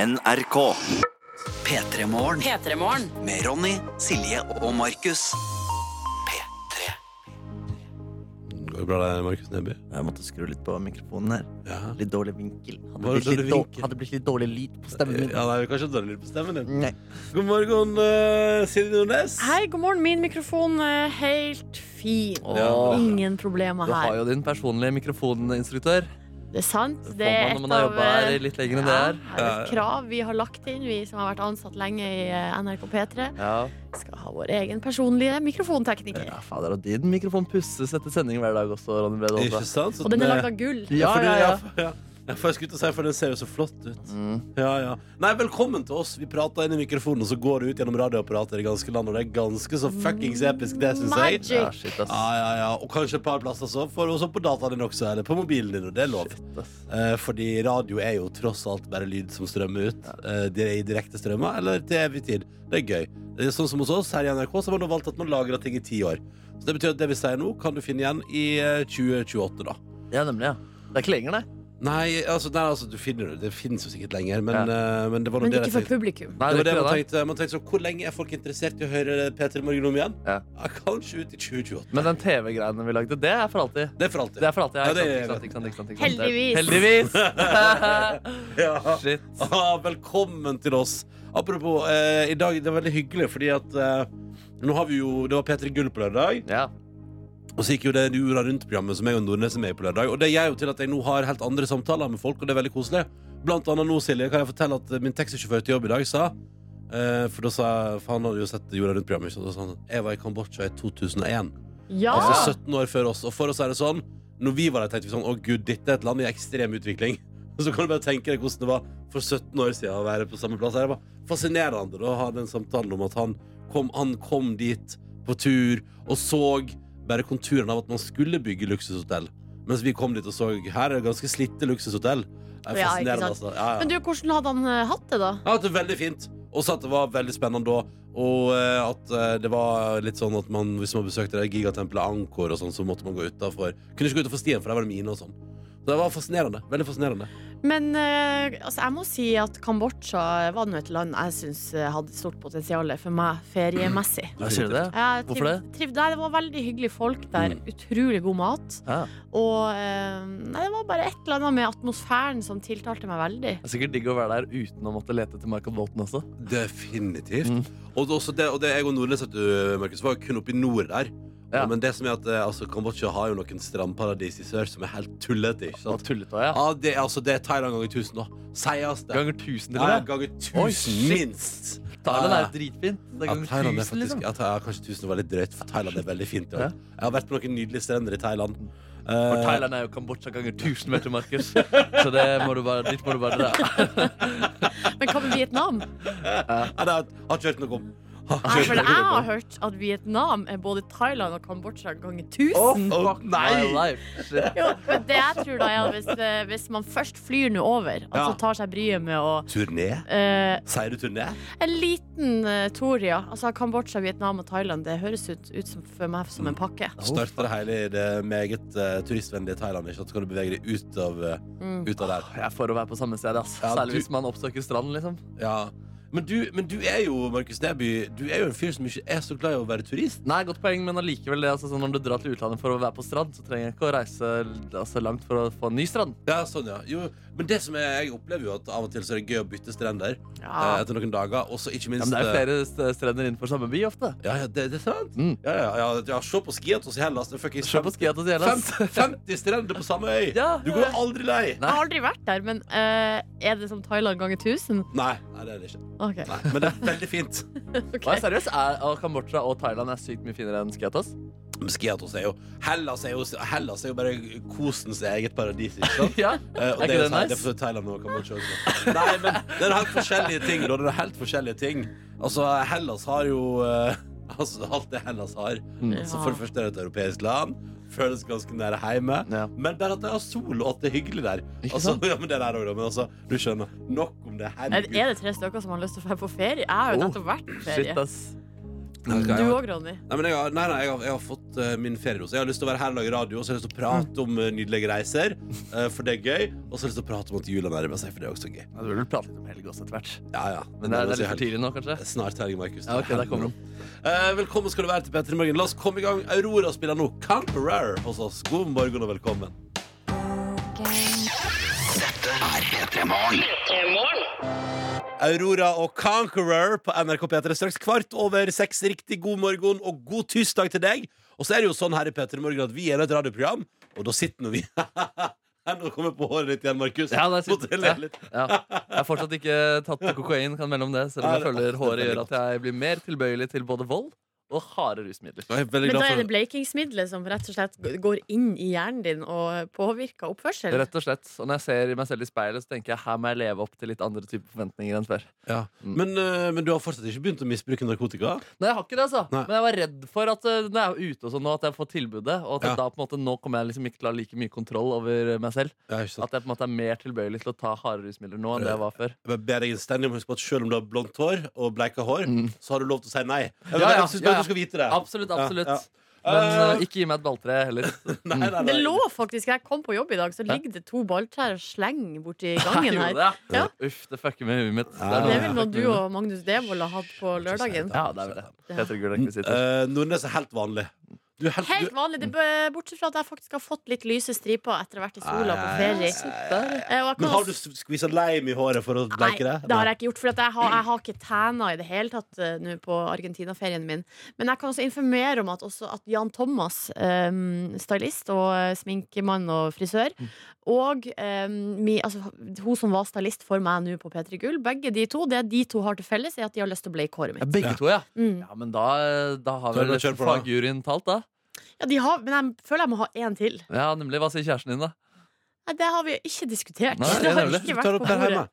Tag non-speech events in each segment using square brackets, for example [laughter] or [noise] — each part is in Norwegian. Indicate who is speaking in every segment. Speaker 1: NRK. P3 Morgen
Speaker 2: P3-morgen.
Speaker 1: med Ronny, Silje og Markus. P3.
Speaker 3: Går det bra der, Markus Neby?
Speaker 4: Jeg måtte skru litt på mikrofonen her.
Speaker 3: Ja.
Speaker 4: Litt dårlig vinkel. Hadde,
Speaker 3: Var det Eh,
Speaker 4: blitt,
Speaker 3: dårlig
Speaker 4: litt dår-
Speaker 3: vinkel?
Speaker 4: hadde blitt litt dårlig lyd på stemmen min.
Speaker 3: Ja, det er kanskje dårlig lyd på stemmen din.
Speaker 4: Nei.
Speaker 3: God morgen, eh, Silje Nordnes.
Speaker 2: Hei, god morgen. Min mikrofon er helt fin.
Speaker 3: Ja, bra.
Speaker 2: Ingen problemer
Speaker 4: Du har
Speaker 2: her.
Speaker 4: jo din personlige mikrofoninstruktør.
Speaker 2: Det er sant.
Speaker 4: Det
Speaker 2: Det
Speaker 4: får
Speaker 2: er et
Speaker 4: man når man har
Speaker 2: av
Speaker 4: jobba
Speaker 2: eh,
Speaker 4: her litt lenger enn det
Speaker 2: ja,
Speaker 4: her.
Speaker 2: er et krav vi har lagt inn, vi som har vært ansatt lenge i eh, NRK P3.
Speaker 4: Ja.
Speaker 2: Skal ha vår egen personlige mikrofontekniker.
Speaker 4: ja, fader, og din mikrofon pusses etter sending hver dag også, Ronny Brede Aase.
Speaker 3: Ikke sant? Så
Speaker 2: Og den er
Speaker 3: den,
Speaker 2: laga av gull.
Speaker 4: Ja,
Speaker 3: for du-
Speaker 4: ja, ja.
Speaker 3: for- ja. Ja, for jeg skulle til å si, for den ser jo så flott ut.
Speaker 4: Mm.
Speaker 3: Ja, ja. Nei, velkommen til oss. Vi prater inn i mikrofonen, og så går det ut gjennom radioapparatet i det ganske land, og det er ganske så fuckings episk, det syns jeg.
Speaker 2: Magic.
Speaker 4: Ja, shit, ass.
Speaker 3: Ja, ja, ja. Og kanskje et par plasser så får du også på dataen din også, eller på mobilen din, og det er lov.
Speaker 4: Shit, ass.
Speaker 3: Eh, fordi radio er jo tross alt bare lyd som strømmer ut. eh, det er I direkte strømmer eller til evig tid. Det er gøy. Det er sånn som hos oss her i NRK så har man nå valgt at man lagrer ting i ti år. Så det betyr at det vi sier nå, kan du finne igjen i eh, 2028, da.
Speaker 4: Ja, nemlig, ja. Det er ikke lenger, nei.
Speaker 3: Nei, altså, nei, altså du finner det. Det finnes jo sikkert lenger, men, eh, men det var nå
Speaker 2: Men
Speaker 3: det
Speaker 2: ikke
Speaker 3: jeg
Speaker 2: for
Speaker 3: tenkte.
Speaker 2: publikum.
Speaker 4: Nei,
Speaker 3: Det var det
Speaker 4: er
Speaker 3: man
Speaker 4: ikke det,
Speaker 3: tenkte. Man tenkte sånn, Hvor lenge er folk interessert i å høre P3 Morgen om igjen?
Speaker 4: Ja.
Speaker 3: kanskje ut i 2028.
Speaker 4: da. Men den TV-greiene vi lagde, det er for alltid.
Speaker 3: Det er for alltid.
Speaker 4: Det er for alltid, ja.
Speaker 3: Ja, det
Speaker 4: ikke
Speaker 3: er-
Speaker 4: sant, ikke sant, ikke sant, ikke sant, [laughs]
Speaker 2: Heldigvis.
Speaker 4: Heldigvis!
Speaker 3: [laughs] Ja.
Speaker 4: Shit.
Speaker 3: Ah, velkommen til oss. Apropos, eh, i dag det er veldig hyggelig, fordi at eh, nå har vi jo, Det var P3 Gull på lørdag,
Speaker 4: Ja.
Speaker 3: og så gikk jo det Jorda Rundt-programmet som jeg og Nordnes er med i på lørdag. Og det gjør jo til at jeg nå har helt andre samtaler med folk, og det er veldig koselig. Blant annet nå, Silje, kan jeg fortelle at eh, min taxisjåfør til jobb i dag sa eh, For da sa jeg, for han hadde jo sett Jorda Rundt-programmet, ikke sant, og da sa han jeg var i Kambodsja i 2001.
Speaker 2: Ja.
Speaker 3: Altså 17 år før oss. Og for oss er det sånn Når vi var der, tenkte vi sånn Å gud, dette er et land i ekstrem utvikling. [laughs] Så kan du bare tenke deg hvordan det var for 17 år siden å være på samme plass. Det var fascinerende å ha den samtalen om at han kom, han kom dit på tur og så bare konturene av at man skulle bygge luksushotell. Mens vi kom dit og så her er det ganske slitte luksushotell.
Speaker 2: Ja,
Speaker 3: Det er
Speaker 2: ikke
Speaker 3: fascinerende,
Speaker 2: sant.
Speaker 3: altså. Ja, ja.
Speaker 2: Men du, hvordan hadde han eh, hatt det, da?
Speaker 3: Jeg har hatt det veldig fint. Og så at det var veldig spennende da. Og eh, at eh, det var litt sånn at man, hvis man besøkte det gigatempelet Angkor, og sånn, så måtte man gå utafor. Kunne ikke gå utafor stien, for der var det mine og sånn. Så det var fascinerende. Veldig fascinerende.
Speaker 2: Men eh, altså, jeg må si at Kambodsja var nå et land jeg syns hadde stort potensial for
Speaker 4: [clears throat]
Speaker 2: meg feriemessig.
Speaker 4: Ja, Sier du det?
Speaker 2: Jeg
Speaker 4: Hvorfor det?
Speaker 2: triv- nei, det var veldig hyggelige folk der.
Speaker 3: Mm.
Speaker 2: Utrolig god mat.
Speaker 4: Ja.
Speaker 2: Og eh, nei, det var bare et eller annet med atmosfæren som tiltalte meg veldig.
Speaker 4: Det er sikkert digg å være der uten å måtte lete etter Michael Bolton også.
Speaker 3: Definitivt.
Speaker 4: Mm.
Speaker 3: Og, det- også det, og det jeg og Nordnes vet du, Markus, var jo kun oppe i nord der.
Speaker 4: Ja.
Speaker 3: Men det som er at eh, altså, Kambodsja har jo noen strandparadis i sør som er helt tullete. Ikke
Speaker 4: Og
Speaker 3: sant?
Speaker 4: tullet også, ja.
Speaker 3: Ja, det, er- altså, det er Thailand ganger tusen, da. Sies altså, det.
Speaker 4: Ganger tusen til
Speaker 3: Ja,
Speaker 4: og
Speaker 3: ja,
Speaker 4: med.
Speaker 3: ganger
Speaker 4: Oi,
Speaker 3: tusen,
Speaker 4: shit.
Speaker 3: minst.
Speaker 4: Thailand
Speaker 3: Ja,
Speaker 4: er
Speaker 3: ja.
Speaker 4: jo dritfint. Det
Speaker 3: Ja,
Speaker 4: er ganger
Speaker 3: Thailand er
Speaker 4: tusen,
Speaker 3: faktisk,
Speaker 4: liksom.
Speaker 3: ja, Tha- ja, kanskje tusen var litt drøyt, for Thailand er veldig fint. Ja.
Speaker 4: Ja.
Speaker 3: Jeg har vært på noen nydelige strender i Thailand.
Speaker 4: For
Speaker 3: Eh,
Speaker 4: Thailand er jo Kambodsja ganger tusen, vet du, Markus. Så det må du bare, dit må du [laughs] bare dra.
Speaker 2: Men hva med Vietnam?
Speaker 3: ja, det har jeg har ikke hørt noe om. Har ikke
Speaker 4: Ah,
Speaker 2: Nei,
Speaker 3: hørt
Speaker 2: for
Speaker 3: noe
Speaker 2: jeg
Speaker 3: om.
Speaker 2: har hørt at Vietnam er både Thailand og Kambodsja ganger
Speaker 3: Å,
Speaker 2: tusen.
Speaker 3: fuck,
Speaker 4: My
Speaker 3: nei!
Speaker 4: life. Shit.
Speaker 2: Jo, men det jeg tror da er at hvis, eh, hvis man først flyr nå over, altså
Speaker 3: Ja.
Speaker 2: tar seg bryet med å
Speaker 3: Turné?
Speaker 2: eh,
Speaker 3: Sier du turné?
Speaker 2: En liten uh, tur, ja. Altså, Kambodsja, Vietnam og Thailand. Det høres ut, ut som, for meg som en pakke.
Speaker 4: Oh,
Speaker 3: Starter det hele i det meget eh, turistvennlige Thailand. Ikke? sant? Så kan du bevege deg ut av, eh,
Speaker 2: Mm.
Speaker 3: ut av der.
Speaker 4: Jeg får å være på samme sted, ass.
Speaker 3: Ja, du-
Speaker 4: Særlig hvis man oppsøker stranden, liksom.
Speaker 3: Ja. Men, du, men du er jo Markus Neby, du er jo en fyr som ikke er så glad i å være turist.
Speaker 4: Nei, godt poeng, men allikevel det. Altså, sånn, når du drar til utlandet for å være på strand, så trenger jeg ikke å reise altså, langt for å få en ny strand.
Speaker 3: Ja, sånn, ja. Jo, men det som er, jeg opplever jo at av og til så er det gøy å bytte strender eh,
Speaker 2: Ja.
Speaker 3: etter noen dager. Og så ikke
Speaker 4: Ah. Ja,
Speaker 3: minst
Speaker 4: men det er
Speaker 3: eh,
Speaker 4: jo flere st- strender innenfor samme by ofte.
Speaker 3: Ja, ja, det, det er sant.
Speaker 4: Mm.
Speaker 3: Ja, ja, ja, ja, se på skiatos i Hellas. Det er fucking
Speaker 4: Se på Skiatos i Hellas.
Speaker 3: 50, 50 strender på samme øy!
Speaker 4: Ja,
Speaker 3: Du
Speaker 4: ja,
Speaker 3: går
Speaker 4: ja.
Speaker 3: aldri lei!
Speaker 2: Jeg har aldri vært der, men eh, er det som Thailand ganger tusen?
Speaker 3: Nei, nei, det er det ikke.
Speaker 2: Ok.
Speaker 3: Nei, men det er veldig fint.
Speaker 2: [laughs] ok.
Speaker 4: Hva er seriøst? Er, og Kambodsja og Thailand er sykt mye finere enn Skiatos?
Speaker 3: Men Skiatos er jo Hellas er jo, Hellas er jo bare kosens eget paradis. Ikke sant?
Speaker 4: Ja.
Speaker 3: Eh, og
Speaker 4: Er
Speaker 3: det
Speaker 4: ikke
Speaker 3: er, nice?
Speaker 4: det
Speaker 3: det er
Speaker 4: nice?
Speaker 3: for Thailand og Kambodsja også. Nei, men det er helt forskjellige ting. Da. Det er helt forskjellige ting. Altså, Hellas har jo eh, Altså, alt det Hellas har.
Speaker 4: Mm.
Speaker 3: Så for det første er det et europeisk land. Føles ganske nære hjemme.
Speaker 4: Ja.
Speaker 3: Men bare at det er sol og at det er hyggelig der.
Speaker 4: Ikke
Speaker 3: Altså, [laughs] ja, men det der også, da, men altså, du skjønner. Nok om det.
Speaker 2: Er,
Speaker 3: Herregud.
Speaker 2: er det tre stykker som har lyst til å dra på ferie? Jeg har jo
Speaker 4: Oh,
Speaker 2: nettopp vært på
Speaker 4: Shit,
Speaker 2: ferie.
Speaker 4: ass.
Speaker 3: Nei, skal
Speaker 2: Du
Speaker 3: jeg-
Speaker 2: òg, Ronny.
Speaker 3: Nei, men jeg har, nei, nei, jeg har, jeg har fått fått eh, min feriedose. Jeg har lyst til å være her og lage radio, og så har jeg lyst til å prate om eh, nydelige reiser, eh, for det er gøy. Og så har jeg lyst til å prate om at jula nærmer seg, for det er også gøy.
Speaker 4: Ja, Du vil vel prate litt om helg også etter hvert.
Speaker 3: Ja, ja.
Speaker 4: Men det er, det er litt for
Speaker 3: helg.
Speaker 4: tidlig nå, kanskje?
Speaker 3: Snart helg, Markus.
Speaker 4: Ja, ok, der kommer
Speaker 3: Eh, velkommen skal du være til Petter i morgen. La oss komme i gang. Aurora spiller nå Conqueror hos oss. God morgen og velkommen. Aurora og Conqueror på NRK P3 straks kvart over seks. Riktig god morgen og god tirsdag til deg. Og så er det jo sånn her i P3 Morgen at vi er et radioprogram, og da sitter nå vi [laughs] Her, Nå kommer jeg på håret ditt igjen, Markus.
Speaker 4: Ja, der
Speaker 3: Måtte [laughs]
Speaker 4: sitter
Speaker 3: jeg le
Speaker 4: ja.
Speaker 3: litt.
Speaker 4: ja. Jeg har fortsatt ikke tatt kokain, kan melde om det, selv om
Speaker 3: Nei,
Speaker 4: jeg
Speaker 3: det-
Speaker 4: føler
Speaker 3: det
Speaker 4: håret
Speaker 3: er
Speaker 4: gjør
Speaker 3: veldig
Speaker 4: at jeg blir mer tilbøyelig til både vold og harde rusmidler.
Speaker 3: Jeg er veldig
Speaker 2: Men da
Speaker 3: glad
Speaker 2: er det
Speaker 3: for
Speaker 2: bleikingsmiddelet som rett og slett går inn i hjernen din og påvirker oppførsel.
Speaker 4: Rett og slett. Og når jeg ser meg selv i speilet, så tenker jeg her må jeg leve opp til litt andre typer forventninger enn før.
Speaker 3: ja.
Speaker 4: Mm.
Speaker 3: men, eh, men du har fortsatt ikke begynt å misbruke narkotika?
Speaker 4: Nei, jeg har ikke det, altså.
Speaker 3: Nei.
Speaker 4: Men jeg var redd for at eh, når jeg er ute og sånn nå, at jeg får tilbudet. Og at jeg
Speaker 3: Ja.
Speaker 4: da på en måte nå kommer jeg liksom ikke til å ha like mye kontroll over meg selv.
Speaker 3: Ja, ikke sant.
Speaker 4: At jeg på en måte er mer tilbøyelig til å ta harde rusmidler nå enn det jeg var før.
Speaker 3: Jeg ber deg innstendig om å huske på at selv om du har blondt hår og bleika hår, så har du lov til å si nei. Jeg, jeg synes bare
Speaker 4: Mm. Ja, ja, ja, ja.
Speaker 3: du skal vite det.
Speaker 4: Absolutt,
Speaker 3: Ja,
Speaker 4: absolutt.
Speaker 3: ja. [laughs]
Speaker 4: Men
Speaker 3: Eh.
Speaker 4: eh, ikke gi meg et balltre heller.
Speaker 3: Nei, nei, nei.
Speaker 2: Det lå faktisk, jeg kom på jobb i dag, så ligger det to balltrær og sleng borti gangen
Speaker 4: Jeg
Speaker 2: her.
Speaker 4: gjorde det, ja.
Speaker 2: Ja.
Speaker 4: Uff, det fucker med huet mitt.
Speaker 3: Ja,
Speaker 2: Det
Speaker 4: noe
Speaker 2: er vel
Speaker 4: som
Speaker 2: noe
Speaker 4: fucker
Speaker 2: du
Speaker 4: med huet
Speaker 2: og Magnus Devold har hatt på lørdagen.
Speaker 4: mitt. Ja, det er vel det. Peter Gull rekvisitter.
Speaker 3: Eh, Nordnes er helt vanlig. Du er helt,
Speaker 2: Helt
Speaker 3: du,
Speaker 2: vanlig, det bø- bortsett fra at jeg faktisk har fått litt lyse striper etter å ha vært i sola på ferie. Eh, og jeg kan
Speaker 3: men har du
Speaker 2: også-
Speaker 3: skvisa leim i håret for å bleike det?
Speaker 2: Nei, det har jeg ikke gjort. For at jeg, har, jeg har ikke tæna i det hele tatt eh, nå på Argentina-ferien min. Men jeg kan også informere om at, også at Jan Thomas, eh, stylist og eh, sminkemann og frisør, og eh, mi, altså, hun som var stylist for meg nå på P3 Gull, begge de to, det de to har til felles, er at de har lyst til å bleike håret
Speaker 4: Ja,
Speaker 2: mitt.
Speaker 4: begge to, ja.
Speaker 2: Mm.
Speaker 4: Ja, Men da, eh, da har
Speaker 3: Da er det
Speaker 4: vel
Speaker 3: bare å kjøre på, da.
Speaker 4: fagjuryen talt, da.
Speaker 2: Ja, de har, men jeg føler jeg må ha én til.
Speaker 4: Ja, nemlig. Hva sier kjæresten din, da?
Speaker 2: Nei, det har vi jo ikke diskutert.
Speaker 4: Nei,
Speaker 2: [laughs] det har
Speaker 3: nemlig.
Speaker 2: ikke
Speaker 3: Du tar
Speaker 2: vært
Speaker 3: opp
Speaker 2: på
Speaker 3: der
Speaker 2: bordet.
Speaker 3: hjemme.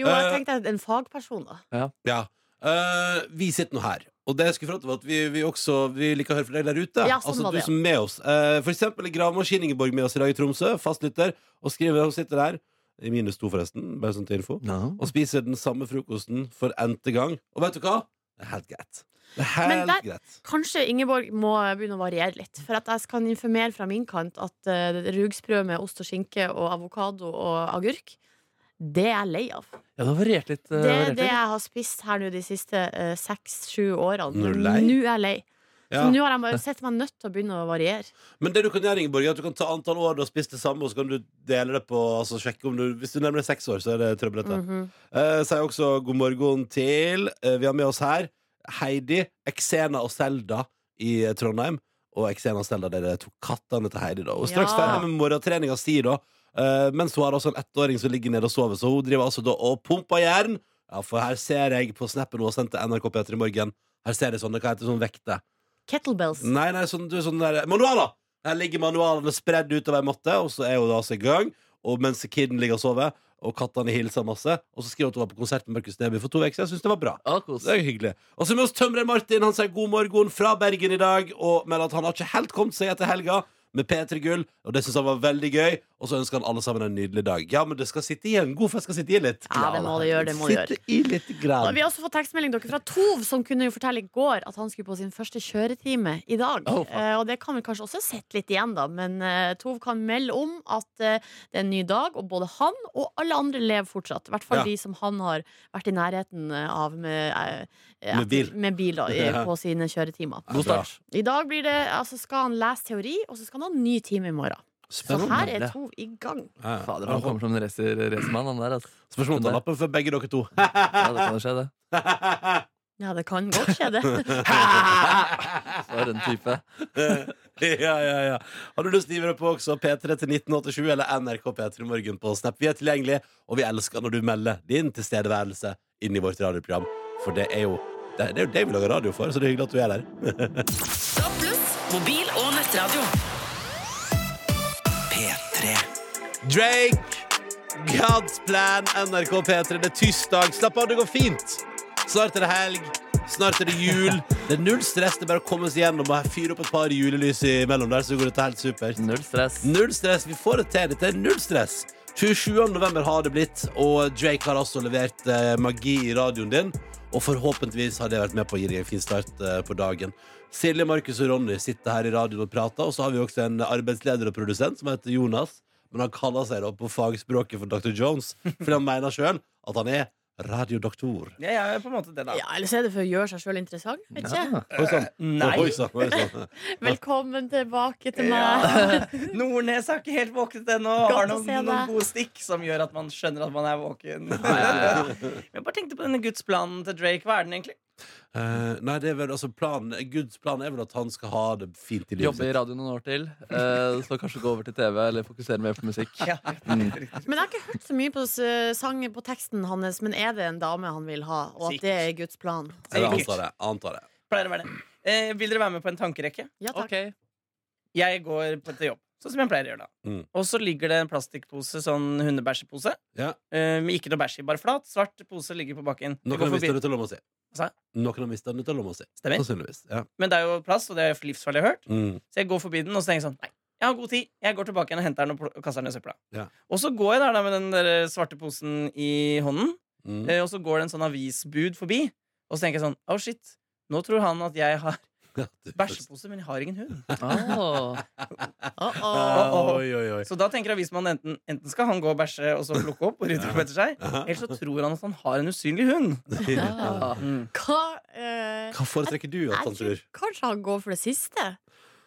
Speaker 2: Jo, jeg
Speaker 3: Eh,
Speaker 2: tenkte en fagperson, da.
Speaker 3: Ja. Eh, vi sitter nå her. Og det jeg skulle fram til var at vi, vi også vi liker å høre fra deg der ute.
Speaker 2: Ja, sånn
Speaker 3: altså
Speaker 2: var
Speaker 3: du
Speaker 2: det, ja.
Speaker 3: som er med oss Eh, For eksempel er Gravemaskin Ingeborg med oss i dag i Tromsø. Fastlytter. Og skriver hun sitter der. I minus to, forresten. Bare sånn til info. Og spiser den samme frokosten for n-te gang. Og vet du hva? Det er helt greit. Det er
Speaker 2: Men
Speaker 3: helt
Speaker 2: der-
Speaker 3: greit.
Speaker 2: Kanskje Ingeborg må begynne å variere litt. For at jeg kan informere fra min kant at uh, rugsprø med ost og skinke og avokado og agurk, det er jeg lei av.
Speaker 4: Ja, det har variert litt. eh,
Speaker 2: Det er
Speaker 4: variert
Speaker 2: det
Speaker 4: litt.
Speaker 2: jeg har spist her nå de siste eh, seks-sju årene.
Speaker 3: Nå er du
Speaker 2: Men
Speaker 3: lei?
Speaker 2: Nå er jeg lei. Så
Speaker 3: Ja.
Speaker 2: nå har jeg bare sett meg nødt til å begynne å variere.
Speaker 3: Men det du kan gjøre, Ingeborg, er at du kan ta antall år du har spist det samme, og så kan du dele det på altså, sjekke om du, Hvis du nærmer deg seks år, så er det trøbbelete.
Speaker 2: Mhm.
Speaker 3: Eh, sier også god morgen til eh, Vi har med oss her Heidi, Eksena og Selda i eh, Trondheim. Og Eksena og Selda det er de to kattene til Heidi. da Og straks
Speaker 2: Ja.
Speaker 3: ferdig med morgentreninga si, da. eh, mens hun har også en ettåring som ligger nede og sover, så hun driver altså da og pumper jern. Ja, for her ser jeg på snappen hun har sendt til NRK P3 i morgen. Her ser jeg sånne, hva heter sånn vekte?
Speaker 2: Kettlebells.
Speaker 3: Nei, nei, sånn, du, sånn der, manualer! Her ligger manualene spredd utover ei matte, og så er hun da altså i gang. Og mens kiden ligger og sover, og kattene hilser masse. Og så skriver hun at hun var på konsert med Markus Neby for to uker siden. Jeg syns det var bra.
Speaker 4: Å, kos.
Speaker 3: Så Det er hyggelig. Og så er vi hos tømrer Martin. Han sier god morgen fra Bergen i dag, og, men at han har ikke helt kommet seg etter helga. Med P3 Gull, og det syns han var veldig gøy. Og så ønsker han alle sammen en nydelig dag. Ja, men det skal sitte i en god fest, skal sitte i litt.
Speaker 2: Ja, det må det gjøre, det må det
Speaker 3: sitte i litt
Speaker 2: Og
Speaker 3: grann.
Speaker 2: Vi har også fått tekstmelding dere fra Tov, som kunne jo fortelle i går at han skulle på sin første kjøretime i dag.
Speaker 4: Oh, fuck.
Speaker 2: Eh, og det kan vi kanskje også sett litt igjen, da. Men eh, Tov kan melde om at eh, det er en ny dag, og både han og alle andre lever fortsatt. I hvert fall
Speaker 3: Ja.
Speaker 2: de som han har vært i nærheten av med, eh, eh,
Speaker 3: Med bil.
Speaker 2: med bil da, eh,
Speaker 3: [laughs] Ja.
Speaker 2: på sine kjøretimer.
Speaker 4: God
Speaker 3: Bra.
Speaker 4: start.
Speaker 2: I dag blir det, altså, skal han lese teori, og så skal han ha en ny time i morgen. Så
Speaker 3: Spennende.
Speaker 2: her er Tov i gang.
Speaker 3: Ja, ja.
Speaker 4: Fader, han kommer som en racer- racermann, han der. Altså. eh,
Speaker 3: Spørsmål om å ta lappen for begge dere to.
Speaker 4: Ja, det kan jo skje, det.
Speaker 2: Ja, det kan godt skje, det.
Speaker 3: [laughs]
Speaker 4: For en type.
Speaker 3: [laughs] ja, ja, ja. Har du lyst til å gi det på også P3 til 1987 eller NRK P3 Morgen på Snap. Vi er tilgjengelige, og vi elsker når du melder din tilstedeværelse inn i vårt radioprogram. For det er jo det, det er jo det vi lager radio for, så det er hyggelig at du er der.
Speaker 5: Mobil og nettradio.
Speaker 1: P3.
Speaker 3: Drake, God's Plan, NRK P3. Det er tirsdag. Slapp av, det går fint. Snart er det helg. Snart er det jul. Det er null stress. Det er bare å komme seg gjennom og fyre opp et par julelys imellom der, så går dette helt supert.
Speaker 4: Null stress.
Speaker 3: Null stress. Vi får det til. Dette er null stress. 27. november har det blitt, og Drake har altså levert eh, magi i radioen din. Og forhåpentligvis har det vært med på å gi deg en fin start eh, på dagen. Silje, Markus og Ronny sitter her i radioen og prater, og så har vi også en arbeidsleder og produsent som heter Jonas. Men han kaller seg da på fagspråket for Dr. Jones, fordi han mener sjøl at han er radiodoktor.
Speaker 5: Ja, jeg er på en måte det, da.
Speaker 2: Ja, Eller så er det for å gjøre seg sjøl interessant. Vet ikke.
Speaker 3: Oi sann.
Speaker 5: Nei.
Speaker 3: Oi sann. oi sånn. sann.
Speaker 2: Velkommen tilbake til meg.
Speaker 5: [laughs]
Speaker 3: [laughs]
Speaker 5: Ja. Nordnes har ikke helt våknet ennå.
Speaker 2: Godt
Speaker 5: Har
Speaker 2: å
Speaker 5: noen,
Speaker 2: se deg.
Speaker 5: noen gode stikk som gjør at man skjønner at man er våken. [laughs] Jeg bare tenkte på denne gudsplanen til Drake. Hva er den egentlig?
Speaker 3: Eh, nei, det er vel altså planen Guds plan er vel at han skal ha det fint i livet
Speaker 4: Jobbe i
Speaker 3: sitt.
Speaker 4: radio noen år til. eh, Så kanskje gå over til TV eller fokusere mer på musikk.
Speaker 5: Ja,
Speaker 3: [laughs]
Speaker 2: Men jeg har ikke hørt så mye på s- sang på teksten hans, men er det en dame han vil ha, og at det er Guds plan?
Speaker 3: Eller
Speaker 5: Sikkert.
Speaker 3: antar det. Antar det.
Speaker 5: Pleier å være det. Eh, vil dere være med på en tankerekke?
Speaker 2: Ja takk.
Speaker 4: Ok,
Speaker 5: Jeg går på til jobb, sånn som jeg pleier å gjøre da.
Speaker 3: Mm.
Speaker 5: Og så ligger det en plastikkpose, sånn hundebæsjepose.
Speaker 3: Ja.
Speaker 5: Eh, med ikke noe bæsj i, bare flat. Svart pose ligger på bakken. Jeg
Speaker 3: Noen
Speaker 5: går
Speaker 3: har mista
Speaker 5: forbi.
Speaker 3: den ut av lomma si.
Speaker 5: Hva sa jeg?
Speaker 3: Noen har mista den ut av lomma si.
Speaker 5: Stemmer.
Speaker 3: Sannsynligvis. Ja.
Speaker 5: Men det er jo plast, og det er livsfarlig, jeg har hørt.
Speaker 3: Mm.
Speaker 5: Så jeg går forbi den, og så tenker jeg sånn Nei, jeg har god tid. Jeg går tilbake igjen og henter den og pl- kaster den i søpla.
Speaker 3: Ja.
Speaker 5: Og så går jeg der da med den der eh, svarte posen i hånden,
Speaker 3: Mm.
Speaker 5: eh, og så går det en sånn avisbud forbi, og så tenker jeg sånn Å, shit. Nå tror han at jeg
Speaker 3: [laughs]
Speaker 5: har
Speaker 3: Ja, du-
Speaker 5: bæsjepose, men jeg har ingen hund.
Speaker 4: Ah.
Speaker 2: Åh, åh.
Speaker 5: Åh, åh.
Speaker 3: Oi, oi, oi.
Speaker 5: Så da tenker avismannen enten, enten skal han gå og bæsje og så plukke opp og rydde opp etter seg,
Speaker 3: [laughs]
Speaker 5: eller så tror han at han har en usynlig hund.
Speaker 4: Ah.
Speaker 2: Hva eh,
Speaker 3: Hva foretrekker du at han
Speaker 2: jeg tror
Speaker 3: tror?
Speaker 2: kanskje han går for det siste.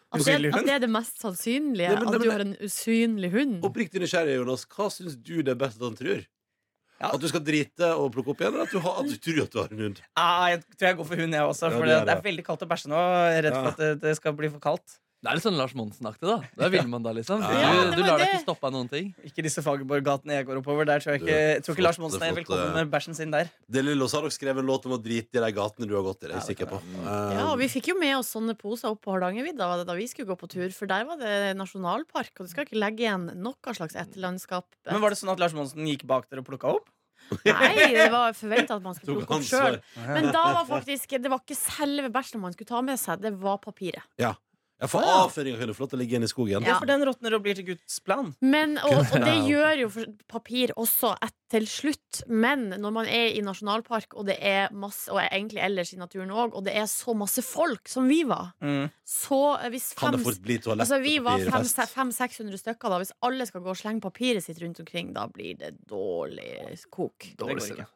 Speaker 2: At det,
Speaker 5: Usynlig hund?
Speaker 2: at det er det mest sannsynlige.
Speaker 3: Nei, men-
Speaker 2: at
Speaker 3: men-
Speaker 2: du har en usynlig hund.
Speaker 3: Oppriktig nysgjerrig, Jonas. Hva syns du det er best at han tror?
Speaker 5: Ja.
Speaker 3: At du skal drite og plukke opp igjen, eller at du, har, at du tror at du har en hund?
Speaker 5: Ah, jeg tror jeg går for hund, jeg også,
Speaker 3: Ja,
Speaker 5: for
Speaker 3: du gjør
Speaker 5: det er
Speaker 3: det.
Speaker 5: veldig kaldt å bæsje nå. Jeg er redd for
Speaker 3: Ja.
Speaker 5: at det, det skal bli for kaldt.
Speaker 4: Det er litt sånn Lars Monsen-aktig, da. Det er
Speaker 5: [laughs]
Speaker 4: Villmann, da, liksom.
Speaker 3: Ja,
Speaker 4: Du,
Speaker 2: det
Speaker 4: du
Speaker 2: var
Speaker 4: lar deg
Speaker 2: det.
Speaker 4: ikke stoppe av noen ting.
Speaker 5: Ikke disse Fagerborg-gatene jeg går oppover. Der tror
Speaker 3: Du,
Speaker 5: jeg ikke, jeg tror ikke Lars
Speaker 3: flott,
Speaker 5: Monsen er
Speaker 3: flott,
Speaker 5: velkommen
Speaker 3: eh,
Speaker 5: med bæsjen sin der.
Speaker 3: Det lille oss har nok skrevet en låt om å drite i de gatene du har gått i. Det er jeg
Speaker 5: Ja, det
Speaker 3: sikker på.
Speaker 5: kan
Speaker 2: Ja, og
Speaker 3: Eh,
Speaker 2: Vi fikk jo med oss sånne poser opp på Hardangervidda var det da vi skulle gå på tur, for der var det nasjonalpark, og du skal ikke legge igjen noe slags etterlandskap.
Speaker 5: Men var det sånn at Lars Monsen gikk bak dere og plukka opp?
Speaker 2: Nei, det var forventa at man skulle
Speaker 3: [laughs] Tok
Speaker 2: plukke opp
Speaker 3: ansvar.
Speaker 2: sjøl. Men da var faktisk Det var ikke selve bæsjen man skulle ta med seg, det var papiret.
Speaker 3: Ja, for avføringa kunne få lov til å ligge inne i skogen.
Speaker 2: Ja.
Speaker 5: Ja. For den råtner og blir til Guds plan.
Speaker 2: Men, og, og det gjør jo for- papir også et, til slutt. Men når man er i nasjonalpark, og det er masse Og egentlig ellers i naturen òg, og det er så masse folk som vi var, så eh, hvis
Speaker 3: Kan
Speaker 2: fem
Speaker 3: det fort bli toalett
Speaker 2: Altså, vi var
Speaker 3: papirfest?
Speaker 2: 500-600 stykker. da Hvis alle skal gå og slenge papiret sitt rundt omkring, da blir det dårlig kok.
Speaker 5: Det går ikke.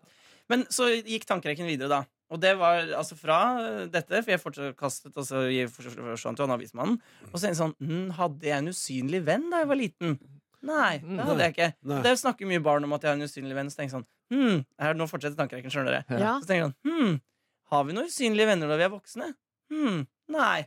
Speaker 5: Men så gikk tankerekken videre, da. Og det var altså fra eh, dette, for jeg fortsatt kastet, og så gi- fors- forsvant jo han avismannen. Og så er det sånn hm, Hadde jeg en usynlig venn da jeg var liten? Nei, det hadde jeg ikke.
Speaker 3: Hm, Nei.
Speaker 5: Det snakker mye barn om at jeg har en usynlig venn. Så tenker jeg sånn hm, her, Nå fortsetter tankerekken, skjønner dere.
Speaker 2: Ja.
Speaker 5: Så tenker jeg sånn hm, Har vi noen usynlige venner når vi er voksne? Hm, nei.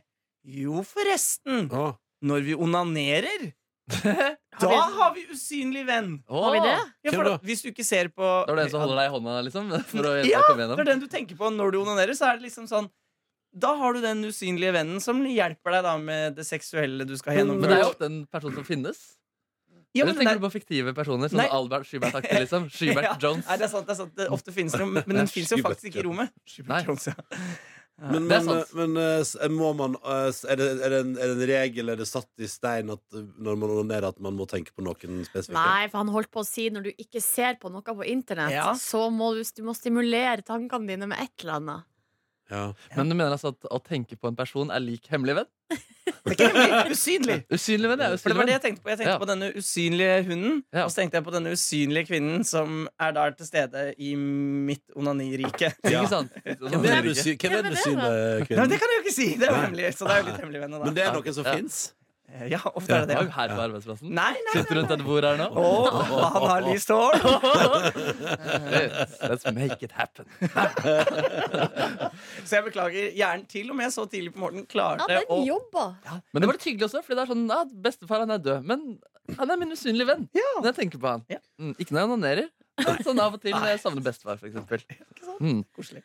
Speaker 5: Jo, forresten.
Speaker 3: Å,
Speaker 5: Når vi
Speaker 4: [laughs]
Speaker 5: onanerer,
Speaker 2: Har vi-
Speaker 5: da har vi usynlig venn.
Speaker 2: Har vi det?
Speaker 5: Ja,
Speaker 3: Hvem
Speaker 5: for
Speaker 3: da?
Speaker 5: da, hvis du ikke ser på
Speaker 4: Det var det en som holder deg i hånda, liksom? [laughs] For å hjelpe
Speaker 5: Ja,
Speaker 4: deg å komme
Speaker 5: For
Speaker 4: gjennom.
Speaker 5: den du tenker på når du onanerer, så er det liksom sånn Da har du den usynlige vennen som hjelper deg da med det seksuelle du skal gjennom.
Speaker 4: Men det er jo ofte en person som finnes.
Speaker 5: ja, men
Speaker 4: Eller tenker
Speaker 5: det
Speaker 4: du på fiktive personer? Sånn
Speaker 5: Nei.
Speaker 4: Albert Schubert-aktig,
Speaker 5: [laughs]
Speaker 4: liksom?
Speaker 5: er-
Speaker 4: Schubert
Speaker 5: Ja.
Speaker 4: Jones.
Speaker 5: Nei, det er sant. det er sant det Ofte finnes det, jo, men-
Speaker 4: [laughs]
Speaker 5: men den fins jo faktisk ikke i rommet.
Speaker 4: Nei.
Speaker 5: Jones, ja.
Speaker 3: Men,
Speaker 4: Det er
Speaker 3: men,
Speaker 4: sant.
Speaker 3: men, eh, s- må man eh, s- er det, er, det en, er det en regel, er det satt i stein at eh, når man onanerer, at man må tenke på noen spesifikke?
Speaker 2: Nei, for han holdt på å si når du ikke ser på noe på internett,
Speaker 5: Ja.
Speaker 2: så må du, du må stimulere tankene dine med et eller annet.
Speaker 3: Ja.
Speaker 4: Men du mener altså at å tenke på en person er lik hemmelig venn?
Speaker 5: Det er ikke hemmelig. Usynlig.
Speaker 4: Usynlig venn, ja.
Speaker 5: For det
Speaker 4: Usynlig
Speaker 5: var det
Speaker 4: venn.
Speaker 5: jeg tenkte på. Jeg tenkte
Speaker 4: Ja.
Speaker 5: på denne usynlige hunden.
Speaker 4: Ja.
Speaker 5: Og så tenkte jeg på denne usynlige kvinnen som er der til stede i mitt onanirike.
Speaker 3: Ja.
Speaker 4: Ikke sant?
Speaker 3: Hvem er det du, sy
Speaker 2: Ja,
Speaker 3: hvem
Speaker 2: men
Speaker 3: er det du
Speaker 2: det
Speaker 3: syner,
Speaker 5: Nei, men
Speaker 3: kvinnen?
Speaker 5: det kan jeg jo ikke si! Det er jo
Speaker 3: Nei.
Speaker 5: hemmelig. Så det er jo litt hemmelig venn. Eh,
Speaker 3: Men det er
Speaker 4: Ja.
Speaker 3: noen som
Speaker 4: Ja.
Speaker 3: fins?
Speaker 5: Ja, ofte er det
Speaker 4: Var
Speaker 5: det.
Speaker 4: jo her på arbeidsplassen.
Speaker 5: Nei, nei.
Speaker 4: Sitter rundt et bord her nå.
Speaker 5: Å, han har lyst hår!
Speaker 4: Let's let's make it happen.
Speaker 5: Så jeg beklager. Hjernen til og med så tidlig på morgenen
Speaker 2: Ja,
Speaker 5: klarte å
Speaker 2: den jobba!
Speaker 4: Men det var litt hyggelig også, fordi det er sånn ja, bestefar han er død, men han er min usynlige venn. Når jeg tenker på han.
Speaker 5: Ja.
Speaker 4: Mm, ikke når jeg onanerer. men Sånn av og til når jeg savner bestefar, for eksempel. Mm.
Speaker 5: Koselig.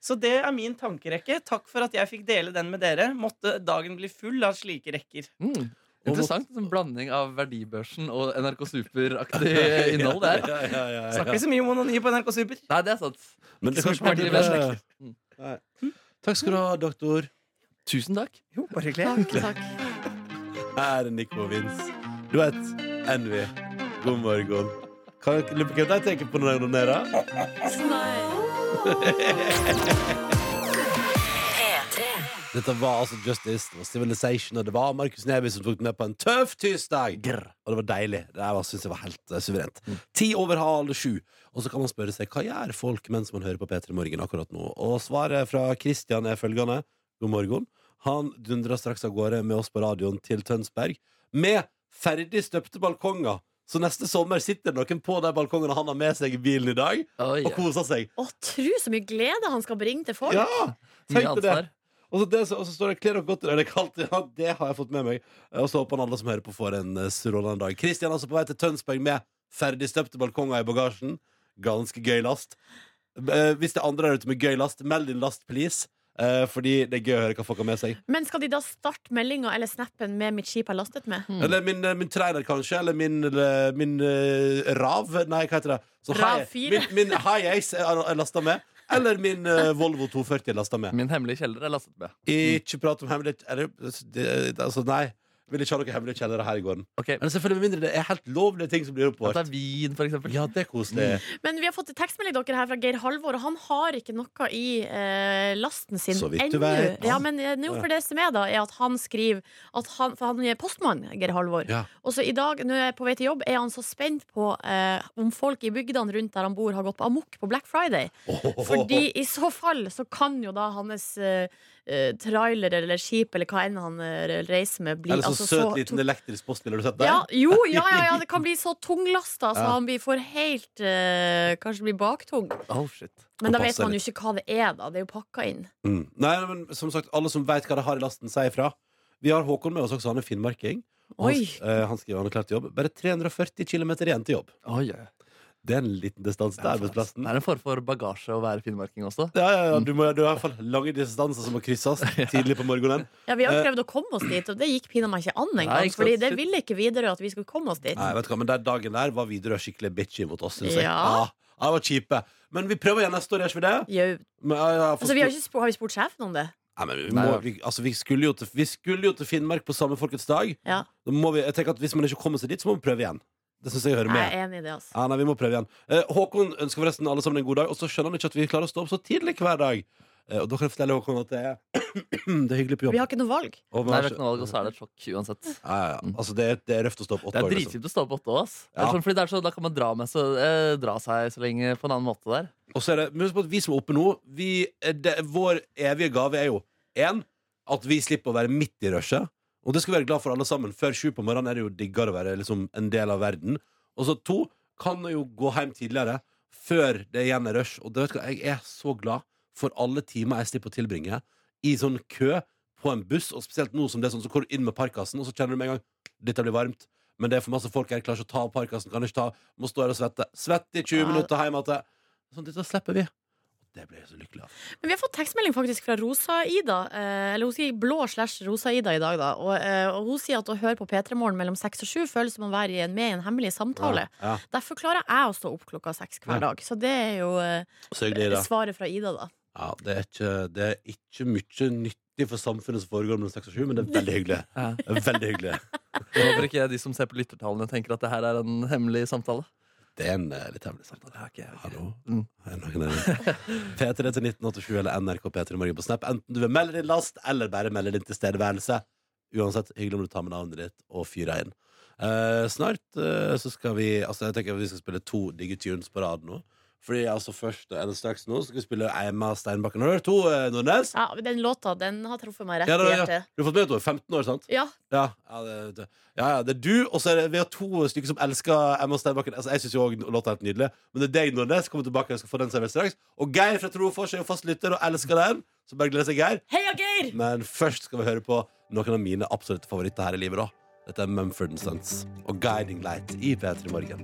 Speaker 5: Så det er min tankerekke. Takk for at jeg fikk dele den med dere. Måtte dagen bli full av slike rekker.
Speaker 4: Mm. Interessant. En sånn blanding av Verdibørsen og NRK Super-aktig innhold der.
Speaker 3: [laughs] Ja, ja, ja, ja.
Speaker 5: Snakker vi så mye om onani på NRK Super?
Speaker 4: Nei, det er sant.
Speaker 3: Men det er kanskje
Speaker 4: Hemmelig
Speaker 3: bare-
Speaker 4: venn. Mm.
Speaker 3: Nei. Takk skal du ha, doktor.
Speaker 4: Tusen takk.
Speaker 5: Jo, bare hyggelig.
Speaker 2: Takk, takk.
Speaker 3: Her er Nico og Vince. Du vet, Envy. God morgon. Kan jag lurer på hva de tenker på når de onanerer? Dette var altså Justice, det var Civilization, og det var Markus Neby som tok den med på en tøff tirsdag. Og det var deilig. Det her var- synes jeg var helt eh, suverent.
Speaker 4: Mm.
Speaker 3: Ti over halv sju. Og så kan man spørre seg hva gjør folk mens man hører på P3 Morgen akkurat nå? Og svaret fra Kristian er følgende. God morgen. Han dundra straks av gårde med oss på radioen til Tønsberg med ferdig støpte balkonger. Så neste sommer sitter det noen på de balkongene han har med seg i bilen i dag,
Speaker 4: Oi,
Speaker 3: og koser seg.
Speaker 2: Å, tro så mye glede han skal bringe til folk!
Speaker 3: Ja!
Speaker 4: mye
Speaker 3: Tenk på det.
Speaker 4: ansvar.
Speaker 3: Og så, det, og så står det 'kler dere godt i dag'. Det er kaldt. [laughs] Ja, det har jeg fått med meg. Eh, Og så håper han alle som hører på, får en eh, strålende dag. Kristian er altså på vei til Tønsberg med ferdigstøpte balkonger i bagasjen. Ganske gøy last. Eh, Hvis det er andre der ute med gøy last, meld din last, please. Eh, Fordi det er gøy å høre hva folk har med seg.
Speaker 2: Men skal de da starte meldinga eller snappen med 'mitt skip er lastet med'?
Speaker 3: Eller min, eh, min trailer, kanskje. Eller min, eh, min eh, Rav. Nei, hva heter det? Så
Speaker 2: Rav
Speaker 3: high-
Speaker 2: 4.
Speaker 3: Min, min High Ace er er lasta med. Eller min eh, Volvo 240 er lasta med.
Speaker 4: Min hemmelige kjeller er lastet med.
Speaker 3: Ikke prat om hemmelig eller, det- Altså, nei. Vil ikke ha noen hemmelige kjellere her i gården.
Speaker 4: Ok,
Speaker 3: Men selvfølgelig med mindre det er helt lovlige ting som blir
Speaker 4: At det
Speaker 3: oppvart.
Speaker 4: er vin, for eksempel.
Speaker 3: Ja, det er koselig.
Speaker 2: Men vi har fått en tekstmelding dere her fra Geir Halvor, og han har ikke noe i eh, lasten sin
Speaker 3: Så vidt du
Speaker 2: ennå.
Speaker 3: vet.
Speaker 2: Ja, men eh, nå for det som er, da, er at han skriver at han, For han er postmann, Geir Halvor.
Speaker 3: Ja.
Speaker 2: Og så i dag, når jeg er på vei til jobb, er han så spent på eh, om folk i bygdene rundt der han bor, har gått på amok på Black Friday.
Speaker 4: Mm.
Speaker 2: Fordi i så fall så kan jo da hans eh, eh, trailer eller skip eller hva enn han eh, reiser med, bli
Speaker 3: Eller så
Speaker 2: altså
Speaker 3: søt
Speaker 2: så
Speaker 3: liten
Speaker 2: tung-
Speaker 3: elektrisk postbil. Har du sett den?
Speaker 2: ja, jo, ja, ja,
Speaker 3: [laughs]
Speaker 2: ja, det kan bli så tunglasta, så
Speaker 3: Ja.
Speaker 2: han blir for helt eh, Kanskje blir baktung.
Speaker 4: Oh, shit.
Speaker 2: Men da
Speaker 3: Og
Speaker 2: vet
Speaker 3: passer
Speaker 2: man jo ikke hva det er, da. Det er jo pakka inn.
Speaker 3: Mm. Nei, men som sagt, alle som veit hva de har i lasten, sier ifra. Vi har Håkon med oss også, han er finnmarking. Og Han,
Speaker 2: Oi.
Speaker 3: eh, han skriver han har klart jobb. Bare 340 km igjen til jobb.
Speaker 4: Oi, oi.
Speaker 3: Det er en liten distanse til arbeidsplassen.
Speaker 4: Det er en form for bagasje å være finnmarking også.
Speaker 3: Ja, ja, ja.
Speaker 4: Mm.
Speaker 3: Du, må, du har i hvert fall lange distanser som må krysses
Speaker 4: [laughs]
Speaker 3: tidlig på morgenen.
Speaker 2: Ja, Vi har
Speaker 3: Eh.
Speaker 2: jo prøvd å komme oss dit, og det gikk pinadø meg ikke an
Speaker 4: Nei,
Speaker 2: engang.
Speaker 4: ikke sant.
Speaker 2: Fordi det ville ikke Widerøe at vi skulle komme oss dit.
Speaker 3: Nei, vet du hva, men den dagen der var Widerøe skikkelig bitchy mot oss, synes jeg.
Speaker 2: Ja.
Speaker 3: Ja. ja, det var kjipe. Men vi prøver igjen neste år, gjør ikke vi det?
Speaker 2: Jau.
Speaker 3: Men, ja, ja, for-
Speaker 2: Altså, vi har, ikke spurt, har vi spurt sjefen om det?
Speaker 3: Nei, men vi,
Speaker 4: Nei,
Speaker 3: må,
Speaker 4: ja.
Speaker 3: vi, altså, vi, skulle jo til, vi skulle jo til Finnmark på samme Folkets dag.
Speaker 2: Ja.
Speaker 3: Da må vi, jeg tenker at Hvis man ikke kommer seg dit, så må vi prøve igjen. Det synes jeg hører
Speaker 2: Jeg
Speaker 3: med.
Speaker 2: er enig i det. altså
Speaker 3: Ja, nei, vi må prøve igjen. Eh, Håkon ønsker forresten alle sammen en god dag, og så skjønner han ikke at vi klarer å stå opp så tidlig hver dag. Eh, og da kan jeg fortelle Håkon at det er, [clears throat] det er hyggelig på jobb.
Speaker 2: Vi har ikke noe valg.
Speaker 3: Og vi
Speaker 4: Nei,
Speaker 3: har
Speaker 4: vi har
Speaker 3: ikke-
Speaker 4: ikke noe valg, og så er det et sjokk uansett.
Speaker 3: Ja, ja, ja. Altså, det, er- det er røft å stå opp åtte
Speaker 4: Det er
Speaker 3: år, liksom.
Speaker 4: dritkjipt å stå opp åtte òg, ass. Det er
Speaker 3: Ja.
Speaker 4: Sånn, fordi det er så, da kan man dra, med, så, eh, dra seg så lenge på en annen måte der.
Speaker 3: Og så er det, men husk på at vi som er oppe nå vi, det, Vår evige gave er jo En, at vi slipper å være midt i røsjet Og det skal vi være glad for alle sammen Før sju på morgenen er det jo diggere å være liksom, en del av verden Og så to, kan jo gå hjem tidligere Før det igjen er rush Og det, vet du hva, jeg er så glad For alle timer jeg slipper å tilbringe I sånn kø på en buss Og spesielt nå som det er sånn, så går du inn med parkassen Og så kjenner du med en gang, dette blir varmt men det er for masse folk her, jeg klarer ikke å ta av parkassen Kan ikke ta, må stå her og svette Svette i 20
Speaker 2: Ja.
Speaker 3: minutter hjemme til Sånn, dette slipper vi. Og det ble jeg så lykkelig av.
Speaker 2: Men vi har fått tekstmelding faktisk fra Rosa-Ida. Eh, eller hun sier blå slash Rosa-Ida i dag, da. Og, eh, og hun sier at å høre på P3 Morgen mellom seks og sju føles som å være i en- med i en hemmelig samtale.
Speaker 3: Ja.
Speaker 2: Derfor klarer jeg å stå opp klokka seks
Speaker 3: Ja.
Speaker 2: hver dag. Så det er jo eh,
Speaker 3: Så hyggelig, Ida.
Speaker 2: svaret fra Ida, da.
Speaker 3: Ja, det, er ikke, det er ikke mye nyttig for samfunnet som foregår mellom 6 og 7, men det er veldig hyggelig.
Speaker 4: Ja.
Speaker 3: Det er Veldig hyggelig.
Speaker 4: Jeg håper ikke de som ser på lyttertallene, tenker at det her er en hemmelig samtale.
Speaker 3: Det er en eh, litt hemmelig samtale.
Speaker 4: Ja, ok, ok.
Speaker 3: Hallo?
Speaker 4: Mm.
Speaker 3: Er det noen der? P3 til 1987 eller NRK P3 Morgen på Snap. Enten du vil melde din last, eller bare melde din tilstedeværelse. Uansett, hyggelig om du tar med navnet ditt og fyrer inn. Eh, snart eh, så skal vi Altså Jeg tenker vi skal spille to digge tunes på rad nå. Fordi altså først eller straks nå skal vi spille Eima Steinbakken. Har du hørt to, eh, Nordnes?
Speaker 2: Ja, Den låta den har truffet meg rett
Speaker 3: Ja,
Speaker 2: i
Speaker 3: da, ja.
Speaker 2: hjertet.
Speaker 3: Du har fått med at du er 15 år, sant?
Speaker 2: Ja,
Speaker 3: Ja, ja, det, det. ja, ja, det er du, og så er det, vi har to stykker som elsker Emma Steinbakken. Altså, jeg syns jo også låta er helt nydelig, men det er deg, Nordnes, kommer tilbake og skal få den servert straks. Og Geir fra Trofors er jo fast lytter og elsker den, så bare gleder seg, Geir.
Speaker 2: Heia Geir!
Speaker 3: Men først skal vi høre på noen av mine absolutte favoritter her i livet, da. Dette er Mumford Sons og Guiding Light i P3 Morgen.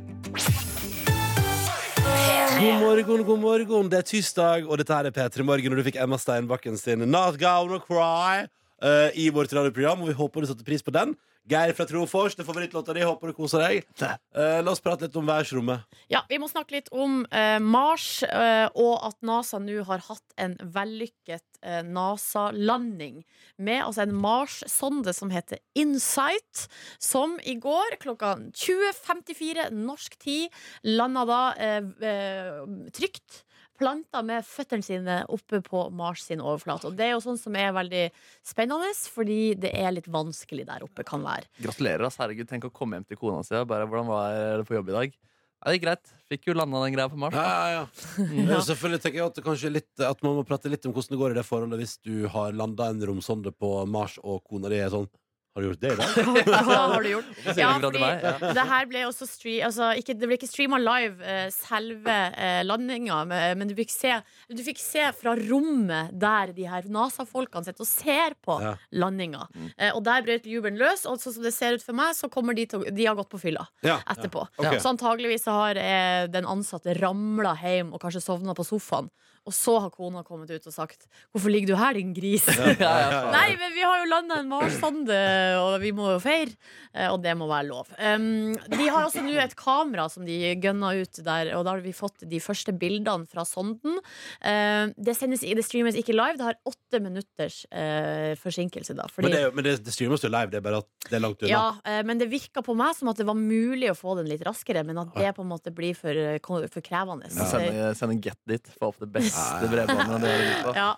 Speaker 3: God morgen, god morgen. Det er tirsdag, og dette her er P3 Morgen. Og du fikk Emma Steinbakken sin Not Gonna Cry eh, i vårt radioprogram, og vi håper du satte pris på den. Geir fra Trofors, det er favorittlåta di. Håper du koser deg. Eh, la oss prate litt om værsrommet.
Speaker 2: Ja, Vi må snakke litt om eh, Mars, eh, og at NASA nå har hatt en vellykket eh, NASA-landing. Med altså en Mars-sonde som heter Insight, som i går klokka 20.54 norsk tid landa da eh, eh, trygt. Planta med føttene sine oppe på Mars sin overflate. Og det er jo sånn som er veldig spennende, fordi det er litt vanskelig der oppe, kan være.
Speaker 4: Gratulerer, ass. Herregud, tenk å komme hjem til kona si og bare Hvordan var det på jobb i dag? Ja, det gikk greit. Fikk jo landa den greia på Mars.
Speaker 3: Ja,
Speaker 4: da.
Speaker 3: ja, [laughs] ja. Og Selvfølgelig tenker jeg at, det kanskje er litt, at man må prate litt om hvordan det går i det forholdet hvis du har landa en romsonde på Mars, og kona di er sånn Har du gjort det i dag?
Speaker 2: Hva har du gjort?
Speaker 4: Hvorfor sier
Speaker 2: Ja,
Speaker 4: du fra til
Speaker 2: fordi
Speaker 4: meg? Ja.
Speaker 2: det her ble også stre- altså, ikke, Det ble ikke streama live, eh, selve eh, landinga, men, men du, fikk se, du fikk se fra rommet der de her NASA-folkene sitter og ser på
Speaker 3: Ja.
Speaker 2: landinga.
Speaker 4: Mm.
Speaker 2: Eh, og der brøt jubelen løs, og sånn som det ser ut for meg, så kommer de til å De har gått på fylla
Speaker 3: [laughs] Ja.
Speaker 2: etterpå.
Speaker 3: Ja, ok.
Speaker 2: Så antageligvis så har eh, den ansatte ramla hjem og kanskje sovna på sofaen. Og så har kona kommet ut og sagt 'Hvorfor ligger du her, din gris?'
Speaker 4: Ja, ja, faen.
Speaker 2: Nei, men vi har jo landa en Mars-sonde, og vi må jo feire. eh, Og det må være lov. Um, de har også nå et kamera som de gønna ut der, og da har vi fått de første bildene fra sonden. Eh, det, sendes, det streames ikke live, det har åtte minutters eh, forsinkelse, da. Fordi,
Speaker 3: Men, det, er jo- men det, det streames jo live, det er bare at det er langt unna.
Speaker 2: ja, eh, men det virka på meg som at det var mulig å få den litt raskere, men at det på en måte blir for, eh, ko- for krevende.
Speaker 4: Send, send en get dit. Få opp det beste bredbåndet du har lyst på.
Speaker 2: Ja.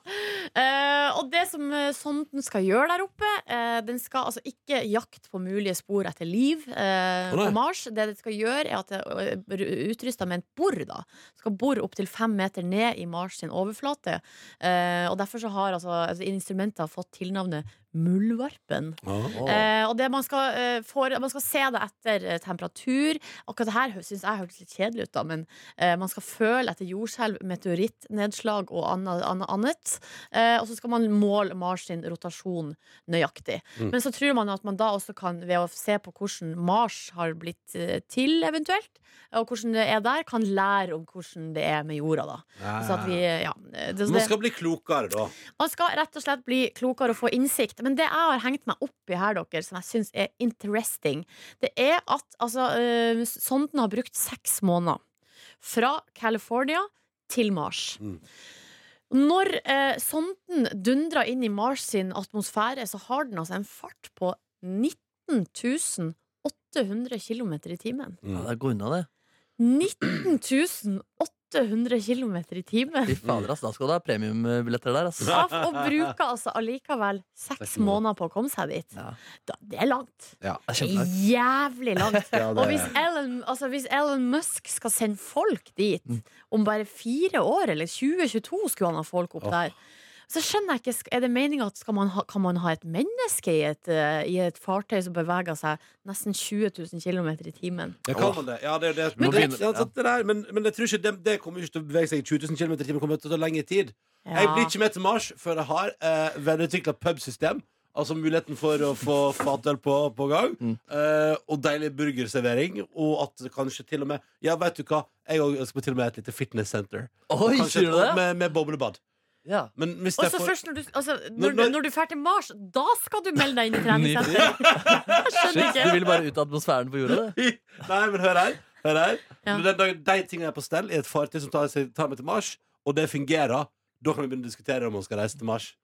Speaker 2: Eh, og det som eh, sonden skal gjøre der oppe eh, Den skal altså ikke jakte på mulige spor etter liv eh,
Speaker 3: Å, nei.
Speaker 2: på Mars. Det den skal gjøre, er at det er utrusta med et bor. da Skal bore opptil fem meter ned i Mars sin overflate. Eh, og derfor så har altså, altså instrumenter fått tilnavnet Muldvarpen.
Speaker 3: Ah.
Speaker 2: Eh, og det man, skal, eh, får- man skal se det etter eh, temperatur. Akkurat det her hø- synes jeg hørtes litt kjedelig ut, da, men eh, man skal føle etter jordskjelv, meteorittnedslag og anna- anna- annet. Eh, og så skal man måle Mars sin rotasjon nøyaktig.
Speaker 3: Mm.
Speaker 2: Men så tror man at man da også kan, ved å se på hvordan Mars har blitt eh, til, eventuelt, og hvordan det er der, kan lære om hvordan det er med jorda, da. Så at vi, ja, eh, det,
Speaker 3: Ah. Man
Speaker 2: det,
Speaker 3: skal bli klokere, da.
Speaker 2: man skal rett og slett bli klokere og få innsikt. Men det jeg har hengt meg opp i her, dere, som jeg syns er interesting, det er at altså, øh, sonden har brukt seks måneder fra California til Mars.
Speaker 3: Mm.
Speaker 2: Når eh, sonden dundrer inn i Mars sin atmosfære, så har den altså en fart på 19 800 km i timen.
Speaker 3: Mm.
Speaker 4: Ja, det er god unna, det.
Speaker 2: 19 800 km i timen!
Speaker 4: Fy fader, ass. Da skal du ha premiumbilletter der, ass.
Speaker 2: Av og bruker altså allikevel seks
Speaker 3: Seks måneder.
Speaker 2: måneder på å komme seg dit.
Speaker 4: Ja.
Speaker 2: Da, det er langt.
Speaker 3: Ja.
Speaker 4: Det er
Speaker 2: Det er
Speaker 4: kjempelangt.
Speaker 2: Jævlig langt.
Speaker 3: Ja, det-
Speaker 2: Og hvis Elon, altså hvis Elon Musk skal sende folk dit
Speaker 3: Mm.
Speaker 2: om bare fire år, eller 2022 skulle han ha folk opp
Speaker 3: Åh.
Speaker 2: der, så skjønner jeg ikke sk- Er det meninga at skal man ha, kan man ha et menneske i et, eh, i et fartøy som beveger seg nesten 20 000 km i timen?
Speaker 3: Ja, kan man det? Ja, det er jo det.
Speaker 4: Men
Speaker 3: Men,
Speaker 4: du-
Speaker 3: det, sant, det der, men, men jeg tror ikke det, det kommer ikke til å bevege seg i 20 000 km i timen. kommer til å ta lengre tid. Jeg blir ikke med til Mars før jeg har eh, velutvikla pubsystem. Altså muligheten for å få fatøl på, på gang.
Speaker 4: Mm.
Speaker 3: Eh, og deilig burgerservering. Og at det kanskje til og med Ja, vet du hva? Jeg også ønsker meg til og med et lite fitness center.
Speaker 4: Oi,
Speaker 3: Kanskje
Speaker 4: sier
Speaker 3: et-
Speaker 4: du det?
Speaker 3: Med, med boblebad.
Speaker 4: Ja.
Speaker 3: Men hvis
Speaker 2: Og
Speaker 3: jeg
Speaker 2: så
Speaker 3: får
Speaker 2: først når du, altså,
Speaker 3: Når-
Speaker 2: når,
Speaker 3: når-
Speaker 2: når du drar til Mars, da skal du melde deg inn i treningssenteret! [laughs] Jeg
Speaker 4: Shit,
Speaker 2: skjønner
Speaker 4: du
Speaker 2: ikke.
Speaker 4: vil bare ut av atmosfæren på jorda, du.
Speaker 3: [laughs] Nei, men hør her. Hør her.
Speaker 2: Ja.
Speaker 3: Når den dagen de tingene er på stell i et fartøy som tar, seg, tar meg til Mars, og det fungerer, da kan vi begynne å diskutere om man skal reise til Mars.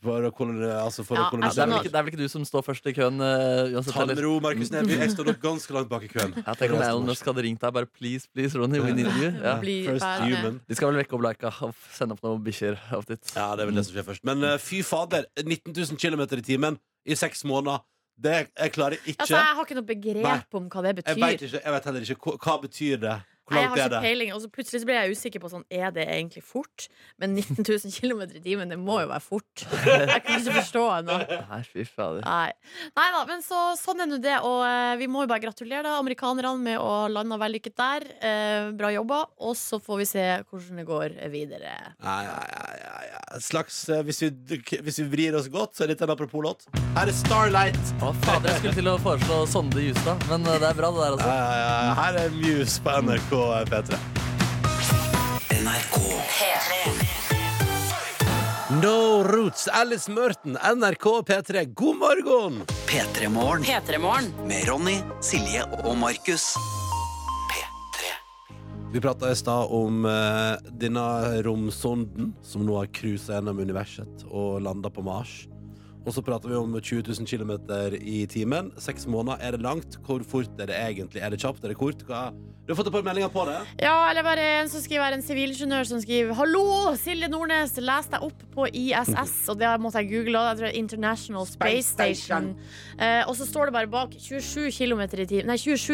Speaker 3: For å kolon- altså for
Speaker 2: Ja,
Speaker 3: å
Speaker 4: Ja, det, er
Speaker 3: kolonisere
Speaker 4: vel
Speaker 2: skjønner.
Speaker 4: ikke, det er vel ikke du som står først i køen? eh, uansett,
Speaker 3: Ta det
Speaker 4: eller?
Speaker 3: med ro, Markus Neby. Jeg står nok ganske langt bak i køen.
Speaker 4: Ja, tenk om Elon Musk hadde ringt deg bare please, please, Ronny, we need you. Ja.
Speaker 2: Bli
Speaker 3: First
Speaker 2: ferdig.
Speaker 3: human.
Speaker 4: De skal vel vekke opp Laika og f- sende opp noen bikkjer opp dit.
Speaker 3: Ja, det er vel det som skjer først. Men eh, fy fader, 19 000 km i timen i seks måneder, det jeg klarer ikke.
Speaker 2: Altså, jeg har ikke noe begrep om hva det
Speaker 3: jeg
Speaker 2: betyr.
Speaker 3: vet ikke, jeg vet heller ikke hva, hva betyr det. Hvor
Speaker 2: Nei, jeg
Speaker 3: langt
Speaker 2: har
Speaker 3: er
Speaker 2: ikke
Speaker 3: det?
Speaker 2: peiling. Og så plutselig så ble jeg usikker på sånn, er det egentlig fort. Men 19 [laughs] 000 km i timen, det må jo være
Speaker 3: [laughs]
Speaker 2: fort. Jeg kan ikke forstå ennå.
Speaker 4: Nei, fy fader.
Speaker 2: Nei. da, men så, sånn er nå det. Og eh, vi må jo bare gratulere da, amerikanerne med å lande vellykket der. Eh, bra jobba. Og så får vi se hvordan det går videre.
Speaker 3: Nei, nei, nei, nei, nei. En Slags, eh, hvis, vi, duk- hvis vi vrir oss godt, så er dette en apropos-låt. Her er Starlight.
Speaker 4: Å, fader, jeg skulle til å foreslå Sonde Justad, men eh, det er bra, det der, altså.
Speaker 3: Eh, her er Muse på NRK P3.
Speaker 1: NRK.
Speaker 3: No Roots, Alice Merton, NRK P3, god morgen!
Speaker 1: P3 Morgen
Speaker 6: P3morgen.
Speaker 1: med Ronny, Silje og Markus. P3.
Speaker 3: Vi prata i stad om eh, denne romsonden som nå har cruisa gjennom universet og landa på Mars. Og så prater vi om 20 000 km i timen. Seks måneder. Er det langt? Hvor fort er det egentlig? Er det kjapt? Er det kort? Hva? Du har fått et par meldinger på det.
Speaker 2: Ja, eller bare en som skriver her, en sivilingeniør som skriver Hallo, Silje Nordnes, les deg opp på ISS. Og det måtte jeg google. og Jeg tror det er International Space Station. Eh, og så står det bare bak 27, kilometer i timen- nei, 27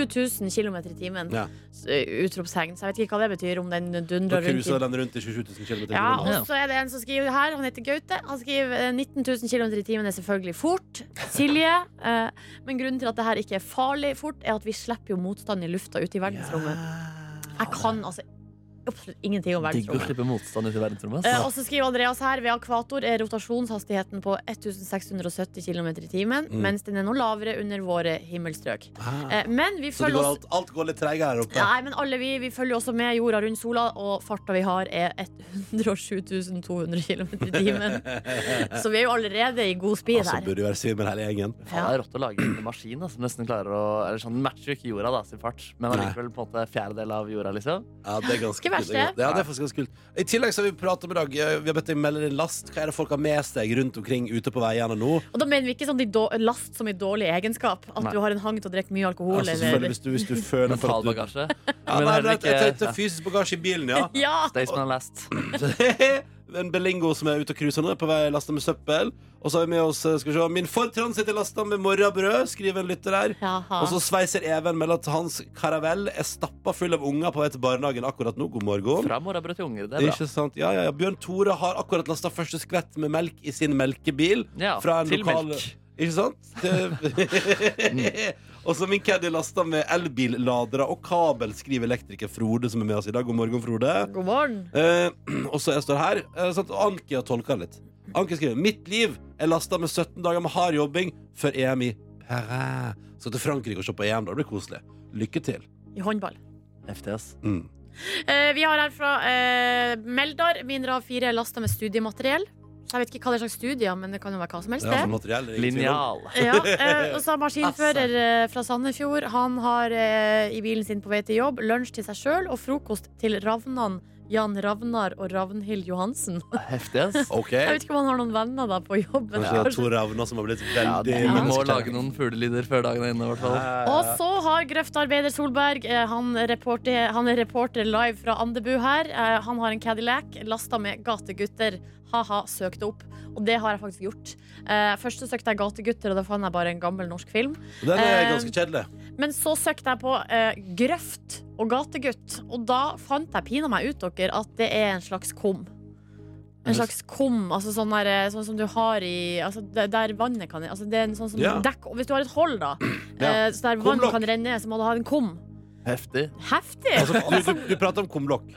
Speaker 2: 000 km i timen.
Speaker 3: Ja.
Speaker 2: S- eh, Utropstegn. Så jeg vet ikke hva det betyr, om den
Speaker 3: Da
Speaker 2: dundrer rundt.
Speaker 3: cruiser
Speaker 2: i-
Speaker 3: den rundt i 27 000 km i timen.
Speaker 2: Ja, og så er det en som skriver her, han heter Gaute. Han skriver eh, 19 000 km i timen er selvfølgelig fort. Silje. eh, men grunnen til at det her ikke er farlig fort, er at vi slipper jo motstand i lufta ute i verdensrommet. Jeg kan altså absolutt ingenting om
Speaker 4: Digg å
Speaker 2: verdensrommet.
Speaker 4: slippe motstand ut i verdensrommet. altså.
Speaker 2: Eh,
Speaker 4: ass.
Speaker 2: og så skriver Andreas her Ved akvator er rotasjonshastigheten på 1670 km i timen,
Speaker 3: Mm.
Speaker 2: mens den er noe lavere under våre himmelstrøk.
Speaker 3: Ah.
Speaker 2: Eh, men vi
Speaker 3: Så det
Speaker 2: følger
Speaker 3: går
Speaker 2: oss
Speaker 3: alt, alt går litt treigere her oppe.
Speaker 2: Nei, men alle vi, vi følger også med jorda rundt sola, og farta vi har er 107 200 km i
Speaker 3: [laughs]
Speaker 2: timen. Så vi er jo allerede i god speed
Speaker 3: altså,
Speaker 2: her.
Speaker 3: burde jo være svimmel hele gjengen.
Speaker 4: Faen, det er rått å lage en maskin da, som nesten klarer å Eller sånn, Den matcher jo ikke jorda da, sin fart, men
Speaker 3: Nei.
Speaker 4: allikevel på en måte fjerdedel av jorda, liksom.
Speaker 3: Ja, det er ganske
Speaker 2: Ikke verst,
Speaker 3: kult, egentlig. Ja, det er faktisk ganske kult. I tillegg så har vi pratet med Dag. eh, Vi har bedt deg melde inn last. Hva er det folk har med seg rundt omkring ute på veiene nå?
Speaker 2: Og da mener vi ikke sånn de då- last som i dårlig egenskap. At
Speaker 4: Nei.
Speaker 2: du har en hang til å drikke mye alkohol.
Speaker 3: Altså, selvfølgelig,
Speaker 2: eller...
Speaker 3: hvis, du, hvis
Speaker 4: [laughs]
Speaker 3: du føler for at
Speaker 4: Mental
Speaker 3: du
Speaker 4: bagasje.
Speaker 3: ja,
Speaker 4: Men
Speaker 3: nei,
Speaker 4: heller
Speaker 3: nei,
Speaker 4: ikke
Speaker 3: Jeg tenkte
Speaker 4: ja.
Speaker 3: fysisk bagasje i bilen,
Speaker 4: [laughs]
Speaker 3: ja.
Speaker 2: Ja!
Speaker 4: Staysman and last.
Speaker 3: [laughs] en Belingo som er ute og cruiser nå, er på vei lasta med søppel. Og så har vi med oss eh, skal vi se, min fortransit er lasta med morrabrød, skriver en lytter her.
Speaker 2: Jaha.
Speaker 3: Og så sveiser Even med at hans karavell er stappa full av unger på vei til barnehagen akkurat nå. God morgen.
Speaker 4: Fra morrabrød til unger. Det er bra.
Speaker 3: Ikke sant? Ja, ja, ja. Bjørn Tore har akkurat lasta første skvett med melk i sin melkebil.
Speaker 4: Ja,
Speaker 3: fra en
Speaker 4: til
Speaker 3: lokal-
Speaker 4: melk.
Speaker 3: Ikke sant? Det- [laughs] og så min caddy lasta med elbilladere og kabel, skriver elektriker Frode, som er med oss i dag. God morgen, Frode.
Speaker 2: God morgen.
Speaker 3: Eh, og så jeg står her. eh, sant? Og Anki har tolka litt. Anki skriver Mitt liv er lasta med 17 dager med hard jobbing før EM i Paris. Skal til Frankrike og se på EM, da. Det blir koselig. Lykke til.
Speaker 2: I håndball.
Speaker 4: Heftig, ass.
Speaker 3: Mm.
Speaker 2: Eh, vi har her fra eh, Meldar. Mindre av fire er lasta med studiemateriell. Så jeg vet ikke hva det er slags studier, men det kan jo være hva som helst.
Speaker 3: Det er altså
Speaker 2: det.
Speaker 3: materiell. det er ingen tvil om.
Speaker 4: Linjal.
Speaker 2: Ja, eh, og så har maskinfører eh, fra Sandefjord Han har eh, i bilen sin på vei til jobb lunsj til seg sjøl og frokost til Ravnan, Jan Ravnar og Ravnhild Johansen. [laughs]
Speaker 4: Heftig, ass.
Speaker 2: Jeg
Speaker 3: OK.
Speaker 2: vet ikke om han har noen venner da på jobben.
Speaker 3: Kanskje det er to ravner som har blitt
Speaker 4: Ja,
Speaker 3: veldig
Speaker 4: vi må
Speaker 3: menneskelige.
Speaker 4: lage noen fuglelyder før dagen er inne, i hvert fall.
Speaker 2: [laughs] Og så har grøftarbeider Solberg eh, han, reporter, han er reporter live fra Andebu her. Eh, Han har en Cadillac lasta med gategutter. Ha-ha, søkte opp. Og det har jeg faktisk gjort. Eh, Først så søkte jeg gategutter, og da fant jeg bare en gammel norsk film.
Speaker 3: Den
Speaker 2: Eh,
Speaker 3: er ganske kjedelig.
Speaker 2: Men så søkte jeg på eh, grøft og gategutt, og da fant jeg pina meg ut dere at det er en slags kum. En slags kum, altså sånn, der, eh, sånn som du har i altså der, der vannet kan altså det er en sånn som
Speaker 3: Ja.
Speaker 2: dekk, Hvis du har et hold, da, [clears throat]
Speaker 3: Ja.
Speaker 2: eh, så der vann
Speaker 3: Kumlokk.
Speaker 2: kan renne ned, så må du ha en kum.
Speaker 4: Heftig.
Speaker 2: Heftig!
Speaker 3: Altså, du, du, du prater om kumlokk.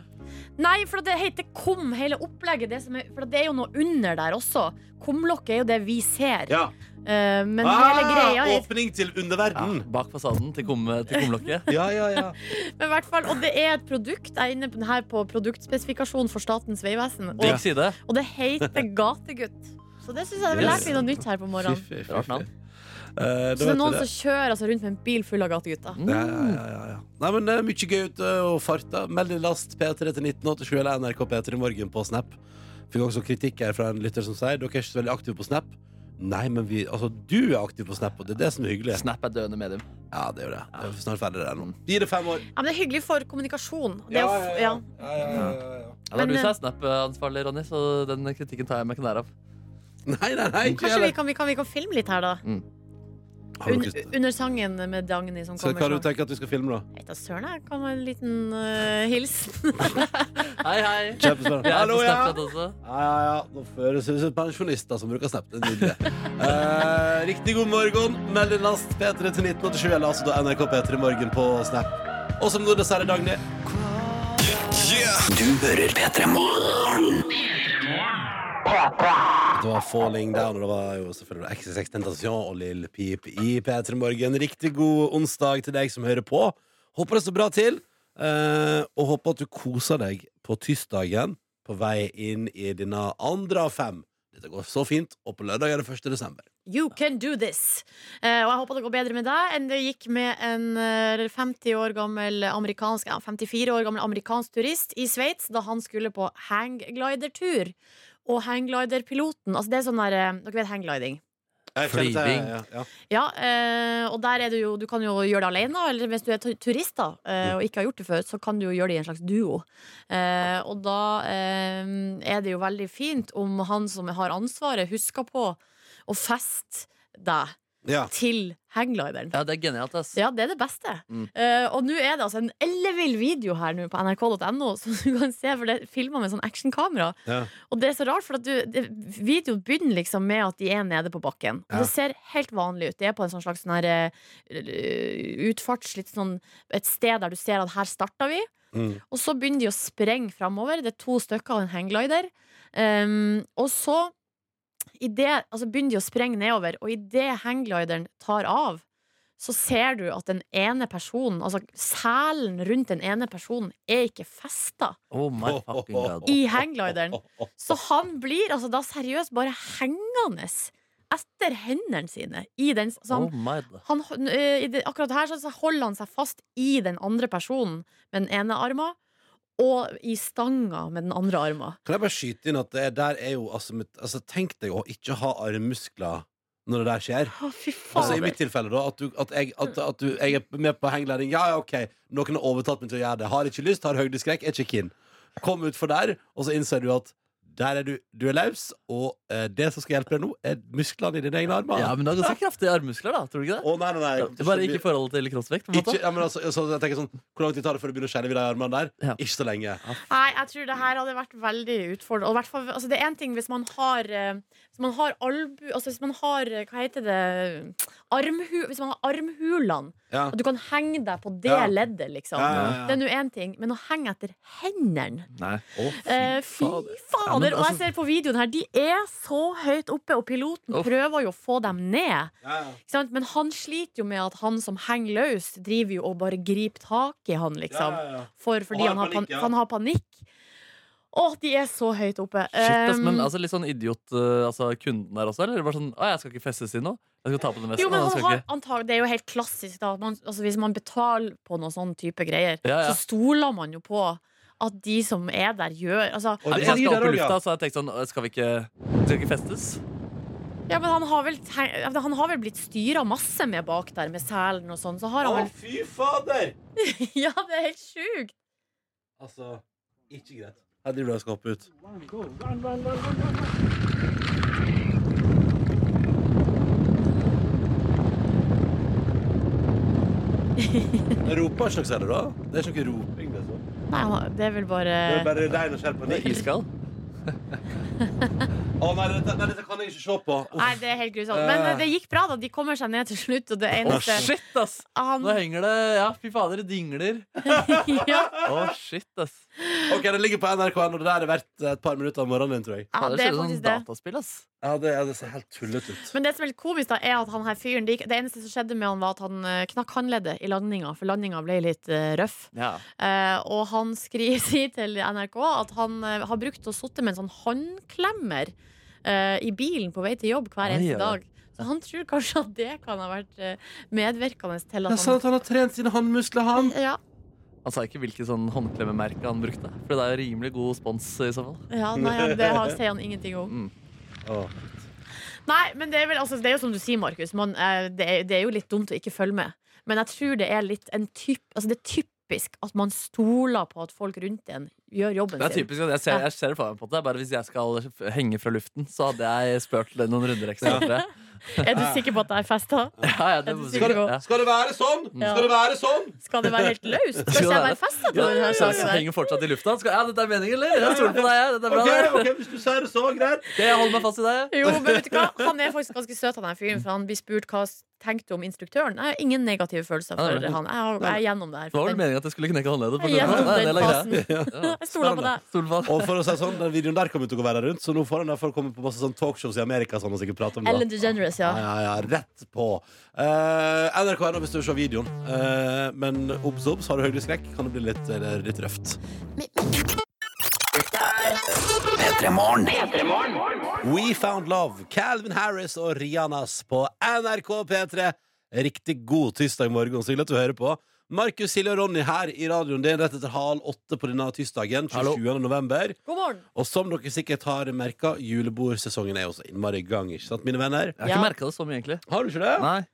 Speaker 2: Nei, for det heter kum, hele opplegget. Det som er, for det er jo noe under der også. Kumlokket er jo det vi ser.
Speaker 3: Ja.
Speaker 2: Eh, men hele greia
Speaker 3: Ah,
Speaker 2: er
Speaker 3: åpning til
Speaker 4: Ja,
Speaker 3: underverden.
Speaker 4: bak fasaden til, kumme, til kumlokket.
Speaker 3: Mm. [laughs] Ja, ja, ja.
Speaker 2: Men i hvert fall, og det er et produkt. Jeg er inne på den her på produktspesifikasjon for Statens vegvesen. Og,
Speaker 4: Digg side.
Speaker 2: og det
Speaker 3: [laughs]
Speaker 2: heter gategutt. Så det syns jeg vi lærte noe nytt her på morgenen.
Speaker 3: Fy, fy, fy,
Speaker 4: Rart
Speaker 3: fy.
Speaker 4: navn.
Speaker 3: Eh,
Speaker 2: Så
Speaker 3: da
Speaker 2: det er
Speaker 3: vet du
Speaker 2: noen
Speaker 3: det. Mm.
Speaker 2: som kjører altså, rundt med en bil full av gategutter.
Speaker 3: Ja, ja, ja, ja, ja. Nei, men det er mye gøy ute og farta. Meld din last P3 til 1987 eller NRK P3 Morgen på Snap. Fikk også kritikk her fra en lytter som sier dere er ikke så veldig aktive på Snap. Nei, men vi, altså, du er aktiv på Snap, og det er det som er hyggelig.
Speaker 4: Snap er døende medium.
Speaker 3: Ja, det er jo det. Jeg er snart ferdig der nå. Gi det fem år.
Speaker 2: Ja, men det er hyggelig for kommunikasjon. Det er jo f- ja.
Speaker 4: Ja, det
Speaker 2: Men,
Speaker 4: er du som
Speaker 2: eh,
Speaker 4: er Snap-ansvarlig, Ronny, så den kritikken tar jeg meg ikke nær av.
Speaker 3: Nei, nei, nei. Ikke
Speaker 2: Kanskje vi
Speaker 3: heller.
Speaker 2: kan, vi, kan, vi kan filme litt her, da.
Speaker 3: Mm. Har
Speaker 2: Un,
Speaker 3: dere lyst-
Speaker 2: under sangen med Dagny som
Speaker 3: Så
Speaker 2: kommer.
Speaker 3: hva har du
Speaker 2: snart.
Speaker 3: tenkt at vi skal filme, da?
Speaker 2: Jeg vet da søren, jeg. Kan ha en liten eh, hilsen.
Speaker 4: Hei, [laughs] hei.
Speaker 3: Kjempespennende.
Speaker 4: Jeg er
Speaker 3: Hallo,
Speaker 4: på
Speaker 3: ja.
Speaker 4: Snapchat også.
Speaker 3: Ja, ja, ja. Nå føles det ut som pensjonister som bruker Snap. Det er nydelig. Eh, riktig god morgen. Meld din last P3 til 1987, eller altså da NRK P3 Morgen på Snap. Og som nå dessverre, Dagny.
Speaker 1: Du hører P3 Morgen.
Speaker 3: Det var Falling Down, og det var jo selvfølgelig XXX Tentation og Lill Pip i P3 Morgen. Riktig god onsdag til deg som hører på. Håper det står bra til, eh, og håper at du koser deg på tirsdagen på vei inn i denne andre av fem. Dette går så fint, og på lørdag er det 1. desember.
Speaker 2: You can do this! Eh, og jeg håper det går bedre med deg enn det gikk med en eh, 50 år gammel amerikansk ja, 54 år gammel amerikansk turist i Sveits da han skulle på hangglidertur. Og hanggliderpiloten Altså, det er sånn der eh, Dere vet hanggliding?
Speaker 3: Jeg kjenner til-
Speaker 4: Flyving.
Speaker 3: Ja, ja.
Speaker 2: Ja, eh, og der er det jo Du kan jo gjøre det alene, eller hvis du er tu- turist da eh, og ikke har gjort det før, så kan du jo gjøre det i en slags duo. Eh, og da eh, er det jo veldig fint om han som har ansvaret, husker på å feste deg
Speaker 3: Ja.
Speaker 2: til hangglideren.
Speaker 4: Ja, det er genialt, ass.
Speaker 2: Ja, det er det beste.
Speaker 4: Mm.
Speaker 2: Eh, og nå er det altså en ellevill video her nå på nrk.no [laughs] som du kan se, for det er filma med sånn actionkamera.
Speaker 3: Ja.
Speaker 2: Og det er så rart, for at du, det, videoen begynner liksom med at de er nede på bakken. Og
Speaker 3: Ja.
Speaker 2: Det ser helt vanlig ut. De er på en sånn slags sånn her, eh, utfarts, litt sånn, et sted der du ser at her starta vi.
Speaker 3: Mm.
Speaker 2: Og så begynner de å sprenge framover. Det er to stykker og en hangglider. Um, og så i det, altså begynner de å sprenge nedover, og idet hangglideren tar av, så ser du at den ene personen, altså selen rundt den ene personen, er ikke festa
Speaker 4: Oh [laughs] my fucking
Speaker 3: [laughs]
Speaker 4: god.
Speaker 2: i hangglideren. Så han blir altså da seriøst bare hengende etter hendene sine i den så han,
Speaker 4: Oh my god.
Speaker 2: han, eh, i det, akkurat her så så holder han seg fast i den andre personen med den ene armen, og i stanga med den andre armen.
Speaker 3: Kan jeg bare skyte inn at det der er jo altså, mitt, altså, Tenk deg å ikke ha armmuskler når det der skjer.
Speaker 2: Å, fy
Speaker 3: Altså I
Speaker 2: fader.
Speaker 3: mitt tilfelle, da. At, du, at, jeg, at, at du, jeg er med på hengledning. Ja, ja, OK, noen har overtalt meg til å gjøre det. Har ikke lyst, har høydeskrekk, er ikke keen. Kom utfor der, og så innser du at der er du, du er løs, og eh, det som skal hjelpe deg nå, er musklene i dine egne armer.
Speaker 4: Ja, men det er ganske kraftige armmuskler, da. Tror du ikke det?
Speaker 3: Å, nei, nei, nei.
Speaker 4: Det er Bare ikke i forhold til kroppsvekt. på en
Speaker 3: Ikke,
Speaker 4: måte
Speaker 3: ja, men altså, så jeg tenker sånn, Hvor lang tid tar det før du begynner å skjelve i de armene der?
Speaker 4: Ja.
Speaker 3: Ikke så lenge.
Speaker 2: Nei, jeg tror det her hadde vært veldig utfordrende. Og i hvert fall, altså, det er én ting hvis man har eh, Hvis man har albu... Altså hvis man har eh, Hva heter det Armhu, Hvis man har armhulene,
Speaker 3: Ja.
Speaker 2: at du kan henge deg på det
Speaker 3: Ja.
Speaker 2: leddet, liksom.
Speaker 3: Ja, ja, ja.
Speaker 2: Det er nå én ting, men å henge etter hendene
Speaker 4: Nei.
Speaker 2: Eh, Fy fader.
Speaker 4: Ja, men
Speaker 2: og jeg
Speaker 4: altså-
Speaker 2: ser på videoen her, de er så høyt oppe, og piloten
Speaker 4: Uff.
Speaker 2: prøver jo å få dem ned.
Speaker 3: Ja, ja.
Speaker 2: Ikke sant? Men han sliter jo med at han som henger løs, driver jo og bare griper tak i han, liksom.
Speaker 3: ja, ja.
Speaker 2: For, fordi
Speaker 3: Og har
Speaker 2: han har,
Speaker 3: panikk,
Speaker 2: pan
Speaker 3: ja.
Speaker 2: han har panikk. Å, de er så høyt oppe.
Speaker 4: Shit, ass, men
Speaker 2: Um,
Speaker 4: altså, Litt sånn idiot eh, altså, kunden der også? Eller bare sånn Å, jeg skal ikke festes i noe. Jeg skal ta på den vesten.
Speaker 2: jo, men
Speaker 4: og
Speaker 2: han
Speaker 4: jeg
Speaker 2: har,
Speaker 4: altså, skal ikke.
Speaker 2: antag, det er jo helt klassisk da at man, altså, Hvis man betaler på noen sånn type greier
Speaker 4: Ja, ja.
Speaker 2: Så stoler man jo på At de som er der gjør altså,
Speaker 3: Og
Speaker 4: Nei,
Speaker 3: det
Speaker 4: hvis
Speaker 3: er
Speaker 4: jeg
Speaker 3: de
Speaker 4: skal
Speaker 3: der
Speaker 4: opp i
Speaker 3: også, ja.
Speaker 4: lufta, så har jeg tenkt sånn «Å, Skal vi ikke, skal vi ikke festes?
Speaker 2: Ja, men han har vel, te- han har vel blitt styra masse med bak der, med selen og sånn. Så har han
Speaker 3: fy fader!
Speaker 2: vel [laughs] Ja, det er helt sjukt!
Speaker 3: Altså, ikke greit. Her driver du og skal hoppe ut. Jeg roper en slags heller, da. Det er ikke noe roping. Det, sånn.
Speaker 2: Nei, han- det er vel
Speaker 3: det
Speaker 2: bare
Speaker 3: er bare rein og skjær
Speaker 4: Det er
Speaker 3: panikk.
Speaker 4: iskald.
Speaker 3: Å, nei, dette, nei, dette kan jeg ikke se på. Uff.
Speaker 2: Nei, det er helt grusomt. Men eh, det gikk bra, da. De kommer seg ned til slutt, og det
Speaker 4: Å,
Speaker 2: eneste
Speaker 4: shit, ass! Nå
Speaker 2: han,
Speaker 4: henger det Ja, fy fader, det dingler.
Speaker 2: [laughs] ja,
Speaker 4: Å, shit, ass.
Speaker 3: Ok, Det ligger på NRK1, og det der er verdt eh, et par minutter av morgenen. tror jeg
Speaker 2: ja,
Speaker 4: Fader,
Speaker 2: det er
Speaker 4: ser ut som
Speaker 2: faktisk det.
Speaker 4: sånn dataspill, ass.
Speaker 3: Ja, Det, ja, det ser helt tullete ut.
Speaker 2: Men det som er litt komisk, da, er at han her fyren Det gikk- det eneste som skjedde med han, var at han eh, knakk håndleddet i landinga, for landinga ble litt eh, røff.
Speaker 4: Ja.
Speaker 2: Eh, og han skriver, [laughs] sier til NRK at han eh, har brukt å sitte med en sånn håndklemmer eh, i bilen på vei til jobb hver
Speaker 4: Oi,
Speaker 2: eneste
Speaker 4: oi.
Speaker 2: dag. Så han tror kanskje at det kan ha vært eh, medvirkende til at han
Speaker 3: sånn at han har trent sine håndmuskler, han.
Speaker 2: ja,
Speaker 4: Han sa ikke hvilket sånn håndklemmemerke han brukte. For det er jo rimelig god spons i så fall.
Speaker 2: ja, nei, ja, det har, sier han ingenting om.
Speaker 3: Åh.
Speaker 2: Nei, men det er, vel, altså, det er jo som du sier, Markus. Man, eh, det, er, det er jo litt dumt å ikke følge med. Men jeg tror det er litt en typ, altså, det er typisk at man stoler på at folk rundt en gjør jobben
Speaker 4: Det er
Speaker 2: sin.
Speaker 4: typisk, at jeg ser, jeg ser det for meg på det. Bare hvis jeg skal henge fra luften, så hadde jeg spurt det noen runder ekstra. tror jeg.
Speaker 2: Er du sikker på at det er festa?
Speaker 4: [laughs] Ja, ja, det,
Speaker 2: Er du sikker
Speaker 3: Skal,
Speaker 2: på-
Speaker 3: det, skal det være sånn?
Speaker 2: Ja.
Speaker 3: Skal det være sånn?
Speaker 2: Skal det være helt løst? Skal ikke jeg være festa?
Speaker 4: Ja, så jeg henger fortsatt i lufta. Skal, ja, dette er meningen, eller? Jeg stoler på deg. jeg. Dette er bra.
Speaker 3: Ok,
Speaker 4: det.
Speaker 3: ok, Hvis du sier det så, greit.
Speaker 4: Ok, Jeg holder meg fast i deg.
Speaker 2: Jo, men vet du hva? Han er faktisk ganske søt, han der fyren. For han blir spurt hva s- tenkte du om instruktøren. Jeg har ingen negative følelser for
Speaker 4: Nei, nei.
Speaker 2: han. Jeg, har, jeg er gjennom det her.
Speaker 4: Det var vel meningen at jeg skulle knekke håndleddet. på
Speaker 2: Jeg er
Speaker 4: grunn av-
Speaker 2: gjennom
Speaker 4: Nei, det
Speaker 2: den
Speaker 4: er greia.
Speaker 2: fasen. [laughs] Jeg stoler på deg.
Speaker 4: Stol på
Speaker 3: Og for å si det sånn, den videoen der kommer til å gå verre rundt, så nå får den derfor komme på masse sånn talkshows i Amerika. Sånn, og sikkert prate om det.
Speaker 2: Ellen DeGeneres,
Speaker 3: Ja,
Speaker 2: ja.
Speaker 3: ja, ja, rett på. Uh, NRK er nå hvis du ser videoen. Eh, men obs, obs, har du høydeskrekk, kan det bli litt, eh, litt røft.
Speaker 6: Dette er
Speaker 3: We Found Love, Calvin Harris og Rianas på NRK P3. Riktig god tirsdag morgen, så hyggelig at du hører på. Markus, Silje og Ronny her i radioen din rett etter halv åtte på denne tirsdagen. 27. november.
Speaker 2: God morgen!
Speaker 3: Og som dere sikkert har merka, julebordsesongen er jo så innmari i gang, ikke sant, mine venner?
Speaker 4: Jeg har ikke
Speaker 2: Ja.
Speaker 4: merka det så mye, egentlig.
Speaker 3: Har du ikke det?
Speaker 4: Nei.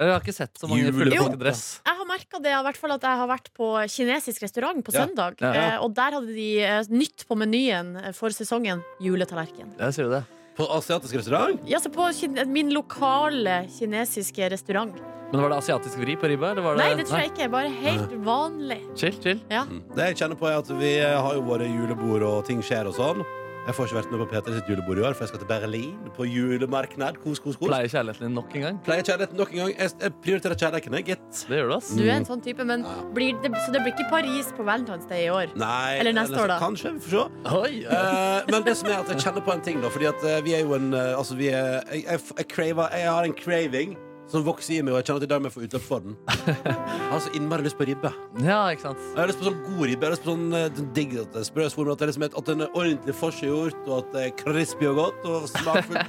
Speaker 4: Jeg har ikke sett så mange fulle
Speaker 2: Julebord.
Speaker 4: folk i dress.
Speaker 2: Jeg har merka det, i hvert fall at jeg har vært på kinesisk restaurant på
Speaker 3: Ja.
Speaker 2: søndag.
Speaker 4: Ja, ja.
Speaker 2: eh, Og der hadde de eh, nytt på menyen eh, for sesongen juletallerken.
Speaker 4: Jeg sier du det.
Speaker 3: På asiatisk restaurant?
Speaker 2: Ja, så på kin- min lokale kinesiske restaurant.
Speaker 4: Men var det asiatisk vri på ribba? Eller var det...
Speaker 2: Nei, det tror jeg ikke. Bare helt vanlig.
Speaker 4: Chill, chill.
Speaker 3: Det jeg kjenner på er at Vi har jo våre julebord, og ting skjer og sånn. Jeg får ikke vært med på P3 sitt julebord i år, for jeg skal til Berlin på julemarknad. Kos, kos, kos.
Speaker 4: Pleier kjærligheten din nok en gang?
Speaker 3: Pleier kjærligheten nok en gang. Jeg- Jeg prioriterer kjærligheten, jeg, gitt.
Speaker 4: Det gjør du, ass.
Speaker 2: Du er en sånn type, men blir det, så det blir ikke Paris på Valentine's Day i år.
Speaker 3: Nei,
Speaker 2: Eller neste år, da.
Speaker 3: Kanskje, vi får se.
Speaker 4: Oi, eh,
Speaker 3: Eh, men det som er at jeg kjenner på en ting, da. Fordi at eh, vi er jo en eh, Altså, vi er jeg, jeg, f- jeg, craver, jeg har en craving som vokser i meg, og jeg kjenner at i dag må jeg få utløp
Speaker 2: [laughs]
Speaker 3: for den. Jeg har så innmari lyst på ribbe.
Speaker 4: ja, ikke sant.
Speaker 3: Jeg har lyst på sånn god ribbe. Jeg har lyst på sånn eh, den digg at det er sprø svor, men at, det er liksom, et- at den er ordentlig forseggjort, og at det er crispy og godt, og smakfullt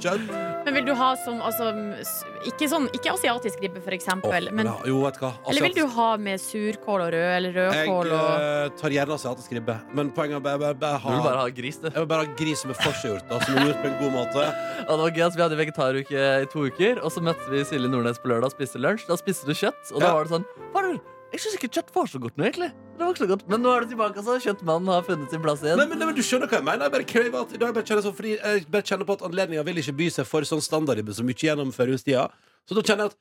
Speaker 2: [laughs]
Speaker 3: kjøtt.
Speaker 2: Men vil du ha som altså, s- ikke, sånn, ikke asiatisk ribbe, for eksempel.
Speaker 3: Åh,
Speaker 2: Men,
Speaker 3: ja, jo, vet du hva.
Speaker 2: eller vil
Speaker 3: Asiatisk-
Speaker 2: du ha med surkål og rød, eller
Speaker 3: jeg
Speaker 2: rødkål og
Speaker 3: eh, tar gjerne asiatisk ribbe, men poenget er bare- bare- bare
Speaker 4: Du
Speaker 3: ha
Speaker 4: vil bare ha gris, du.
Speaker 3: Jeg vil bare ha gris som er forseggjort, da, som er gjort på en god måte.
Speaker 4: Ja, det var gøy, ass. Vi hadde vegetaruke i to uker, og så møtte vi Silje Nordnes på lørdag og spiste lunsj. Da spiste du kjøtt, og da
Speaker 3: Ja.
Speaker 4: var det sånn Farvel, jeg syns ikke kjøtt var så godt nå, egentlig. Det var ikke så godt. Men nå er du tilbake, altså. Kjøttmannen har funnet sin plass igjen.
Speaker 3: Nei, men, nei, men Du skjønner hva jeg mener. Jeg bare krever at, i dag bare kjenner jeg sånn, fordi jeg bare kjenner på at anledninga vil ikke by seg for sånn standardribbe som ikke gjennomfører hos tida. Så da kjenner jeg at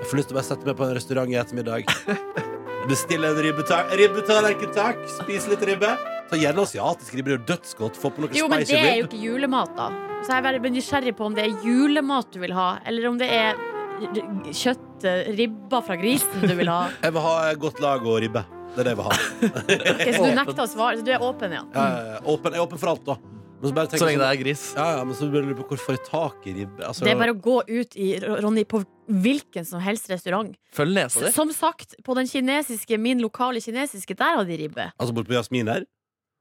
Speaker 3: jeg får lyst til å bare sette meg på en restaurant i ettermiddag.
Speaker 4: [laughs]
Speaker 3: Bestille en ribbeta- ribbetallerken, takk. Spise litt ribbe. Ta gjerne asiatisk ribbe. Det er jo dødsgodt. Få på noe
Speaker 2: Jo, men det
Speaker 3: spicy
Speaker 2: er jo
Speaker 3: rib.
Speaker 2: ikke julemat, da. Så jeg er veldig nysgjerrig på om det er julemat du vil ha, eller om det er r- kjøtt, eh, ribba fra grisen du vil ha.
Speaker 3: Jeg vil ha eh, godt lag og ribbe. Det er det [laughs] jeg vil ha.
Speaker 2: Ok, så du nekter å svare, så du er åpen, ja.
Speaker 3: Jeg er åpen, jeg er åpen for alt, da. Men så bare tenker
Speaker 4: så
Speaker 3: jeg
Speaker 4: lenge det
Speaker 3: sånn-
Speaker 4: er gris.
Speaker 3: ja, ja, men så begynner du på hvor får jeg tak i ribbe? Altså,
Speaker 2: Det er bare å gå ut i Ronny, på hvilken som helst restaurant.
Speaker 4: Følg nesa di.
Speaker 2: Som sagt, på den kinesiske, min lokale kinesiske, der hadde de ribbe.
Speaker 3: altså borte på Jasmin her?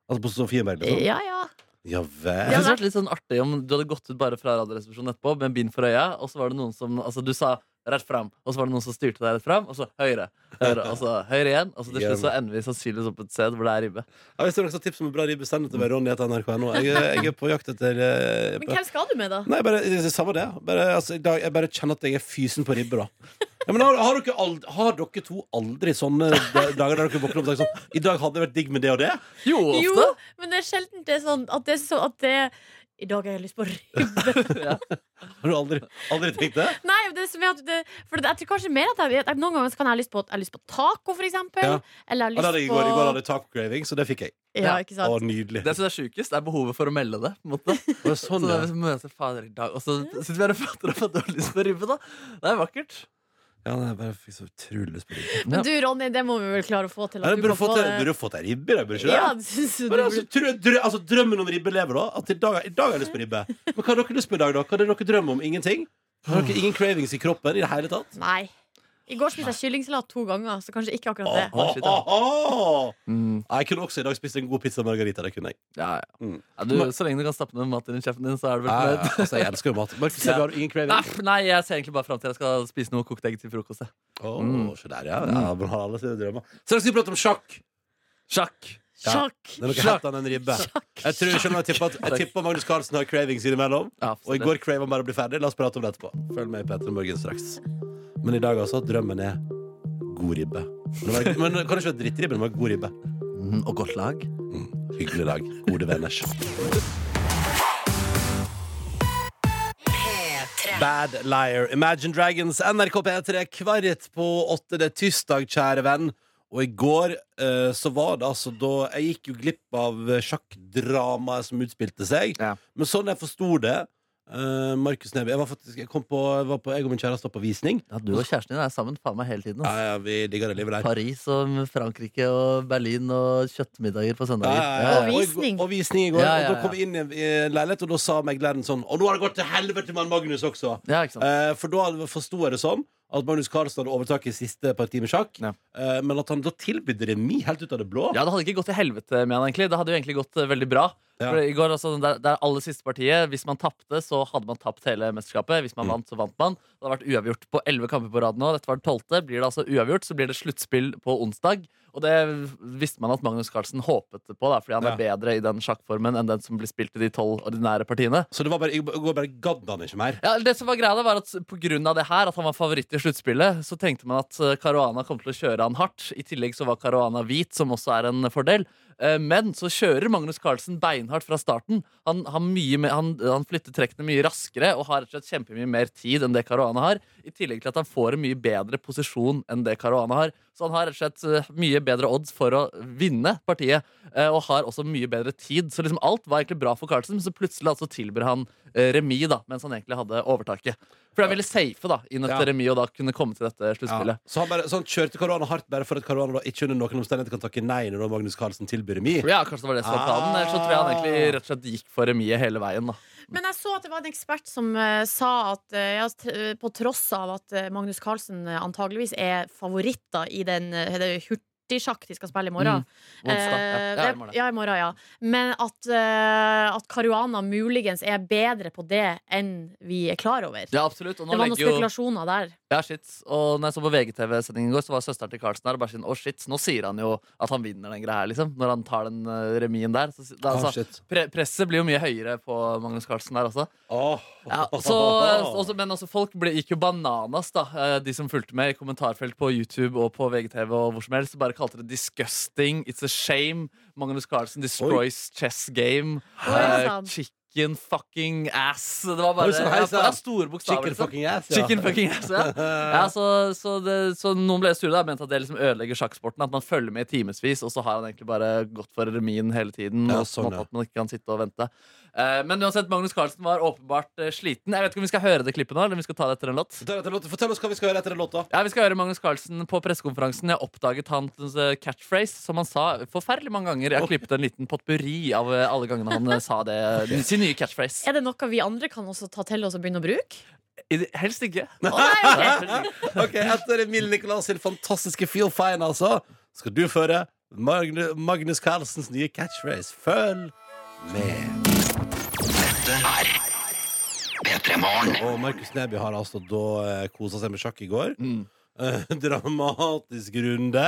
Speaker 3: Altså på Sofieberg? Liksom.
Speaker 2: Ja, ja.
Speaker 3: Ja vel.
Speaker 4: Jeg synes det hadde vært litt sånn artig om du hadde gått ut bare fra Radioresepsjonen etterpå med en bind for øya, og så var det noen som Altså, du sa rett fram, og så var det noen som styrte deg rett fram, og så høyre. høyre og så høyre igjen, og så til slutt så ender vi sannsynligvis opp et sted hvor det er ribbe.
Speaker 3: Ja, hvis det er noen som har tips om en bra ribbe, send det til meg. Ronny heter nrk.no. Jeg, er- jeg er på jakt etter eh,
Speaker 2: Men hvem skal du med, da?
Speaker 3: Nei, bare, det er samme det. Bare, altså, i dag, jeg bare kjenner at jeg er fysen på ribbe, da. Ja, men har, har, dere aldri, har dere to aldri sånne da- dager der dere våkner opp og tenker sånn I dag hadde det vært digg med det og det?
Speaker 4: Jo,
Speaker 2: Jo,
Speaker 4: ofte.
Speaker 2: men det er sjelden det er sånn at det er så at det I dag har jeg lyst på ribbe.
Speaker 3: Har du aldri, aldri tenkt det?
Speaker 2: [laughs] Nei, det som er at det, for jeg tror kanskje mer at jeg, at noen ganger så kan jeg ha lyst på, jeg har lyst på taco, for eksempel.
Speaker 3: Ja.
Speaker 2: Eller
Speaker 3: Ja,
Speaker 2: jeg
Speaker 3: det
Speaker 2: har
Speaker 3: hadde jeg
Speaker 2: lyst
Speaker 3: i går. I går hadde
Speaker 2: på
Speaker 3: jeg taco craving, så det fikk jeg.
Speaker 2: Ja, ikke
Speaker 3: Å,
Speaker 2: sant?
Speaker 3: nydelig.
Speaker 4: Det jeg synes er sjukest, er behovet for å melde det. På en måte. [laughs]
Speaker 3: Å, sånn,
Speaker 4: så det
Speaker 3: ja.
Speaker 4: er liksom, møter fader i dag Og så sitter vi her og prater om at du har lyst på ribbe, da. Det er vakkert.
Speaker 3: ja nei, jeg bare fikk så utrolig lyst på ribbe.
Speaker 2: Men du, Ronny, det må vi vel klare å få til.
Speaker 3: Ja,
Speaker 2: At
Speaker 3: du
Speaker 2: du
Speaker 3: burde
Speaker 2: kan
Speaker 3: fått
Speaker 2: få
Speaker 3: deg-
Speaker 2: det.
Speaker 3: burde fått deg ribbe, da, burde ikke det?
Speaker 2: Ja, det synes du
Speaker 3: Men
Speaker 2: burde-
Speaker 3: altså, drø, drø, altså, drømmen om ribbe lever, da. At i dag, i dag har jeg lyst på ribbe. Men hva har dere lyst på i dag, da? Hva er det dere drømmer om? Ingenting? Har dere ingen cravings i kroppen i det hele tatt?
Speaker 2: Nei. I går spiste jeg kyllingsalat to ganger, så kanskje ikke akkurat det.
Speaker 3: Åh,
Speaker 4: shit, ja.
Speaker 3: åh, åh.
Speaker 4: Mm,
Speaker 3: Nei, Jeg kunne også i dag spist en god pizza margarita. Det kunne jeg.
Speaker 4: ja, ja.
Speaker 3: Mm.
Speaker 4: Ja, du, så lenge du kan stappe ned mat inn i kjeften din, så er du vel
Speaker 3: Nei,
Speaker 4: fornøyd.
Speaker 3: altså, jeg elsker jo mat. Markus,
Speaker 4: Ja.
Speaker 3: har du ingen craving?
Speaker 4: [laughs] Nei, Nei, jeg ser egentlig bare fram til jeg skal spise noe kokt egg til frokost. jeg.
Speaker 3: Åh,
Speaker 4: Mm.
Speaker 3: så der, ja. ja man har alle sine drømmer. Så dere skal prate om sjakk.
Speaker 4: Sjakk!
Speaker 2: Sjakk!
Speaker 3: Det er noe
Speaker 4: Sjakk.
Speaker 3: helt annet enn ribbe.
Speaker 2: Sjakk.
Speaker 3: Jeg tror selv om jeg tipper, at, jeg tipper Magnus Carlsen har cravings innimellom.
Speaker 4: Ja,
Speaker 3: Og i går craver han bare å bli ferdig. La oss prate om det etterpå. Følg med i Petter Morgen straks. Men i dag, altså. Drømmen er god ribbe. Men, det var, men det kan ikke være drittribbe, det var god ribbe.
Speaker 4: Mm, og godt lag.
Speaker 3: Mm, hyggelig dag. Gode venners. Bad Liar. Imagine Dragons, NRK P3, kvarret på åtte. Det er tirsdag, kjære venn. Og i går eh, så var det altså da Jeg gikk jo glipp av sjakkdramaet som utspilte seg.
Speaker 4: Ja.
Speaker 3: Men sånn jeg forsto det eh, Markus Neby Jeg var faktisk Jeg, kom på, jeg, var på, jeg og min kjæreste var på visning.
Speaker 4: Ja, du og kjæresten din er sammen faen meg hele tiden.
Speaker 3: Ja,
Speaker 4: ass.
Speaker 3: ja, vi digger det livet der.
Speaker 4: Paris og Frankrike og Berlin og kjøttmiddager på søndager.
Speaker 2: ja. Og visning.
Speaker 3: Og, og visning i går.
Speaker 4: Ja, ja,
Speaker 3: Og da kom vi inn i i en eh, leilighet, og da sa megleren sånn Og nå har det gått til helvete med han Magnus også!
Speaker 4: Ja, ikke sant?
Speaker 3: Eh, for da hadde- forsto jeg det sånn at Magnus Carlsen hadde overtaket siste parti med sjakk.
Speaker 4: Ja.
Speaker 3: Eh, men at han da tilbød remis helt ut av det blå.
Speaker 4: Ja, Det hadde ikke gått til helvete med han egentlig. Det hadde jo egentlig gått eh, veldig bra.
Speaker 3: Ja.
Speaker 4: For i går altså, det, er- det er aller siste partiet. Hvis man tapte, så hadde man tapt hele mesterskapet. Hvis man
Speaker 3: Mm.
Speaker 4: vant, så vant man. Det har vært uavgjort på elleve kamper på rad nå. Dette var det tolvte. Blir det altså uavgjort, så blir det sluttspill på onsdag. Og det visste man at Magnus Carlsen håpet på, da, fordi han er bedre i den sjakkformen enn den som blir spilt i de tolv ordinære partiene.
Speaker 3: Så det var bare, i går bare gadd han ikke mer.
Speaker 4: Ja, det som var greia da, var at på grunn av det her, at han var favoritt i sluttspillet, så tenkte man at eh, Caruana kom til å kjøre han hardt. I tillegg så var Caruana hvit, som også er en fordel. Eh, Men så kjører Magnus Carlsen beinhardt fra starten. Han, han, mye, mer- han, han flytter trekkene mye raskere og har rett og slett kjempemye mer tid enn det Caruana har. I tillegg til at han får en mye bedre posisjon enn det Caruana har. Så han har rett og slett eh, mye bedre odds for å vinne partiet, eh, og har også mye bedre tid. Så liksom alt var egentlig bra for Carlsen, men så plutselig altså tilbyr han eh, remis, da, mens han egentlig hadde overtaket. For han ville safe da, inn et
Speaker 3: Ja.
Speaker 4: remis og da kunne komme til dette
Speaker 3: Ja.
Speaker 4: sluttspillet.
Speaker 3: Så han, bare, så han kjørte Caruana hardt bare for at Caruana da ikke under noen omstendigheter kan takke nei når da Magnus Carlsen tilbyr remi.
Speaker 4: Ja. kanskje det var det som var planen. Ellers så tror jeg han egentlig
Speaker 3: Ah.
Speaker 4: rett og slett gikk for remiet hele veien. da.
Speaker 2: Men jeg så at det var en ekspert som eh, sa at eh, ja, tr- på tross av at eh, Magnus Carlsen eh, antageligvis er favoritt da, i den eh, det er hurtigsjakk de skal spille i morgen.
Speaker 4: Onsdag. Mm, Ja.
Speaker 2: Eh,
Speaker 4: Ja,
Speaker 2: det-
Speaker 4: i morgen.
Speaker 2: ja, i morgen, ja. Men at, eh, at Caruana muligens er bedre på det enn vi er klar over.
Speaker 4: ja, absolutt. Og nå
Speaker 2: det var noen
Speaker 4: legger jo
Speaker 2: spekulasjoner der.
Speaker 4: Ja, shit. Og når jeg så på VGTV-sendingen i går, så var søsteren til Carlsen der og bare sånn Å, shit, nå sier han jo at han vinner den greia her, liksom. Når han tar den eh, remien der. Så, si- da,
Speaker 3: Ah,
Speaker 4: altså,
Speaker 3: shit.
Speaker 4: pre presset blir jo mye høyere på Magnus Carlsen der også.
Speaker 3: Åh.
Speaker 4: Ja, så, også, men også folk ble, gikk jo bananas, da. eh, De som fulgte med i kommentarfelt på YouTube og på VGTV og hvor som helst. Bare kalte det 'disgusting', 'it's a shame'. Magnus Carlsen destroys chess game.
Speaker 2: Oi,
Speaker 4: eh,
Speaker 2: sann.
Speaker 4: chicken fucking ass. Det var bare
Speaker 3: Oi, sann, hei,
Speaker 4: ja,
Speaker 3: sann.
Speaker 4: ja, store bokstaver.
Speaker 3: Chicken
Speaker 4: liksom.
Speaker 3: fucking ass.
Speaker 4: Chicken fucking ass, ja. ja så, så, det, så noen ble sure da, mente at det liksom ødelegger sjakksporten. At man følger med i timevis, og så har han egentlig bare gått for remin hele tiden.
Speaker 3: Ja,
Speaker 4: og sånn
Speaker 3: sånn, ja.
Speaker 4: at man ikke kan sitte og vente. Eh, men uansett, Magnus Carlsen var åpenbart eh, sliten. Jeg vet ikke om vi skal høre det klippet nå, eller om vi skal ta det etter en låt.
Speaker 3: Deretter låt- Fortell oss hva vi skal gjøre etter den låta.
Speaker 4: Ja, Vi skal høre Magnus Carlsen på pressekonferansen. Jeg oppdaget hans eh, catchphrase, som han sa forferdelig mange ganger. Jeg har klippet en liten potpurri av eh, alle gangene han eh, sa det. Sin nye catchphrase.
Speaker 2: Er det noe vi andre kan også ta til oss og begynne å bruke?
Speaker 4: Helst ikke.
Speaker 2: Å, nei, ok.
Speaker 3: Ok, Etter Emil Nicolas sin fantastiske Feel Fine, altså, skal du føre Magne- Magnus Carlsens nye catchphrase. Følg med.
Speaker 1: P3 Morgen.
Speaker 3: Og Markus Neby har altså da eh, kosa seg med sjakk i går.
Speaker 4: Mm.
Speaker 3: Eh, [laughs] dramatisk runde.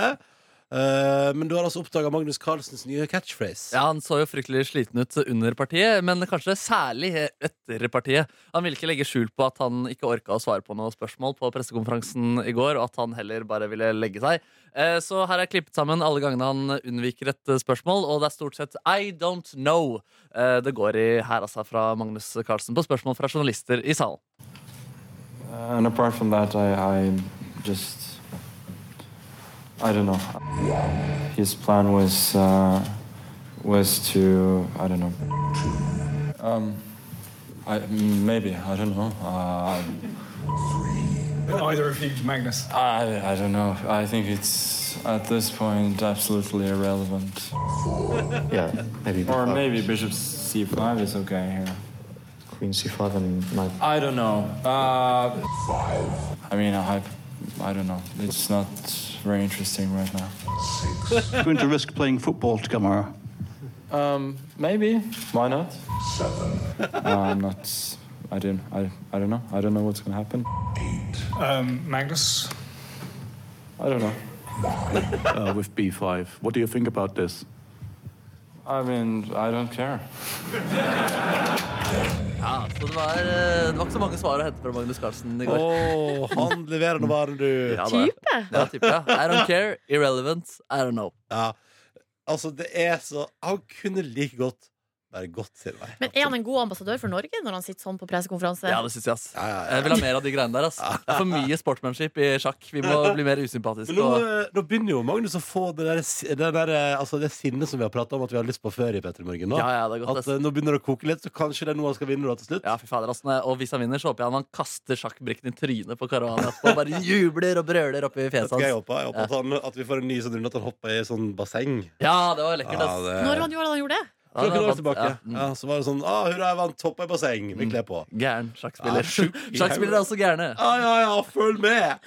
Speaker 3: Eh, men du har altså oppdaga Magnus Carlsens nye catchphrase.
Speaker 4: Ja, Han så jo fryktelig sliten ut under partiet, men kanskje særlig etter partiet. Han ville ikke legge skjul på at han ikke orka å svare på noe spørsmål på pressekonferansen i går, og at han heller bare ville legge seg. Eh, Så her er klippet sammen alle gangene han unnviker et eh, spørsmål, og det er stort sett I don't know. Eh, Det går i her, altså, fra Magnus Carlsen på spørsmål fra journalister i salen.
Speaker 6: Uh, and apart from that, I, I just. I don't know. His plan was uh, was to I don't know. Um, I maybe I don't know. Uh,
Speaker 7: Either of you, Magnus.
Speaker 6: I I don't know. I think it's at this point absolutely irrelevant.
Speaker 8: Yeah, maybe
Speaker 6: Or
Speaker 8: before
Speaker 6: maybe Bishop C5 is okay here.
Speaker 8: Queen C5 and knight.
Speaker 6: I don't know. Uh, I mean, I I don't know. It's not very interesting right now.
Speaker 9: going to risk playing football tomorrow.
Speaker 6: Um, maybe. Why not? Seven. I'm not. I don't. I, I. don't know. I don't know what's gonna happen.
Speaker 7: Um, Magnus.
Speaker 6: I don't know.
Speaker 9: Uh, with B5. What do you think about this?
Speaker 6: I mean, I don't care.
Speaker 4: Ja, så det var, eh, det var ikke så mange svar å hente fra Magnus Carlsen i
Speaker 3: Å,
Speaker 4: går.
Speaker 3: han leverer nå varen, du.
Speaker 4: Ja, da.
Speaker 2: Type?
Speaker 4: Ja, type, ja. I don't care, irrelevant, I don't know.
Speaker 3: Ja. Altså, det er så Han kunne like godt bare gått sin vei.
Speaker 2: Men er han en god ambassadør for Norge når han sitter sånn på pressekonferanse?
Speaker 4: Ja, det synes jeg, ass.
Speaker 3: Ja, ja, ja.
Speaker 4: Jeg vil ha mer av de greiene der. ass Det er for mye sportsmanship i sjakk. Vi må bli mer
Speaker 3: Men
Speaker 4: usympatiske.
Speaker 3: nå,
Speaker 4: Og...
Speaker 3: eh, nå begynner jo Magnus å få det, der, det, der, eh, altså det sinnet som vi har prata om at vi har lyst på før i Petter Morgen. nå.
Speaker 4: Ja, ja, det er godt,
Speaker 3: At eh,
Speaker 4: ass.
Speaker 3: nå begynner det å koke litt, så kanskje det er noe han skal vinne da til slutt.
Speaker 4: Ja, fy fader, ass. Og hvis han vinner, så håper jeg han- han kaster sjakkbrikken i trynet på Caruana etterpå. og Bare jubler og brøler oppi
Speaker 3: Vet
Speaker 4: fjeset
Speaker 3: du hva jeg
Speaker 4: hans.
Speaker 3: håper, jeg håper at, han, at vi får en ny sånn runde at han hopper i sånn basseng.
Speaker 4: Ja, det var lekkert, ass.
Speaker 3: det...
Speaker 2: Når han gjorde det, han gjorde det?
Speaker 3: For noen
Speaker 4: Ja,
Speaker 3: år tilbake.
Speaker 4: ja, mm.
Speaker 3: Ja, så var det sånn ah, 'Hurra, jeg vant. Hoppa i basseng. Vi kler på'.
Speaker 4: Gæren
Speaker 3: Ja,
Speaker 4: sjakkspiller.
Speaker 3: sjuk-
Speaker 4: Sjakkspillere er også gærne.
Speaker 3: Ja, ja, ja, følg
Speaker 4: [laughs]
Speaker 3: med!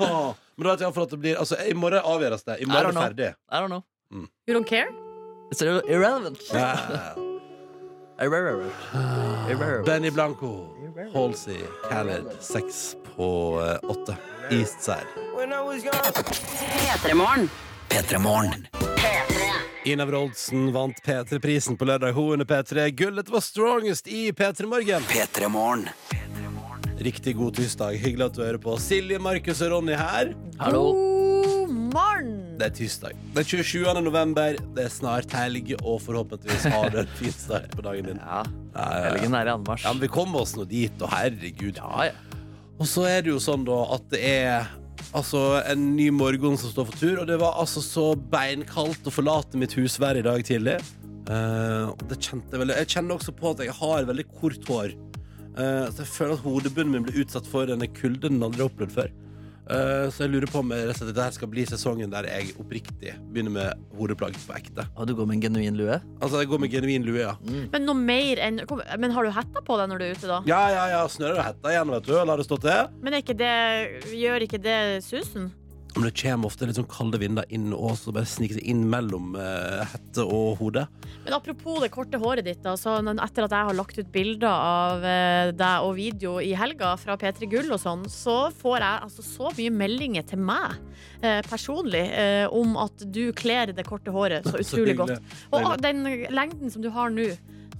Speaker 3: Ah, Men da vet jeg for at det blir Altså, i morgen avgjøres det. I morgen er det
Speaker 4: I
Speaker 3: ferdig.
Speaker 4: don't know.
Speaker 2: You don't care?
Speaker 4: It's irrelevant.
Speaker 3: Ja. Benny Blanco, Halsey, Khaled, seks på eh, åtte. Eastside.
Speaker 1: P3morgen.
Speaker 3: Ina Wroldsen vant P3-prisen på lørdag. Hun under P3. Gullet var strongest i P3 Morgen.
Speaker 1: P3morgen.
Speaker 3: Riktig god tirsdag. Hyggelig at du hører på. Silje, Markus og Ronny her.
Speaker 4: Hallo.
Speaker 2: God morgen!
Speaker 3: Det er tirsdag. Det er 27. november. Det er snart helg, og forhåpentligvis har du en fin start på dagen din.
Speaker 4: Ja,
Speaker 3: Ja, ja, ja.
Speaker 4: helgen er i anmarsj.
Speaker 3: Ja, men vi kommer oss nå dit, og herregud.
Speaker 4: Ja, ja.
Speaker 3: Og så er det jo sånn da at det er altså, en ny morgen som står for tur, og det var altså så beinkaldt å forlate mitt hus hver i dag tidlig. Eh, og det kjente jeg veldig. Jeg kjenner også på at jeg har veldig kort hår. Eh, så jeg føler at hodebunnen min blir utsatt for denne kulden den aldri har opplevd før. Eh, så jeg lurer på om jeg rett og slett dette her skal bli sesongen der jeg oppriktig begynner med hodeplagg på ekte.
Speaker 4: Og du går med en genuin lue?
Speaker 3: Altså, jeg går med genuin lue, ja.
Speaker 2: Men noe mer enn kom- Men har du hetta på deg når du er ute, da?
Speaker 3: Ja, ja, ja. Snører og hetta igjen, vet du. La det stå til.
Speaker 2: Men er ikke det, gjør ikke det susen?
Speaker 3: Men det kommer ofte litt sånn kalde vinder inn og så bare sniker seg inn mellom eh, hette og hode.
Speaker 2: Men apropos det korte håret ditt, da, så n- etter at jeg har lagt ut bilder av eh, deg og video i helga fra P3 Gull og sånn, så får jeg altså så mye meldinger til meg eh, personlig eh, om at du kler det korte håret
Speaker 3: [laughs]
Speaker 2: så utrolig godt. Og ah, den lengden som du har nå,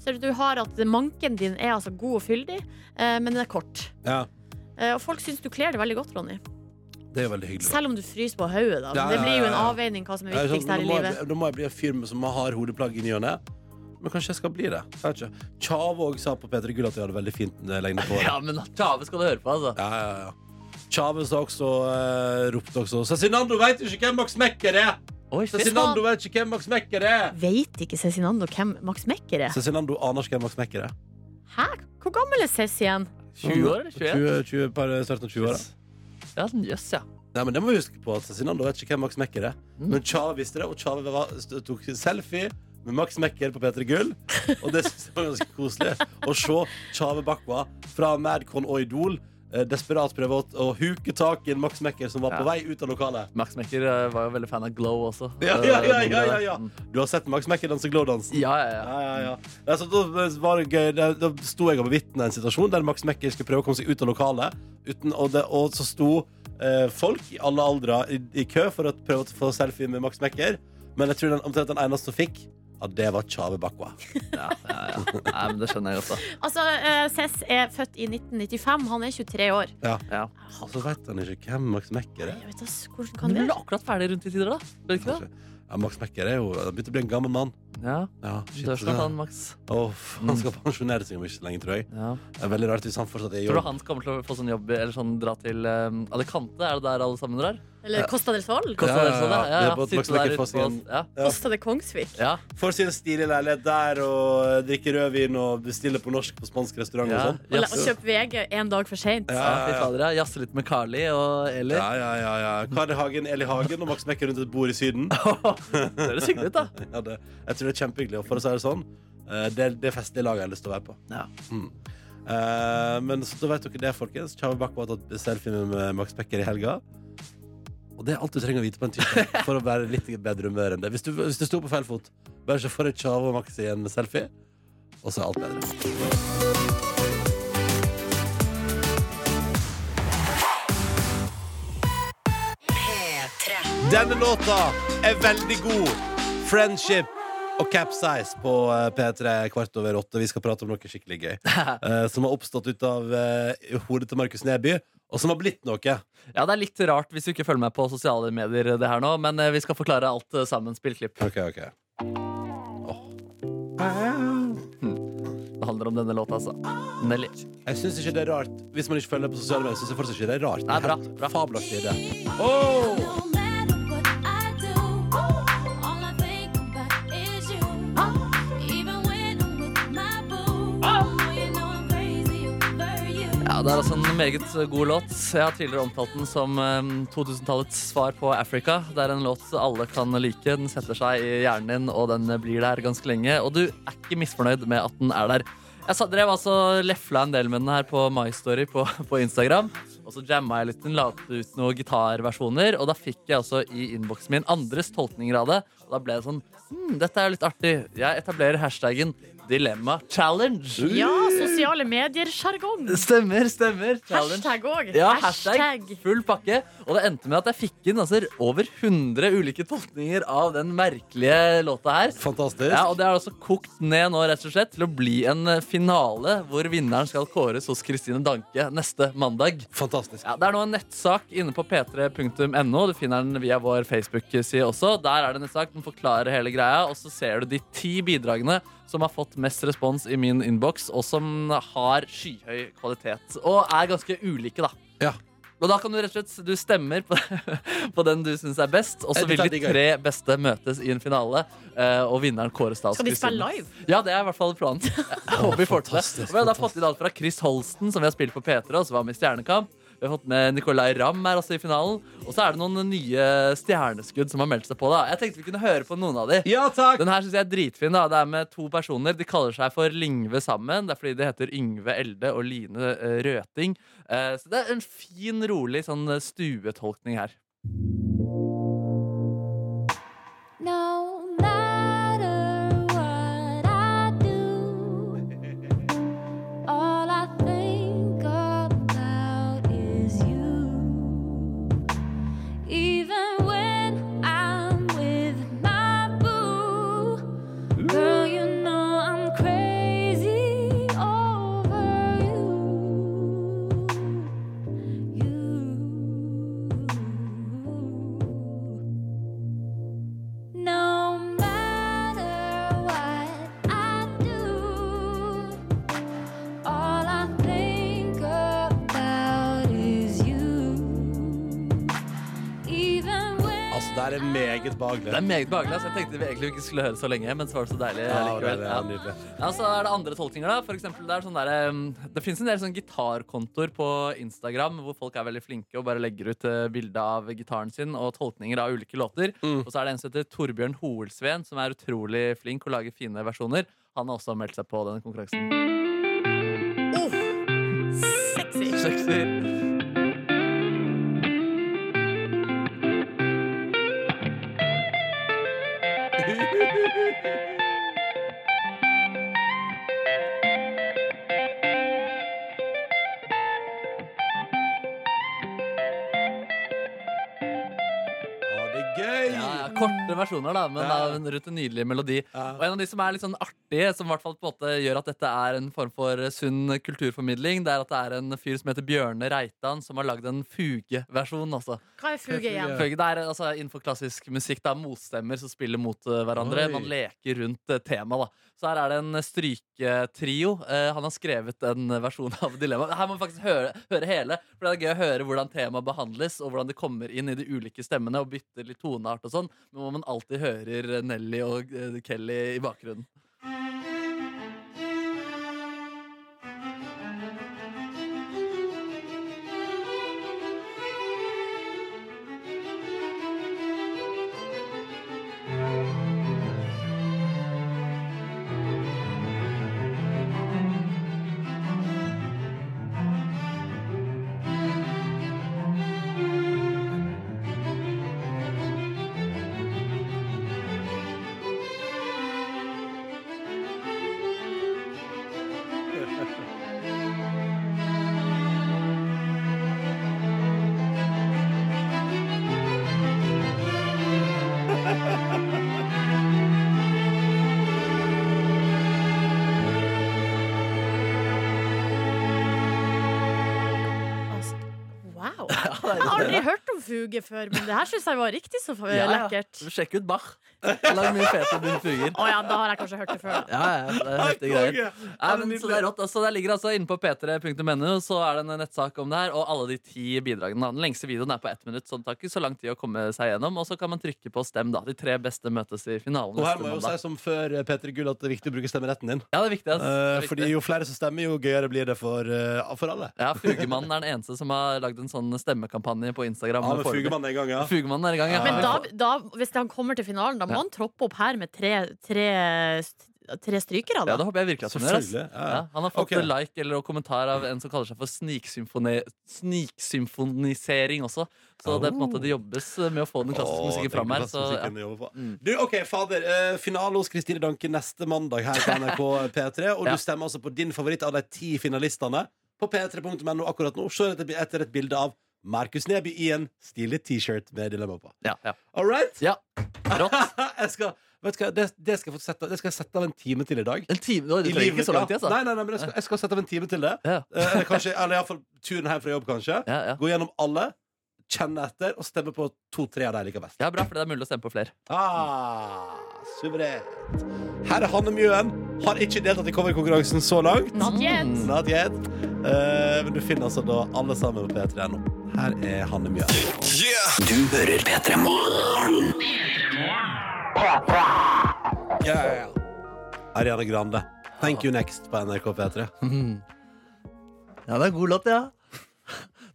Speaker 2: ser du du har at manken din er altså god og fyldig, eh, men den er kort.
Speaker 3: Ja,
Speaker 2: Eh, Og folk syns du kler det veldig godt, Ronny.
Speaker 3: det er veldig hyggelig.
Speaker 2: Selv om du fryser på hodet, da.
Speaker 3: Ja,
Speaker 2: Men det
Speaker 3: ja,
Speaker 2: blir jo en
Speaker 3: ja, sånn ja.
Speaker 2: avveining hva som
Speaker 3: Ja,
Speaker 2: er
Speaker 3: ikke sant?
Speaker 2: viktigst her i
Speaker 3: nå, må
Speaker 2: livet.
Speaker 3: jeg, nå må jeg bli en fyr med- som har hodeplagg i ny og ne. Men kanskje jeg skal bli det. Jeg vet ikke. Tjavåg sa på P3 Gull at jeg hadde veldig fint eh, lengde [laughs] på
Speaker 4: Ja,
Speaker 3: håret.
Speaker 4: men Tjave skal du høre på, altså.
Speaker 3: Ja, ja, ja. Tjave sa også eh, ropte også Cezinando veit jo ikke hvem Max Mekker er!
Speaker 4: Oi, shit.
Speaker 3: Cezinando vet ikke hvem Max Mekker er!
Speaker 2: Veit ikke Cezinando hvem Max Mekker er?
Speaker 3: Cezinando aner ikke hvem Max Mekker er.
Speaker 2: Hæ? Hvor gammel er Cez igjen?
Speaker 4: 20 år eller 21?
Speaker 3: 20, 20, par, starten av 20-åra.
Speaker 4: Ja, den- jøss, ja.
Speaker 3: Nei, men det må vi huske på altså, at Cezinando vet ikke hvem Max Mekker er.
Speaker 4: Mm.
Speaker 3: Men Chave visste det, og Chave var- st- tok selfie med Max Mekker på P3 Gull. Og det synes jeg var ganske koselig å se Chave Bakwa fra Madcon og Idol eh, desperat prøve å, å huke tak i en Max Mekker som var på
Speaker 4: Ja.
Speaker 3: vei ut av lokalet.
Speaker 4: Max Mekker eh, var jo veldig fan av Glow også.
Speaker 3: Ja,
Speaker 4: Eh,
Speaker 3: ja, ja, ja,
Speaker 4: den
Speaker 3: ja,
Speaker 4: der.
Speaker 3: ja.
Speaker 4: Mm.
Speaker 3: Du har sett Max Mekker danse Glow-dansen?
Speaker 4: ja, ja, ja.
Speaker 3: Ja, ja, ja. Ja, så da, var det gøy. Da, da sto jeg og bevitna en situasjon der Max Mekker skulle prøve å komme seg ut av lokalet. Uten, og, det, og så sto eh, folk i alle aldre i, i kø for å prøve å få selfie med Max Mekker. Men jeg tror den, omtrent den eneste som fikk, ja, det var Chave Bakwa.
Speaker 4: ja, ja, ja. Nei, men det skjønner jeg også.
Speaker 2: Altså, eh, Cez er født i 1995. Han er 23 år.
Speaker 4: Ja.
Speaker 3: Og så vet han ikke hvem Max Mekker er.
Speaker 2: Jeg vet da, s- hvordan
Speaker 4: Men
Speaker 2: kan
Speaker 4: du
Speaker 2: det
Speaker 4: ble akkurat ferdig rundt i tider, da. Ble du ikke det?
Speaker 3: Kanskje. Ja, Max Mekker er jo Han begynte å bli en gammel mann.
Speaker 4: Ja,
Speaker 3: Ja, shit,
Speaker 4: Dør snart,
Speaker 3: det-
Speaker 4: han Max.
Speaker 3: Åh, han skal pensjonere seg om ikke så lenge, tror jeg.
Speaker 4: Ja.
Speaker 3: Det er veldig rart hvis han fortsatt er i
Speaker 4: Tror du
Speaker 3: jobb.
Speaker 4: han kommer til å få sånn jobb i- eller sånn dra til um, Alicante? Er det der alle sammen drar?
Speaker 2: Eller Costa del Sol?
Speaker 4: Costa
Speaker 3: Ja,
Speaker 4: del Sol,
Speaker 3: ja, ja. Det er på at
Speaker 4: Sitte
Speaker 3: Max Mekker
Speaker 4: der
Speaker 3: får
Speaker 4: ute på-
Speaker 3: sin-
Speaker 4: ja.
Speaker 3: Ja.
Speaker 2: Costa de Kongsvik?
Speaker 4: Ja.
Speaker 3: Får sin stilige leilighet der og eh, drikker rødvin og bestiller på norsk på spansk restaurant
Speaker 4: Ja.
Speaker 3: og sånn.
Speaker 2: Og, la-
Speaker 4: Jazze-
Speaker 2: og kjøpe VG en dag for seint?
Speaker 3: Ja,
Speaker 4: Ja, fy
Speaker 3: ja,
Speaker 4: fader, ja. Jazze litt med Carly og Eli.
Speaker 3: Ja, ja, ja, ja. Kari Hagen, Eli Hagen og Max Mekker rundt et bord i Syden.
Speaker 4: [laughs] Det høres hyggelig ut, da.
Speaker 3: Ja, det, jeg tror det er kjempehyggelig. Og for å si det sånn, eh, det er det festlige laget jeg har lyst til å være på.
Speaker 4: Ja.
Speaker 3: Mm. Eh, men så da vet dere det, folkens. Tjave Bakko har tatt selfie med Max Mekker i helga. Og det er alt du trenger å vite på en tirsdag [laughs] for å være litt i bedre humør enn det. Hvis du, hvis du sto på feil fot, bare se for deg Tjave og Max i en selfie, og så er alt bedre. Denne låta er veldig god. 'Friendship' og 'Capsize' på eh, P3 kvart over åtte. Vi skal prate om noe skikkelig
Speaker 4: [laughs]
Speaker 3: gøy. eh, Som har oppstått ut av eh, hodet til Markus Neby, og som har blitt noe.
Speaker 4: Ja, det er litt rart hvis du ikke følger meg på sosiale medier, det her nå, men eh, vi skal forklare alt eh, sammen. Spill klipp.
Speaker 3: Ok, ok
Speaker 4: Det handler om denne låta, altså. Nelly.
Speaker 3: Jeg syns ikke det er rart hvis man ikke følger det på sosiale medier. Synes jeg fortsatt ikke det er rart
Speaker 4: Nei, bra,
Speaker 3: Helt
Speaker 4: bra.
Speaker 3: Fabelaktig idé.
Speaker 4: Ja, Det er altså en meget god låt. Jeg har tidligere omtalt den som eh, 2000-tallets svar på Africa. Det er en låt alle kan like. Den setter seg i hjernen din, og den blir der ganske lenge. Og du er ikke misfornøyd med at den er der. Jeg sa- drev altså lefla en del med den her på My Story på, på Instagram. Og så jamma jeg litt, den la ut noen gitarversjoner, og da fikk jeg altså i innboksen min andres tolkninger av det. Og da ble det sånn hmm, Dette er jo litt artig. Jeg etablerer hashtaggen Dilemma challenge.
Speaker 2: Ja, sosiale medier-sjargong.
Speaker 4: Stemmer, stemmer. Challenge.
Speaker 2: Hashtag òg.
Speaker 4: Ja, hashtag full pakke. Og det endte med at jeg fikk inn altså, over 100 ulike tolkninger av den merkelige låta her.
Speaker 3: Fantastisk.
Speaker 4: Ja, og det er altså kokt ned nå rett og slett til å bli en eh, finale hvor vinneren skal kåres hos Kristine Danke neste mandag.
Speaker 3: Fantastisk.
Speaker 4: Ja, det er nå en nettsak inne på p3.no. Du finner den via vår Facebook-side også. Der er det en nettsak. Den forklarer hele greia, og så ser du de ti bidragene som har fått mest respons i min innboks, og som har skyhøy kvalitet. Og er ganske ulike, da.
Speaker 3: Ja.
Speaker 4: Og da kan du rett og slett Du stemmer på, [laughs] på den du syns er best, og så
Speaker 3: Eh,
Speaker 4: vil
Speaker 3: dette er
Speaker 4: de
Speaker 3: digg, ja.
Speaker 4: tre beste møtes i en finale, eh, og vinneren kåres da. av
Speaker 2: Skal de spille
Speaker 4: Kristine.
Speaker 2: live?
Speaker 4: Ja, det er i hvert fall planen. Jeg håper vi får til det. Og vi har da fått inn alt fra Chris Holsten, som vi har spilt på P3, og som var med i Stjernekamp. Vi har fått med Nicolay Ramm her også i finalen. Og så er det noen nye stjerneskudd som har meldt seg på. da Jeg tenkte vi kunne høre på noen av de.
Speaker 3: Ja, takk!
Speaker 4: Den her synes jeg er dritfin. da Det er med to personer. De kaller seg for Lingve sammen. Det er fordi de heter Yngve Elde og Line eh, Røting. Eh, Så det er en fin, rolig sånn eh, stuetolkning her.
Speaker 10: No matter what I do, all I think about is you. Even when I'm with my boo, girl, you know I'm crazy over you. You. No matter what I do, all I think about is you. Even when
Speaker 3: Altså, det her er meget behagelig.
Speaker 4: Det er meget behagelig. altså. Jeg tenkte vi egentlig ikke skulle høre så lenge, men så var det så deilig eh,
Speaker 3: Ja, det er- det
Speaker 4: likevel. Ja.
Speaker 3: er nydelig.
Speaker 4: Ja, så er det andre tolkninger da For eksempel det er sånn der um, Det finnes en del sånn gitarkontor på Instagram Hvor folk er veldig flinke og bare legger ut eh, bilder av gitaren sin Og tolkninger av ulike låter Og så er det en som heter Torbjørn Hoelsveen Som er utrolig flink og lager fine versjoner Han har også meldt seg på denne konkurransen
Speaker 2: Sexy.
Speaker 4: Sexy
Speaker 3: Ja, det er gøy!
Speaker 4: Ja, ja, korte versjoner, da, men
Speaker 3: Ja.
Speaker 4: av en rundt en nydelig melodi.
Speaker 3: Ja.
Speaker 4: Og en av de som er litt sånn artige, som i hvert fall på en måte gjør at dette er en form for sunn kulturformidling, det er at det er en fyr som heter Bjørne Reitan, som har lagd en fugeversjon. Altså.
Speaker 2: Hva er fuge igjen?
Speaker 4: Fuge, Det er altså, innenfor klassisk musikk da, motstemmer som spiller mot eh, hverandre.
Speaker 3: Oi.
Speaker 4: Man leker rundt eh, temaet, da. Så her er det en stryketrio. Eh, han har skrevet en eh, versjon av Dilemma. Her må vi faktisk høre, høre hele, for det er gøy å høre hvordan temaet behandles, og hvordan det kommer inn i de ulike stemmene og bytter litt toneart og sånn. Men hvor man alltid hører Nelly og eh, Kelly i bakgrunnen.
Speaker 2: Altså,
Speaker 4: [laughs]
Speaker 2: Wow. Jeg har aldri hørt om fuge før, men det her syns jeg var riktig så
Speaker 4: Ja, ja.
Speaker 2: lekkert.
Speaker 4: Sjekk ut Bach. Lag mye fete bunnfuger.
Speaker 2: Å ja, da har jeg kanskje hørt det før.
Speaker 4: Ja, ja, det er heftige greier. Nei, men, så det er rått. Altså, det ligger altså inne på p3.no, så er det en nettssak om det her. Og alle de ti bidragene. da. Den lengste videoen er på ett minutt, så det tar ikke så lang tid å komme seg gjennom. Og så kan man trykke på stem, da. De tre beste møtes i finalen
Speaker 3: Og her
Speaker 4: neste
Speaker 3: må jeg jo
Speaker 4: mandag.
Speaker 3: si som før, eh, Peter Gull, at det er viktig å bruke stemmeretten din.
Speaker 4: Ja, det er viktig. ass.
Speaker 3: Eh,
Speaker 4: Det er
Speaker 3: fordi
Speaker 4: viktig.
Speaker 3: jo flere som stemmer, jo gøyere blir det for, eh, for alle.
Speaker 4: Ja, Fugemannen er den eneste som har lagd en sånn stemmekampanje på Instagram.
Speaker 3: Ja, men
Speaker 4: foreløpig.
Speaker 3: Fugemannen en gang, ja.
Speaker 4: Fugemannen er i gang, ja.
Speaker 2: Men da, da, hvis han kommer til finalen, da må han troppe opp her med tre, tre tre strykere,
Speaker 4: Ja,
Speaker 2: da.
Speaker 4: det håper jeg virkelig at han gjør. ass.
Speaker 3: Selvfølgelig, ja.
Speaker 4: Ja, han har fått
Speaker 3: Ok.
Speaker 4: like eller kommentar av en som kaller seg for sniksymfone- sniksymfonisering også. Så det er på en måte det jobbes med å få den klassiske musikken fram her. Så, ja. Mm.
Speaker 3: Du, ok, fader. eh, finale hos Kristine Danke neste mandag her på NRK P3. Og
Speaker 4: Ja.
Speaker 3: du stemmer altså på din favoritt av de ti finalistene på p3.no akkurat nå. Se etter, etter et bilde av Markus Neby i en stilig T-shirt med dilemma på.
Speaker 4: Ja, ja.
Speaker 3: All right?
Speaker 4: ja. Rått.
Speaker 3: jeg skal, vet du hva, det, det, skal jeg få sette, det skal jeg sette av en time til i dag.
Speaker 4: En time, Oi, det
Speaker 3: I
Speaker 4: trenger ikke
Speaker 3: livet,
Speaker 4: så lang tid,
Speaker 3: ja.
Speaker 4: altså.
Speaker 3: Nei, nei, nei, men jeg skal, jeg skal sette av en time til det.
Speaker 4: Ja.
Speaker 3: Eh, eller kanskje, eller iallfall turen hjem fra jobb, kanskje.
Speaker 4: Ja, ja.
Speaker 3: Gå gjennom alle, kjenne etter og stemme på to-tre av de jeg liker best.
Speaker 4: ja, bra, for det er mulig å stemme på flere.
Speaker 3: Ah, suverent. Her er Hanne Mjøen. Har ikke deltatt i coverkonkurransen så langt.
Speaker 2: Not yet.
Speaker 4: Mm.
Speaker 3: Not yet. Eh, men du finner altså da alle sammen på P3 nå. Her er Hanne Mjøen.
Speaker 1: Du hører P3 Morgen.
Speaker 3: Ariane Grande. Thank you next på NRK P3.
Speaker 4: Ja, det er god låt, ja.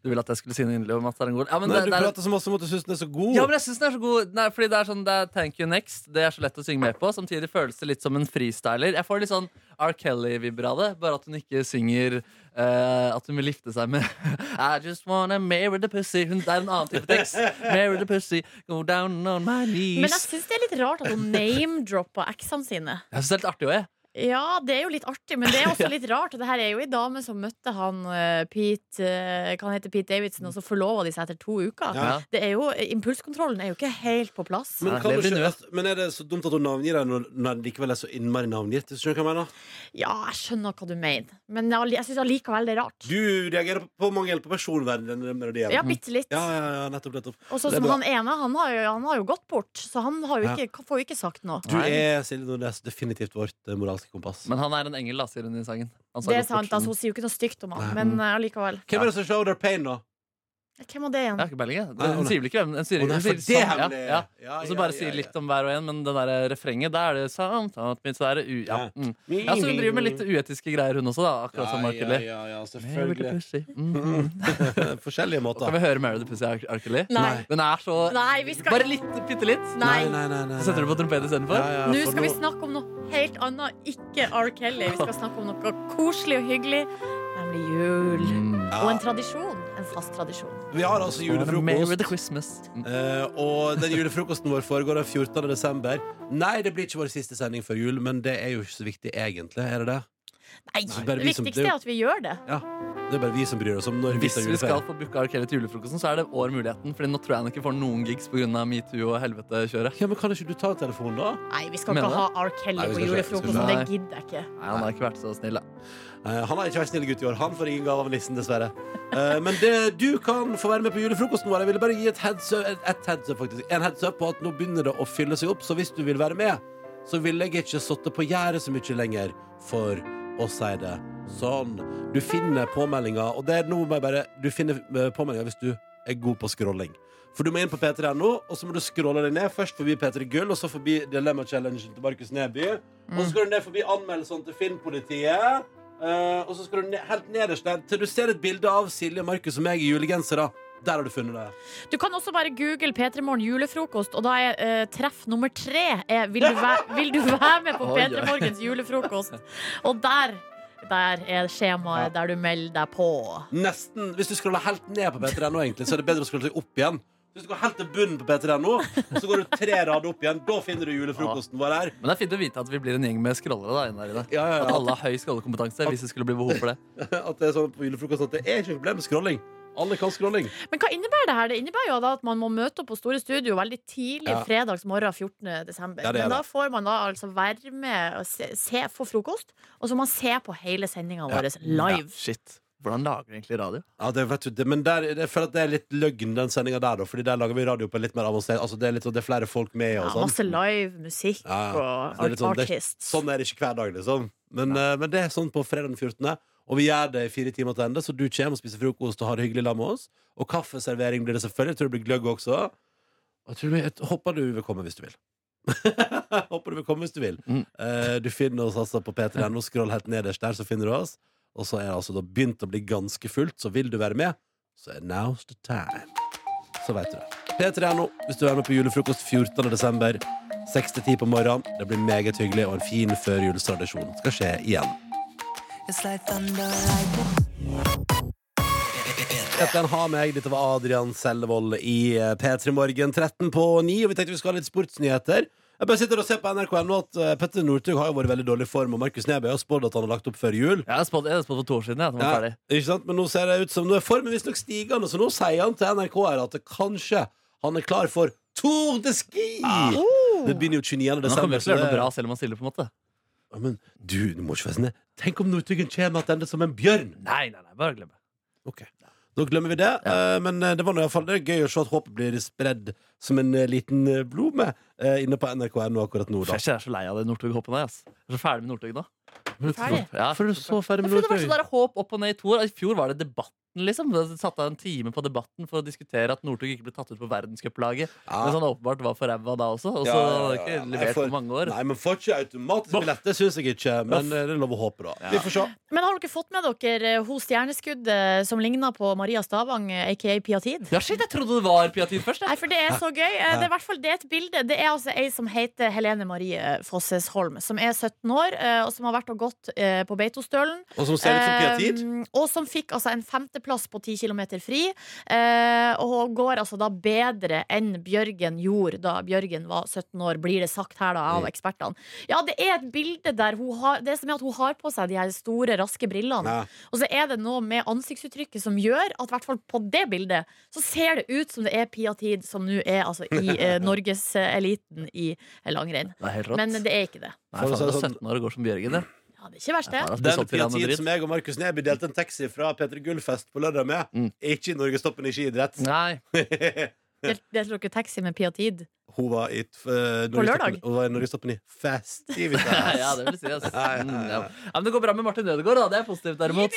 Speaker 4: Du ville at jeg skulle si noe inderlig om at det er en god ja, men
Speaker 3: Nei,
Speaker 4: det,
Speaker 3: du
Speaker 4: det er,
Speaker 3: prater så masse om at du syns den er så god.
Speaker 4: Ja, men jeg synes den er så god Nei, Fordi det er sånn, det er Thank You Next Det er så lett å synge med på Samtidig føles det litt som en freestyler Jeg får litt sånn R. Kelly-vibber av det Bare at hun ikke synger eh, At hun vil gifte seg med [laughs] I just wanna marry the pussy hun, Det er en annen type tekst Marry the pussy, go down on my knees
Speaker 2: Men jeg syns det er litt rart at
Speaker 4: [laughs]
Speaker 2: hun name-droppa eksene sine.
Speaker 4: Jeg synes det er litt artig også, jeg
Speaker 2: Ja, det er jo litt artig, men det er
Speaker 4: [laughs]
Speaker 2: også litt rart. Og det her er jo ei dame som møtte han eh, Pete eh, Hva han heter Pete Davidson, og så forlova de seg etter to uker.
Speaker 3: Ja.
Speaker 2: Det er jo, eh, Impulskontrollen er jo ikke helt på plass.
Speaker 3: Men,
Speaker 4: Ja,
Speaker 3: kan du
Speaker 4: lever i
Speaker 3: ikke, men er det så dumt at hun navngir deg når, når det likevel er så innmari navngitt? Hvis du skjønner hva jeg mener?
Speaker 2: Ja, jeg skjønner hva du mener, men jeg, jeg syns allikevel det er rart.
Speaker 3: Du reagerer på- på mangel på personvern i den melodien.
Speaker 2: Ja, bitte litt.
Speaker 3: ja, ja, ja, nettopp, nettopp.
Speaker 2: Og sånn
Speaker 3: Det
Speaker 2: som
Speaker 3: er bra.
Speaker 2: han ene, han har, jo, han har jo gått bort, så han har jo ikke, får jo ikke sagt noe.
Speaker 3: Du er Silje Nordnes definitivt vårt eh, moralske kompass.
Speaker 4: Men han er en engel da, sier hun i sangen Han sa
Speaker 2: Det er
Speaker 4: godt
Speaker 2: sant,
Speaker 4: fortsatt.
Speaker 2: altså, Hun sier jo ikke noe stygt om han, men eh, allikevel.
Speaker 3: Hvem er det som show their pain, da?
Speaker 2: Hvem var det
Speaker 4: Jeg
Speaker 2: igjen?
Speaker 4: har ikke peiling, jeg.
Speaker 3: Nei, å,
Speaker 4: Hun
Speaker 3: nei.
Speaker 4: sier vel ikke hvem Hun sier,
Speaker 3: Å, nei, for
Speaker 4: hun sier
Speaker 3: det er
Speaker 4: sånn,
Speaker 3: hemmelig.
Speaker 4: ja, ja.
Speaker 3: Ja,
Speaker 4: Og så
Speaker 3: ja,
Speaker 4: bare
Speaker 3: ja,
Speaker 4: sier
Speaker 3: ja.
Speaker 4: litt om hver og en Men det der refrenget, da er det sant at mitt, så er det u, ja.
Speaker 3: Ja.
Speaker 4: Mm. ja, så hun driver med litt uetiske greier hun også da Akkurat som Mark Kelly
Speaker 3: Ja, ja, ja,
Speaker 4: Mary the
Speaker 3: selvfølgelig.
Speaker 4: Pussy. Mm.
Speaker 3: Forskjellige
Speaker 4: Kan vi
Speaker 3: måter.
Speaker 4: høre Mary the Pussy av R. Kelly?
Speaker 2: Nei.
Speaker 4: Den er så
Speaker 2: Nei, vi skal
Speaker 4: Bare litt, bitte litt.
Speaker 2: Nei.
Speaker 3: nei, altså, nei.
Speaker 4: Så setter du på trompet istedenfor?
Speaker 3: Ja, ja,
Speaker 2: Nå
Speaker 3: for
Speaker 2: skal vi snakke om noe helt annet, ikke R. Kelly. Vi skal snakke om noe koselig og hyggelig, nemlig jul.
Speaker 3: Mm.
Speaker 2: Og en tradisjon. En fast tradisjon.
Speaker 3: Vi har altså
Speaker 4: Mary
Speaker 3: julefrokost.
Speaker 4: the Christmas. Mm.
Speaker 3: eh, og den julefrokosten vår foregår den 14. desember. Nei, det blir ikke vår siste sending før jul, men det er jo ikke så viktig egentlig. Er det det?
Speaker 2: Nei,
Speaker 3: Nei.
Speaker 2: det
Speaker 3: Bare vi som-
Speaker 2: viktigste er at vi gjør det.
Speaker 3: Ja. Det er bare vi som bryr oss om når vi
Speaker 4: Hvis
Speaker 3: tar
Speaker 4: vi skal
Speaker 3: juleferie.
Speaker 4: få booka R. Kelly til julefrokosten, så er det år muligheten. Fordi nå tror jeg han ikke får noen gigs pga. metoo og helvete-kjøret.
Speaker 3: Ja, men Kan ikke du ta telefonen, da?
Speaker 2: Nei, vi skal
Speaker 4: Mener
Speaker 2: ikke ha R. Kelly
Speaker 3: Nei, vi
Speaker 2: på
Speaker 3: skal ikke- vi
Speaker 2: julefrokosten.
Speaker 3: skal-
Speaker 2: Det
Speaker 4: Nei.
Speaker 2: gidder jeg ikke.
Speaker 4: Nei, han har ikke vært så snill, da.
Speaker 3: Eh, Han har ikke vært snill gutt i år. Han får ingen gave av nissen, dessverre. Eh, Men det, du kan få være med på julefrokosten vår. Jeg ville bare gi et heads up, et, et heads up faktisk. En heads up på at nå begynner det å fylle seg opp, så hvis du vil være med, så ville jeg ikke sittet på gjerdet så mye lenger for å si det sånn. Du finner påmeldinga, og det er nå må jeg bare Du finner eh, påmeldinga hvis du er god på scrolling. For du må inn på p3.no, og så må du scrolle deg ned. Først forbi P3 Gull, og så forbi Dilemma Challenge til Markus Neby. Og så skal du ned forbi anmeldelsene til Filmpolitiet. eh, og så skal du ned, helt nederst der til du ser et bilde av Silje, Markus og meg i julegensere. Der har du funnet det.
Speaker 2: Du kan også bare google P3 Morgen julefrokost, og da er eh, treff nummer tre er, vil, du væ- vil du være
Speaker 3: [laughs]
Speaker 2: med på
Speaker 4: Oi, oi.
Speaker 2: P3 Morgens julefrokost? Og der, der er skjemaet der du melder deg på.
Speaker 3: Nesten, Hvis du scroller helt ned på P3.no, egentlig, så er det bedre å scrolle seg opp igjen. Hvis du går helt til bunnen på P3.no, og så går du tre rader opp igjen, da finner du julefrokosten vår her.
Speaker 4: Men det er fint å vite at vi blir en gjeng med scrollere. da inne her i dag.
Speaker 3: Ja, ja,
Speaker 4: At
Speaker 3: ja.
Speaker 4: alle har høy scrollekompetanse hvis det skulle bli behov for det.
Speaker 3: [laughs] At det er sånn på julefrokosten at det er ikke noe problem med scrolling. Alle kan scrolling.
Speaker 2: Men hva innebærer det her? Det innebærer jo da at man må møte opp på Store Studio veldig tidlig
Speaker 3: Ja.
Speaker 2: fredags morgen 14. desember.
Speaker 3: Ja, det er
Speaker 2: Men da
Speaker 3: det.
Speaker 2: får man da altså være med og se, se, få frokost, og så må man se på hele sendinga vår
Speaker 4: Ja,
Speaker 2: live.
Speaker 4: shit. Hvordan lager du egentlig radio?
Speaker 3: Ja, det vet du, det, men der, jeg føler at det er litt løgn, den sendinga der, da. Fordi der lager vi radio på litt mer avansert Altså, det er litt sånn, det er flere folk med
Speaker 2: Ja,
Speaker 3: og sånn.
Speaker 2: masse live musikk
Speaker 3: Ja, ja. Så
Speaker 2: og
Speaker 3: det er litt
Speaker 2: art
Speaker 3: sånn, det er-
Speaker 2: artists.
Speaker 3: Sånn er det ikke hver dag, liksom. Men, eh, men det er sånn på fredag den 14. Og vi gjør det i fire timer til ende, så du kommer og spiser frokost og har det hyggelig sammen med oss. Og kaffeservering blir det selvfølgelig. Jeg tror det blir gløgg også. Og Jeg, tror du, jeg håper du vil komme hvis du vil. [laughs] håper du vil komme hvis du vil.
Speaker 4: Mm.
Speaker 3: Eh, du finner oss altså på p3.no. Scroll helt nederst der, så finner du oss. Og så er det altså da begynt å bli ganske fullt, så vil du være med, så er now's the time. Så vet du det. P3.no hvis du er med på julefrokost 14. desember. Seks til ti på morgenen. Det blir meget hyggelig og en fin førjulstradisjon. Skal skje igjen. Kaptein Ha meg, dette var Adrian Sellevold i eh, P3 Morgen 13 på 9, og vi tenkte vi skulle ha litt sportsnyheter. Jeg bare sitter og ser på NRK nå at eh, Petter Northug har jo vært i veldig dårlig form, og Markus Neby har spådd at han har lagt opp før jul.
Speaker 4: Jeg hadde spådd jeg hadde spådd for to år siden. Jeg, at han var
Speaker 3: Ja,
Speaker 4: ferdig
Speaker 3: ikke sant? Men nå ser det ut som nå er formen visstnok stigende, så nå sier han til NRK her at det kanskje han er klar for Tour de Ski!
Speaker 4: Ah.
Speaker 3: Det begynner jo 29.
Speaker 4: Men han
Speaker 3: desember.
Speaker 4: kommer jo til å
Speaker 3: så
Speaker 4: gjøre
Speaker 3: det-
Speaker 4: noe bra selv om han stiller. på en måte
Speaker 3: Ja, men du, du må ikke være sånn. Tenk om Northugen kommer tilbake som en bjørn!
Speaker 4: Nei, nei, nei, bare glem det.
Speaker 3: Da glemmer vi det. Eh, Men eh, det var nå i hvert fall det er gøy å se at håpet blir spredd som en eh, liten eh, blome eh, inne på NRK.no akkurat nå.
Speaker 4: For
Speaker 3: da
Speaker 4: Jeg er så lei av det Northug-hoppet nå. ass. Jeg er så ferdig med Northug nå.
Speaker 2: Ferdig?
Speaker 4: Ja.
Speaker 3: For du er så ferdig
Speaker 4: Jeg
Speaker 3: med
Speaker 4: føler det var
Speaker 3: Northug.
Speaker 4: sånn der håp opp og ned i to år. I fjor var det debatten, liksom. Da satte jeg en time på debatten for å diskutere at Northug ikke ble tatt ut på verdenscuplaget.
Speaker 3: Ja.
Speaker 4: Mens han åpenbart var for ræva da også. Og så
Speaker 3: Ja, ja, ja,
Speaker 4: har han
Speaker 3: ja.
Speaker 4: ikke
Speaker 3: Nei,
Speaker 4: levert
Speaker 3: for-
Speaker 4: på mange år.
Speaker 3: Nei, men får ikke automatisk billett, det syns jeg ikke. Men eh, det er lov å håpe, da. Vi får se.
Speaker 2: Men har dere fått med dere eh, hun stjerneskuddet som ligna på Maria Stavang, eh, aka Pia Tid?
Speaker 4: Ja, shit, jeg trodde det var Piatin først. jeg.
Speaker 2: Nei, for det er så gøy. Eh, Det er i hvert fall det er et bilde. Det er altså ei som heter Helene Marie Fossesholm, som er 17 år, eh, og som har vært og gått eh, på Beitostølen.
Speaker 3: Og som ser ut som Pia Tid.
Speaker 2: Eh, og som fikk altså en femteplass på 10 km fri. Eh, og går altså da bedre enn Bjørgen gjorde da Bjørgen var 17 år, blir det sagt her da av ekspertene. Ja, det er et bilde der hun har Det som er at hun har på seg de her store, raske brillene.
Speaker 3: Ja.
Speaker 2: Og så er det noe med ansiktsuttrykket som gjør at i hvert fall på det bildet så ser det ut som det er Pia Tid som nå er altså i
Speaker 4: [laughs]
Speaker 2: eh, norgeseliten i eh, langrenn.
Speaker 4: Det er helt rått.
Speaker 2: Men det er ikke det.
Speaker 4: Nei, faen, det er
Speaker 3: sånn-
Speaker 4: 17 år og går som Bjørgen, det.
Speaker 2: Ja, det er ikke verst, det.
Speaker 4: Faen, ass, det
Speaker 3: Den
Speaker 4: solgte Real
Speaker 3: Piatin
Speaker 4: Madrid.
Speaker 3: som jeg og Markus Neby delte en taxi fra Peter Gullfest på lørdag med,
Speaker 4: Mm.
Speaker 3: er ikke i Norgestoppen i skiidrett.
Speaker 4: Nei.
Speaker 2: Del- Delte dere taxi med Pia Tid?
Speaker 3: [laughs] Hun var i, eh, Norgestoppen-
Speaker 2: lørdag?
Speaker 3: hun var i Norgestoppen i festivitas.
Speaker 4: [laughs] ja, det vil si, ass.
Speaker 3: Ja, ja,
Speaker 4: Mm,
Speaker 3: ja.
Speaker 4: ja. Ja, men det går bra med Martin Ødegaard, da. Det er positivt, derimot.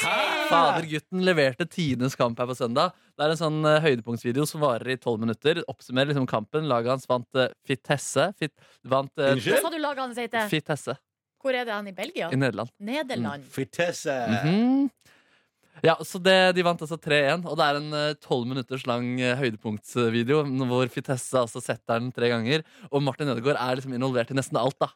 Speaker 4: Fadergutten leverte tidenes kamp her på søndag. Det er en sånn eh, høydepunktsvideo som varer i tolv minutter. Oppsummerer liksom kampen. Laget hans vant eh, Fitesse. Fit, vant eh,
Speaker 3: Unnskyld?
Speaker 2: Hva sa du laget hans heter?
Speaker 4: Fitesse
Speaker 2: Hvor er det han i Belgia?
Speaker 4: i Nederland.
Speaker 2: Nederland.
Speaker 4: Mm.
Speaker 3: Fritesse.
Speaker 4: Mhm. Ja, så det, De vant altså 3-1, og det er en eh, tolv minutters lang eh, høydepunktsvideo n- hvor Fitesse altså setter den tre ganger, og Martin Ødegaard er liksom involvert i nesten alt. da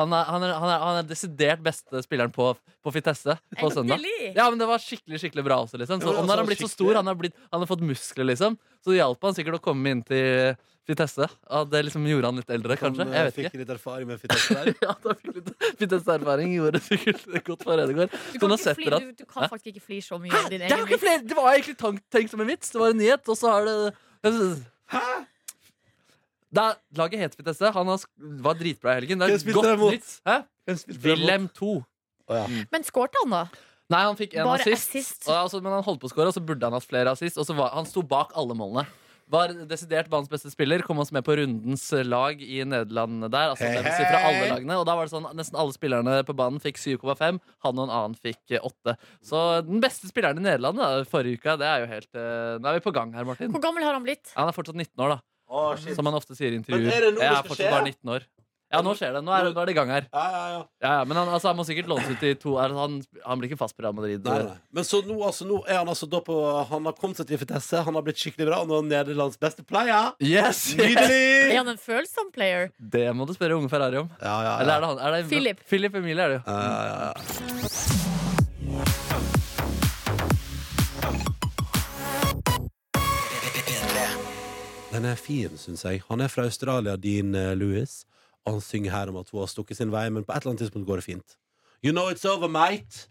Speaker 4: Han er, han er, han er, han er desidert beste spilleren på, på Fitesse på søndag.
Speaker 2: Endelig!
Speaker 4: Ja, men det var skikkelig skikkelig bra også, liksom.
Speaker 3: Jo,
Speaker 4: Så,
Speaker 3: altså,
Speaker 4: og nå har han blitt så
Speaker 3: skikkelig-
Speaker 4: stor, han har, blitt, han har fått muskler, liksom. Så det hjalp han sikkert å komme inn til Fitesse. Ja, det liksom gjorde han litt eldre, kanskje.
Speaker 3: Han, eh,
Speaker 4: Jeg vet
Speaker 3: fikk
Speaker 4: ikke. [laughs]
Speaker 3: litt erfaring med Fritesse der.
Speaker 4: Ja, da fikk litt, Fitesse-erfaring gjorde sikkert godt for Ødegaard.
Speaker 2: Du
Speaker 4: Så
Speaker 2: kan,
Speaker 4: nå
Speaker 2: ikke fly,
Speaker 4: setter han
Speaker 2: du, du kan faktisk ikke fly så mye av din
Speaker 4: det, er jo
Speaker 2: egen
Speaker 4: ikke
Speaker 2: vits.
Speaker 4: flere, det var egentlig tank, tenkt som en vits. Det var en nyhet, og så er det Det er- laget het Fitesse. Han har, sk- var dritbra i helgen. Det
Speaker 3: Hvem
Speaker 4: er
Speaker 3: spilte
Speaker 4: godt
Speaker 3: de mot?
Speaker 4: nytt. Hæ?
Speaker 3: Hvem spilte de mot?
Speaker 4: Wilhelm 2.
Speaker 3: Å, ja.
Speaker 2: Men skårte han, da?
Speaker 4: Nei, han fikk en
Speaker 2: Bare
Speaker 4: assist.
Speaker 2: assist.
Speaker 4: Og, altså, men han holdt på å score, og så burde han hatt flere assist. Og så var, han sto bak alle målene. Var desidert banens beste spiller. Kom oss med på rundens lag i Nederland der. Altså, det vil si fra alle lagene Og da var det sånn Nesten alle spillerne på banen fikk 7,5. Han og en annen fikk eh, 8. Så den beste spilleren i Nederland da, forrige uka, det er jo helt eh, Nå er vi på gang her, Martin.
Speaker 2: Hvor gammel har han blitt?
Speaker 4: Han er fortsatt 19 år, da.
Speaker 3: Å, shit.
Speaker 4: Som han ofte sier i intervjuer.
Speaker 3: Men er det noe
Speaker 4: jeg
Speaker 3: som
Speaker 4: er
Speaker 3: skal
Speaker 4: fortsatt
Speaker 3: skje?
Speaker 4: bare 19 år. Ja, nå skjer det. Nå er, nå er det i gang her.
Speaker 3: Ja, ja, ja.
Speaker 4: Ja, ja, men han, altså, han må sikkert lånes ut i to er, han, han blir ikke fast på Real Madrid.
Speaker 3: Nei, nei. Men så nå, altså, nå er han altså da på Han har kommet seg til Fritesse, han har blitt skikkelig bra, og nå er han Nederlands beste
Speaker 4: [laughs]
Speaker 3: player.
Speaker 4: Yes!
Speaker 2: Er
Speaker 3: Nydelig!
Speaker 2: han en følsom player?
Speaker 4: [laughs] Det må du spørre unge Ferrari om.
Speaker 3: Ja, ja, ja.
Speaker 4: Eller er det han? Er det
Speaker 2: Philip.
Speaker 4: Philip Emilie er det jo.
Speaker 3: Ja, ja, ja. Den er fin, syns jeg. Han er fra Australia, din eh, Louis. Og han synger her om at hun har stukket sin vei, men på et eller annet tidspunkt går det fint. You know it's over, mate.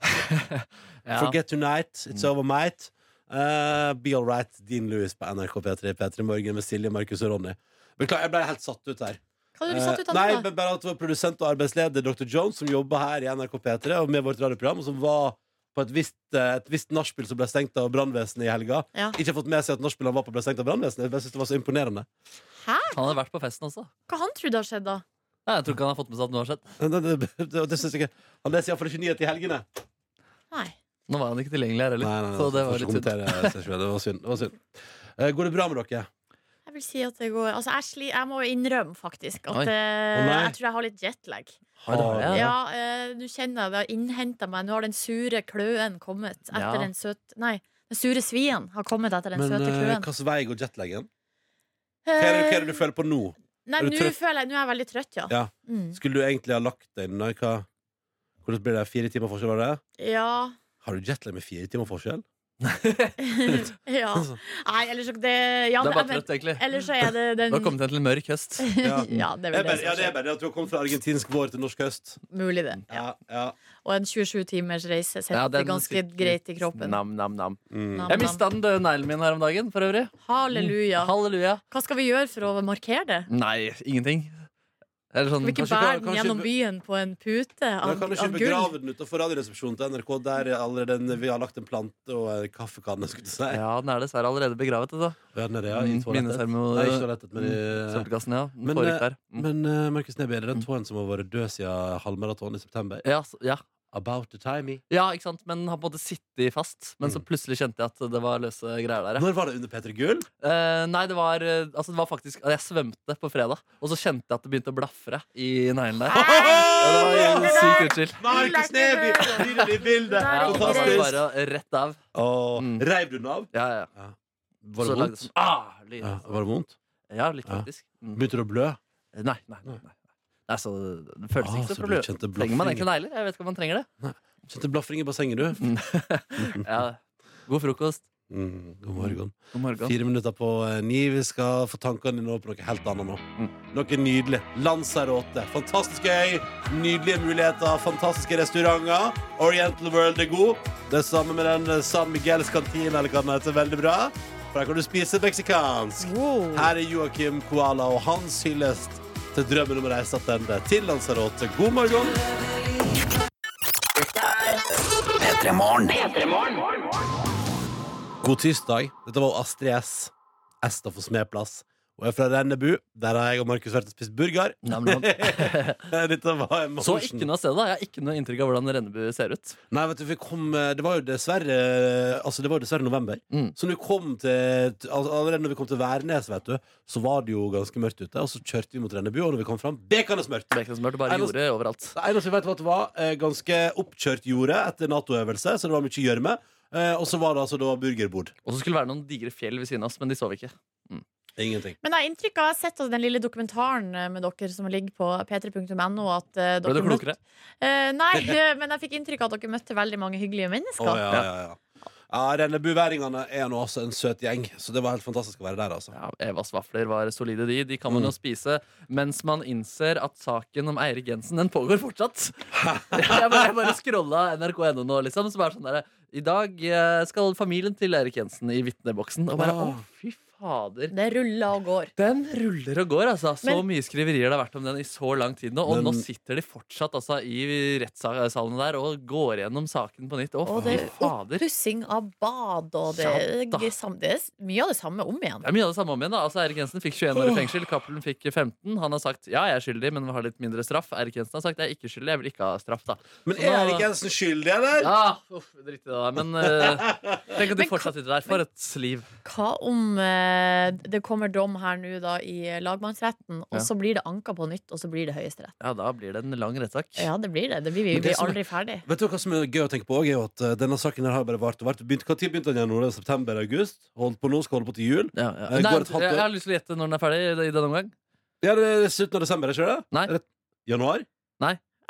Speaker 4: Ja.
Speaker 3: Forget tonight. It's over, mate. Eh, be all right, Dean Lewis på NRK P3 P3 Morgen med Silje, Markus og Ronny. Beklager, jeg ble helt satt ut her.
Speaker 2: Hva hadde du satt ut
Speaker 3: Eh,
Speaker 2: av
Speaker 3: Nei,
Speaker 2: det? da?
Speaker 3: men bare at det var produsent og arbeidsleder Dr. Jones som jobba her i NRK P3 og med vårt radioprogram, og som var på et visst, eh, et visst nachspiel som ble stengt av brannvesenet i helga.
Speaker 2: Ja.
Speaker 3: Ikke har fått med seg at nachspielet han var på, ble stengt av brannvesenet. Jeg synes det var så imponerende. [laughs]
Speaker 2: Hæ?
Speaker 4: Han har vært på festen også.
Speaker 2: Hva han trodde har skjedd, da?
Speaker 4: Nei, jeg tror ikke han har fått med seg at noe har skjedd.
Speaker 3: Det, det, det, det, det synes jeg ikke. Han leser iallfall ikke nyhet i helgene.
Speaker 2: Nei.
Speaker 4: Nå var han ikke tilgjengelig her heller. så det var litt synd.
Speaker 3: synd. Det var synd. Det var synd. Eh, går det bra med dere?
Speaker 2: Jeg vil si at det går Altså, jeg, sli, jeg må innrømme, faktisk,
Speaker 4: Oi.
Speaker 2: at eh,
Speaker 3: Å, nei.
Speaker 2: jeg tror jeg har litt jetlag.
Speaker 4: Oi, det har jeg,
Speaker 2: Ja, eh, nå kjenner jeg det har innhenta meg. Nå har den sure kløen kommet etter
Speaker 4: Ja.
Speaker 2: den søte Nei, den sure svien har kommet etter den
Speaker 3: Men
Speaker 2: søte
Speaker 3: eh,
Speaker 2: kløen.
Speaker 3: hvilken vei går jetlagen? Hva er, det, hva er det du føler på nå?
Speaker 2: Eh, Nei,
Speaker 3: Er du
Speaker 2: nå
Speaker 3: trøtt?
Speaker 2: føler jeg Nå er jeg veldig trøtt, ja.
Speaker 3: Ja.
Speaker 2: Mm.
Speaker 3: Skulle du egentlig ha lagt deg nå? Hva? Hvordan blir det? Fire timer forskjell? Var det?
Speaker 2: Ja.
Speaker 3: Har du jetlag med fire timer forskjell?
Speaker 2: ja.
Speaker 3: [laughs] Altså.
Speaker 2: Nei, ellers så det ja,
Speaker 4: Det er bare
Speaker 2: men-
Speaker 4: trøtt, egentlig.
Speaker 2: Ellers så er det
Speaker 3: [laughs]
Speaker 4: Du
Speaker 2: den
Speaker 4: har kommet til en mørk høst.
Speaker 2: Ja, [laughs] det er
Speaker 3: Det
Speaker 2: vel
Speaker 3: er bare,
Speaker 2: det
Speaker 3: ja,
Speaker 2: som
Speaker 3: det er
Speaker 2: skjer.
Speaker 3: bare det at du har kommet fra argentinsk vår til norsk høst.
Speaker 2: Mulig, det.
Speaker 3: Ja, ja.
Speaker 2: Og en 27 timers reise
Speaker 4: Ja,
Speaker 2: setter
Speaker 4: den
Speaker 2: ganske
Speaker 4: sitter-
Speaker 2: greit i kroppen.
Speaker 4: Nam, nam, nam.
Speaker 3: Mm.
Speaker 2: Nam,
Speaker 4: Jeg
Speaker 2: nam.
Speaker 4: mista den døde neglen min her om dagen, for øvrig.
Speaker 2: Halleluja.
Speaker 4: Halleluja.
Speaker 2: Hva skal vi gjøre for å markere det?
Speaker 4: Nei, ingenting. Eller sånn
Speaker 2: Skal vi ikke
Speaker 3: Kanskje-
Speaker 2: bære den
Speaker 3: kanskje-
Speaker 2: gjennom byen på en pute
Speaker 3: Men
Speaker 2: av,
Speaker 3: kan du ikke
Speaker 2: av gull?
Speaker 3: begrave den utenfor radioresepsjonen til NRK? Der er allerede en, vi har lagt en plante og en kaffekanne. skulle jeg si.
Speaker 4: Ja, den er dessverre allerede begravet. Altså.
Speaker 3: Ja, den er det, ja, i
Speaker 4: Mm,
Speaker 3: toalettet.
Speaker 4: minneseremo-
Speaker 3: Nei, ikke toalettet, men i,
Speaker 4: Sølvkassen, ja. Den
Speaker 3: Men,
Speaker 4: foregikk
Speaker 3: eh,
Speaker 4: der. Mm.
Speaker 3: Men eh, Markus Neby, er det den tåen som har vært død siden halvmaraton i september?
Speaker 4: Ja, s- ja.
Speaker 3: About the timey.
Speaker 4: ja, ikke sant? Men den har på en måte sittet fast. Men så
Speaker 3: Mm.
Speaker 4: plutselig kjente jeg at det var løse greier der. Ja.
Speaker 3: Når var det under Peter Gull?
Speaker 4: Eh, nei, det var, eh, altså, det var faktisk Jeg svømte på fredag, og så kjente jeg at det begynte å blafre i neglen der. [laughs] Ja, det var jo sykt utskilt.
Speaker 3: Markus Neby! Dyret i bildet!
Speaker 4: Ja, og da var det
Speaker 3: Fantastisk!
Speaker 4: bare rett av.
Speaker 3: Og
Speaker 4: Mm.
Speaker 3: reiv du den av?
Speaker 4: Ja, ja, ja.
Speaker 3: Var
Speaker 4: Så
Speaker 3: det
Speaker 4: lagde
Speaker 3: vondt?
Speaker 4: jeg sånn, Ah, lyd.
Speaker 3: Ja, var det vondt?
Speaker 4: Ja, litt
Speaker 3: Ja.
Speaker 4: faktisk. Mm.
Speaker 3: Begynte du å blø?
Speaker 4: Nei, nei, nei, nei. nei så det føles
Speaker 3: Ah, så
Speaker 4: ikke så
Speaker 3: du
Speaker 4: problem.
Speaker 3: kjente
Speaker 4: Trenger man
Speaker 3: blaffing.
Speaker 4: egentlig negler? Jeg vet ikke om man trenger det.
Speaker 3: Kjente blafring i bassenget, du?
Speaker 4: Ja. God frokost.
Speaker 3: Mm, god morgen.
Speaker 4: God morgen.
Speaker 3: Fire minutter på eh, ni. Vi skal få tankene dine over på noe helt annet nå. Noe nydelig. Lanzarote. Fantastisk gøy. Nydelige muligheter. Fantastiske restauranter. Oriental World er god. Det samme med den eh, San Miguels kantina, eller hva den heter. Veldig bra. For der kan du spise meksikansk.
Speaker 2: Wow.
Speaker 3: Her er Joakim Koala og hans hyllest til drømmen om å reise tilbake til Lanzarote. God morgen. God tirsdag. Dette var Astrid S. Esta for smeplass. Og jeg er fra Rennebu. Der har jeg og Markus vært og spist burger. [laughs]
Speaker 4: Nam, nam.
Speaker 3: Dette var emotion.
Speaker 4: Så ikke noe av stedet. da. Jeg har ikke noe inntrykk av hvordan Rennebu ser ut.
Speaker 3: Nei, vet du, vi kom, eh, det var jo dessverre Altså, det var jo dessverre november.
Speaker 4: Mm.
Speaker 3: Så når vi kom til til- al- Allerede når vi kom til Værnes, vet du, så var det jo ganske mørkt ute. Og så kjørte vi mot Rennebu, og når vi kom fram, bekende mørkt!
Speaker 4: Baconsmør
Speaker 3: Er
Speaker 4: bare
Speaker 3: det-
Speaker 4: gjorde overalt.
Speaker 3: Det eneste vi vet, var at det var eh, ganske oppkjørt jorde etter Nato-øvelse, så det var mye gjørme. Eh, og så var det altså da burgerbord.
Speaker 4: Og så skulle det være noen digre fjell ved siden av oss, men de så vi ikke.
Speaker 3: Ingenting.
Speaker 2: Men jeg har inntrykk av, jeg har sett altså, den lille dokumentaren eh, med dere som ligger på p3.no at eh,
Speaker 4: Ble
Speaker 2: dere
Speaker 4: du klokere?
Speaker 2: møtte- Eh, nei, eh, men jeg fikk inntrykk av at dere møtte veldig mange hyggelige mennesker.
Speaker 3: Å, ja, ja, ja. ja Rennebuværingene er nå også en søt gjeng, så det var helt fantastisk å være der, altså.
Speaker 4: Ja, Evas vafler var solide, de. De kan man jo
Speaker 2: Mm.
Speaker 4: spise mens man innser at saken om Eirik Jensen, den pågår fortsatt. [laughs] Jeg bare, jeg bare scrolla nrk.no nå, liksom. Så bare sånn der, I dag eh, skal familien til Eirik Jensen i vitneboksen. Og bare å,
Speaker 3: Ah.
Speaker 4: fy fader.
Speaker 2: Det ruller og går.
Speaker 4: Den ruller og går, altså. Så
Speaker 2: Men-
Speaker 4: mye skriverier det har vært om den i så lang tid nå. Og
Speaker 3: Men-
Speaker 4: nå sitter de fortsatt altså, i rettssalene der og går gjennom saken på nytt. Å,
Speaker 2: Og
Speaker 4: fy
Speaker 2: det er
Speaker 4: fader.
Speaker 2: oppussing av bad, og det,
Speaker 4: Ja, da.
Speaker 2: det, er sam- det er mye av det samme om igjen.
Speaker 4: Det er mye av det samme om igjen. da Altså Erik Jensen fikk 21 år i fengsel, Cappelen fikk 15. Han har sagt ja, jeg er skyldig, men vil ha litt mindre straff. Erik Jensen har sagt jeg er ikke skyldig, jeg vil ikke ha straff. da
Speaker 3: Men er Erik Jensen skyldig, eller?
Speaker 4: Ja, uff, drit i det, da. Men eh, tenk at de
Speaker 2: Men
Speaker 4: fortsatt sitter der. For et liv.
Speaker 2: Hva om eh, det kommer dom her nå da i eh, lagmannsretten, og
Speaker 4: Ja.
Speaker 2: så blir det anka på nytt, og så blir det høyesterett?
Speaker 4: Ja, da blir det en lang rettssak.
Speaker 2: Ja, det blir det. Det blir vi vi
Speaker 3: Men det
Speaker 2: blir
Speaker 3: som er-
Speaker 2: aldri ferdig.
Speaker 3: Vet du hva som er gøy å tenke på òg, er jo at eh, denne saken her har bare vart og vart. Begynt- Når begynte den? Januar, september, august? Holdt på nå, skal holde på til jul?
Speaker 4: Ja, ja.
Speaker 3: Eh, går
Speaker 4: Nei, jeg,
Speaker 3: et halvt år?
Speaker 4: jeg har lyst til å gjette når den er ferdig i, i denne omgang.
Speaker 3: Ja, det er slutten av desember, ikke det?
Speaker 4: Nei.
Speaker 3: Rett- Januar?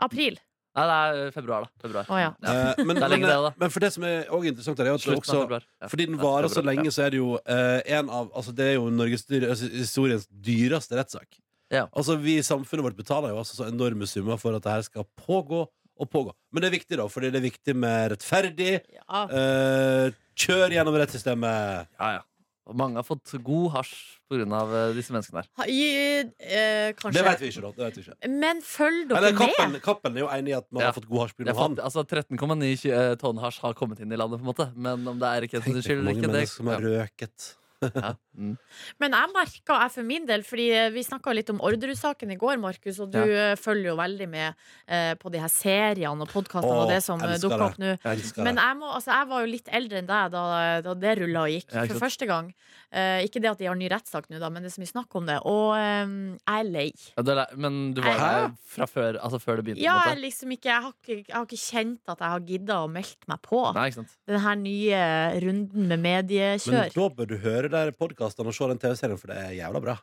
Speaker 2: April.
Speaker 4: Nei, det er februar, da. Februar.
Speaker 2: Å ja.
Speaker 3: Eh,
Speaker 4: [laughs]
Speaker 3: men,
Speaker 4: Det er
Speaker 3: men,
Speaker 4: lenge det, da.
Speaker 3: men for det som er også interessant, her, er at det
Speaker 4: Slutten av
Speaker 3: også
Speaker 4: februar. Ja.
Speaker 3: Fordi den
Speaker 4: Ja,
Speaker 3: varer så
Speaker 4: februar,
Speaker 3: lenge, så er det jo eh, en av Altså, det er jo Norges dyr, altså, historiens dyreste rettssak.
Speaker 4: Ja.
Speaker 3: Altså, vi i samfunnet vårt betaler jo altså så enorme summer for at det her skal pågå og pågå. Men det er viktig, da, fordi det er viktig med rettferdig.
Speaker 2: Ja.
Speaker 3: eh, kjør gjennom rettssystemet.
Speaker 4: Ja, ja. Og mange har fått god hasj pga. eh, disse menneskene her.
Speaker 2: Ha- i- eh,
Speaker 3: Det vet
Speaker 2: kanskje.
Speaker 3: vi ikke, da. Det vet vi ikke.
Speaker 2: Men følg dere
Speaker 3: Eller
Speaker 2: med.
Speaker 3: Cappelen Cappelen er jo enig i at man
Speaker 4: Ja.
Speaker 3: har fått god hasj
Speaker 4: Det
Speaker 3: pga.
Speaker 4: er
Speaker 3: han.
Speaker 4: fattig, altså 13,9 eh, tonn hasj har kommet inn i landet, på en måte. Men om det er Erik Jensens skyld eller
Speaker 3: mange
Speaker 4: ikke, det
Speaker 3: mennesker som har røket.
Speaker 4: ja. Mm.
Speaker 2: Men jeg merka jeg for min del, fordi eh, vi snakka litt om Orderud-saken i går, Markus, og du eh, følger jo veldig med eh, på de her seriene og podkastene
Speaker 3: Å,
Speaker 2: og det som eh,
Speaker 3: elsker
Speaker 2: dukker opp nå.
Speaker 3: Jeg elsker
Speaker 2: Men
Speaker 3: det.
Speaker 2: jeg, må, altså, jeg var jo litt eldre enn deg da, da det rulla og gikk
Speaker 4: Ja, ikke
Speaker 2: for
Speaker 4: sant.
Speaker 2: første gang. Eh, ikke det at de har ny rettssak nå, da, men det er så mye snakk om det. Og eh, jeg er lei.
Speaker 4: Ja, du er lei- men du var
Speaker 3: Hæ?
Speaker 4: der fra før, altså før det begynte?
Speaker 2: Ja,
Speaker 4: på en
Speaker 2: jeg,
Speaker 4: måte.
Speaker 2: liksom ikke, jeg, har ikke, jeg har ikke kjent at jeg har gidda å melde meg på
Speaker 4: Nei, ikke sant?
Speaker 2: den her nye runden med
Speaker 3: Men
Speaker 2: mediekjør.
Speaker 3: da bør du høre der podkastene og se den TV-serien, for det er jævla bra.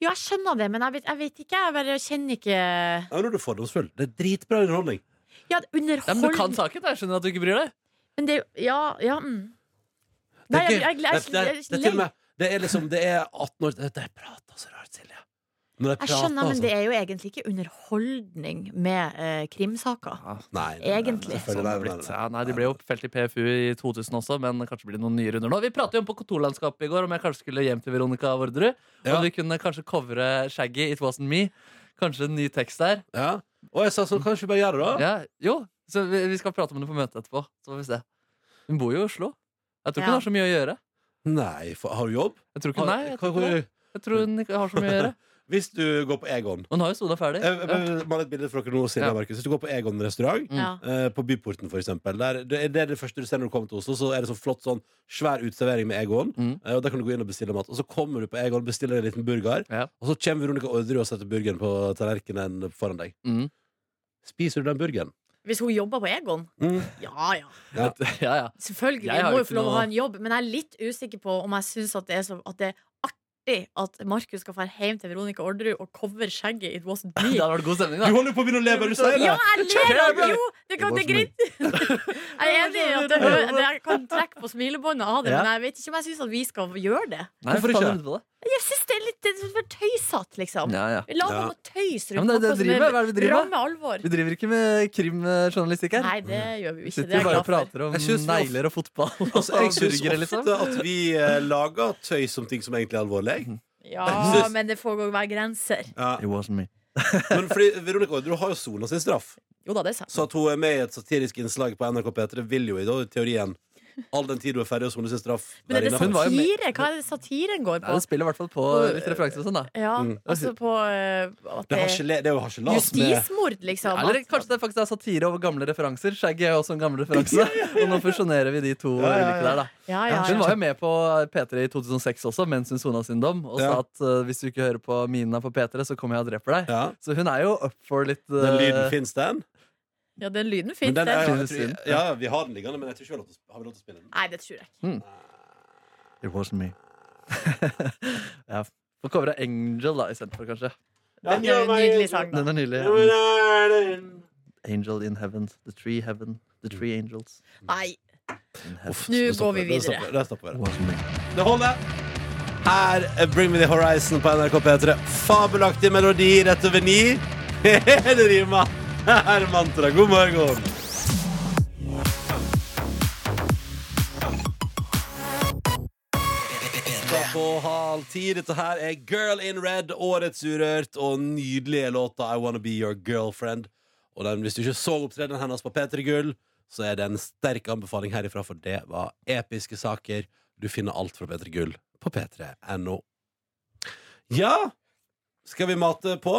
Speaker 2: Jo, jeg skjønner det, men jeg vet, jeg vet ikke. Jeg bare kjenner ikke
Speaker 3: Ja, nå er du fordomsfull. Det er dritbra underholdning.
Speaker 2: Ja,
Speaker 4: Ja, men du kan
Speaker 2: underhold
Speaker 4: saken. da. Jeg skjønner at du ikke bryr deg.
Speaker 2: Men det Ja, ja. Mm.
Speaker 3: Det
Speaker 2: Nei,
Speaker 3: er
Speaker 2: jeg,
Speaker 3: gøy.
Speaker 2: jeg,
Speaker 3: Det
Speaker 2: jeg,
Speaker 3: er- det er-
Speaker 2: jeg,
Speaker 3: det er til og med Det er liksom Det er 18 år Det er prata så rart, Silje. Når jeg
Speaker 2: jeg skjønner,
Speaker 3: altså.
Speaker 2: men det er jo egentlig ikke underholdning med eh, krimsaker.
Speaker 3: Nei,
Speaker 2: Egentlig.
Speaker 3: selvfølgelig, nei, nei, nei.
Speaker 4: sånn Ja, nei, De ble jo felt i PFU i 2000 også, men kanskje blir det noen nye runder nå. Vi pratet jo om på kontorlandskapet i går om jeg kanskje skulle hjem til Veronica Vårderud.
Speaker 3: Ja.
Speaker 4: Og vi kunne kanskje covre Shaggy It Wasn't Me. Kanskje en ny tekst der.
Speaker 3: Ja. Og jeg sa sånn, kanskje vi bare gjør det, da?
Speaker 4: Ja, jo, så vi, vi skal prate om det på møtet etterpå. Så får vi se. Hun bor jo i Oslo. Jeg tror ikke
Speaker 2: Ja.
Speaker 4: hun har så mye å gjøre.
Speaker 3: Nei, for, har du jobb?
Speaker 4: Jeg tror ikke,
Speaker 3: Har-
Speaker 4: nei, jeg
Speaker 3: hva-
Speaker 4: tror, ikke det.
Speaker 3: hvor-
Speaker 4: jeg tror hun ikke har så mye å [laughs] gjøre.
Speaker 3: Hvis du går på Egon
Speaker 4: Hun har jo sola ferdig.
Speaker 3: Eh,
Speaker 4: Ja.
Speaker 3: eh, Mal et bilde for dere nå, Silje og
Speaker 4: Ja.
Speaker 3: Markus. Hvis du går på Egon
Speaker 4: Mm.
Speaker 3: restaurant,
Speaker 2: Ja.
Speaker 3: eh, på Byporten for eksempel der, det, er- det er det første du ser når du kommer til Oslo. Så er det sånn flott sånn svær utservering med Egon.
Speaker 4: Mm.
Speaker 3: Eh, og Der kan du gå inn og bestille mat. Og så kommer du på Egon, bestiller en liten burger,
Speaker 4: Ja.
Speaker 3: og så kommer Veronica Orderud og setter burgeren på tallerkenen foran deg.
Speaker 4: Mm.
Speaker 3: Spiser du den burgeren?
Speaker 2: Hvis hun jobber på Egon?
Speaker 3: Mm.
Speaker 2: Ja ja.
Speaker 4: [laughs] ja, ja.
Speaker 2: Selvfølgelig.
Speaker 4: Jeg
Speaker 2: Jeg
Speaker 4: har
Speaker 2: må
Speaker 4: jo
Speaker 2: jo
Speaker 4: ikke
Speaker 2: få lov å
Speaker 4: noe-
Speaker 2: ha en jobb, men jeg er litt usikker på om jeg syns at, det er så- at det er artig at Markus skal dra hjem til Veronica Orderud og cover skjegget i It Wasn't
Speaker 4: Det
Speaker 2: Me.
Speaker 4: hadde vært god stemning,
Speaker 3: Du
Speaker 4: [laughs] da.
Speaker 3: holder jo på å begynne å le bare du sier
Speaker 2: Ja,
Speaker 3: det!
Speaker 2: jeg ler av det! Jo, det, kan, det er
Speaker 3: It
Speaker 2: greit. [laughs] Jeg er enig i at det, det, jeg kan trekke på smilebåndet av det,
Speaker 4: Ja.
Speaker 2: men jeg vet ikke om jeg syns at vi skal gjøre det.
Speaker 4: Nei,
Speaker 3: Hvorfor
Speaker 4: faen,
Speaker 3: ikke?
Speaker 4: jeg lurer på det.
Speaker 2: Jeg syns det er litt det er for tøysete, liksom.
Speaker 4: Ja, ja.
Speaker 2: La
Speaker 3: Ja.
Speaker 2: noe tøys
Speaker 4: Ja,
Speaker 2: rundt
Speaker 4: men det er det vi driver med. Hva er det vi driver med?
Speaker 2: ramme alvor.
Speaker 4: Vi driver ikke med krimjournalistikk her.
Speaker 2: Nei, det gjør vi jo ikke.
Speaker 4: Sitter
Speaker 2: Det er
Speaker 4: vi
Speaker 2: jeg
Speaker 4: bare og
Speaker 2: glad for.
Speaker 4: prater om
Speaker 3: Jeg synes vi of-
Speaker 4: negler og [laughs] fotball
Speaker 3: Altså, jeg
Speaker 4: [laughs] og
Speaker 3: syns
Speaker 4: burgere, liksom.
Speaker 3: ofte at vi eh, lager tøys om ting som egentlig er alvorlig.
Speaker 4: Mm.
Speaker 2: Ja, men det får gå være grenser.
Speaker 3: Ja.
Speaker 4: It wasn't me.
Speaker 3: Men fordi Veronica Orderud har jo sona sin straff.
Speaker 2: Jo da, det er sant.
Speaker 3: Så at hun er med i et satirisk innslag på NRK P3, vil jo i da, i teorien all den tid hun er ferdig og soner sin straff.
Speaker 2: Men er
Speaker 3: være
Speaker 2: det sånn
Speaker 3: innenfor.
Speaker 4: var jo med-
Speaker 2: satire? Hva er det satiren går
Speaker 4: Nei,
Speaker 2: på?
Speaker 4: det spiller i hvert fall på litt referanser og sånn, da.
Speaker 2: Ja,
Speaker 3: Mm.
Speaker 2: altså på eh, at
Speaker 3: det,
Speaker 2: det
Speaker 3: har ikke, le- det er jo harselas med
Speaker 2: Justismord, liksom.
Speaker 4: Eller
Speaker 2: At-
Speaker 4: kanskje det faktisk er satire over gamle referanser. Shaggy er jo også en gammel referanse. Og nå fusjonerer vi de to
Speaker 3: Ja, ja, ja.
Speaker 4: ulike der, da.
Speaker 2: Ja, ja,
Speaker 4: Hun
Speaker 2: ja.
Speaker 4: var jo med på P3 i 2006 også, mens hun sona sin dom, og
Speaker 3: Ja.
Speaker 4: sa at eh, hvis du ikke hører på mina på P3, så kommer jeg og dreper deg.
Speaker 3: ja.
Speaker 4: Så hun er jo up for litt eh,
Speaker 3: Den lyden fins, den.
Speaker 2: ja, den lyden
Speaker 3: Men
Speaker 2: fins,
Speaker 3: den er,
Speaker 2: den.
Speaker 3: jeg tror, ja, vi har den liggende, men jeg tror ikke vi har lov til å sp- har vi lov til å spille den.
Speaker 2: Nei, det tror jeg ikke.
Speaker 4: It wasn't me. [laughs] ja. Får covre Angel, da, istedenfor, kanskje.
Speaker 2: Den er en nydelig sang, da.
Speaker 4: Den er nylig. ja. Angel in heaven. The tree heaven. The three angels.
Speaker 2: Nei.
Speaker 4: In heaven.
Speaker 2: Nå går vi
Speaker 3: Der
Speaker 2: videre.
Speaker 3: stopper- Der stopper
Speaker 4: It
Speaker 3: vi.
Speaker 4: wasn't me.
Speaker 3: Det holder. Her er Bring Me The Horizon på NRK P3. Fabelaktig melodi rett over ni. [laughs] det rimer. Her er mantra. God morgen. Da På halv ti. Dette her er Girl in Red, årets Urørt, og nydelige låta I Wanna Be Your Girlfriend. Og den, hvis du ikke så opptredenen hennes på P3 Gull, så er det en sterk anbefaling herifra, for det var episke saker. Du finner alt fra P3 Gull på p3.no. Ja, skal vi mate på?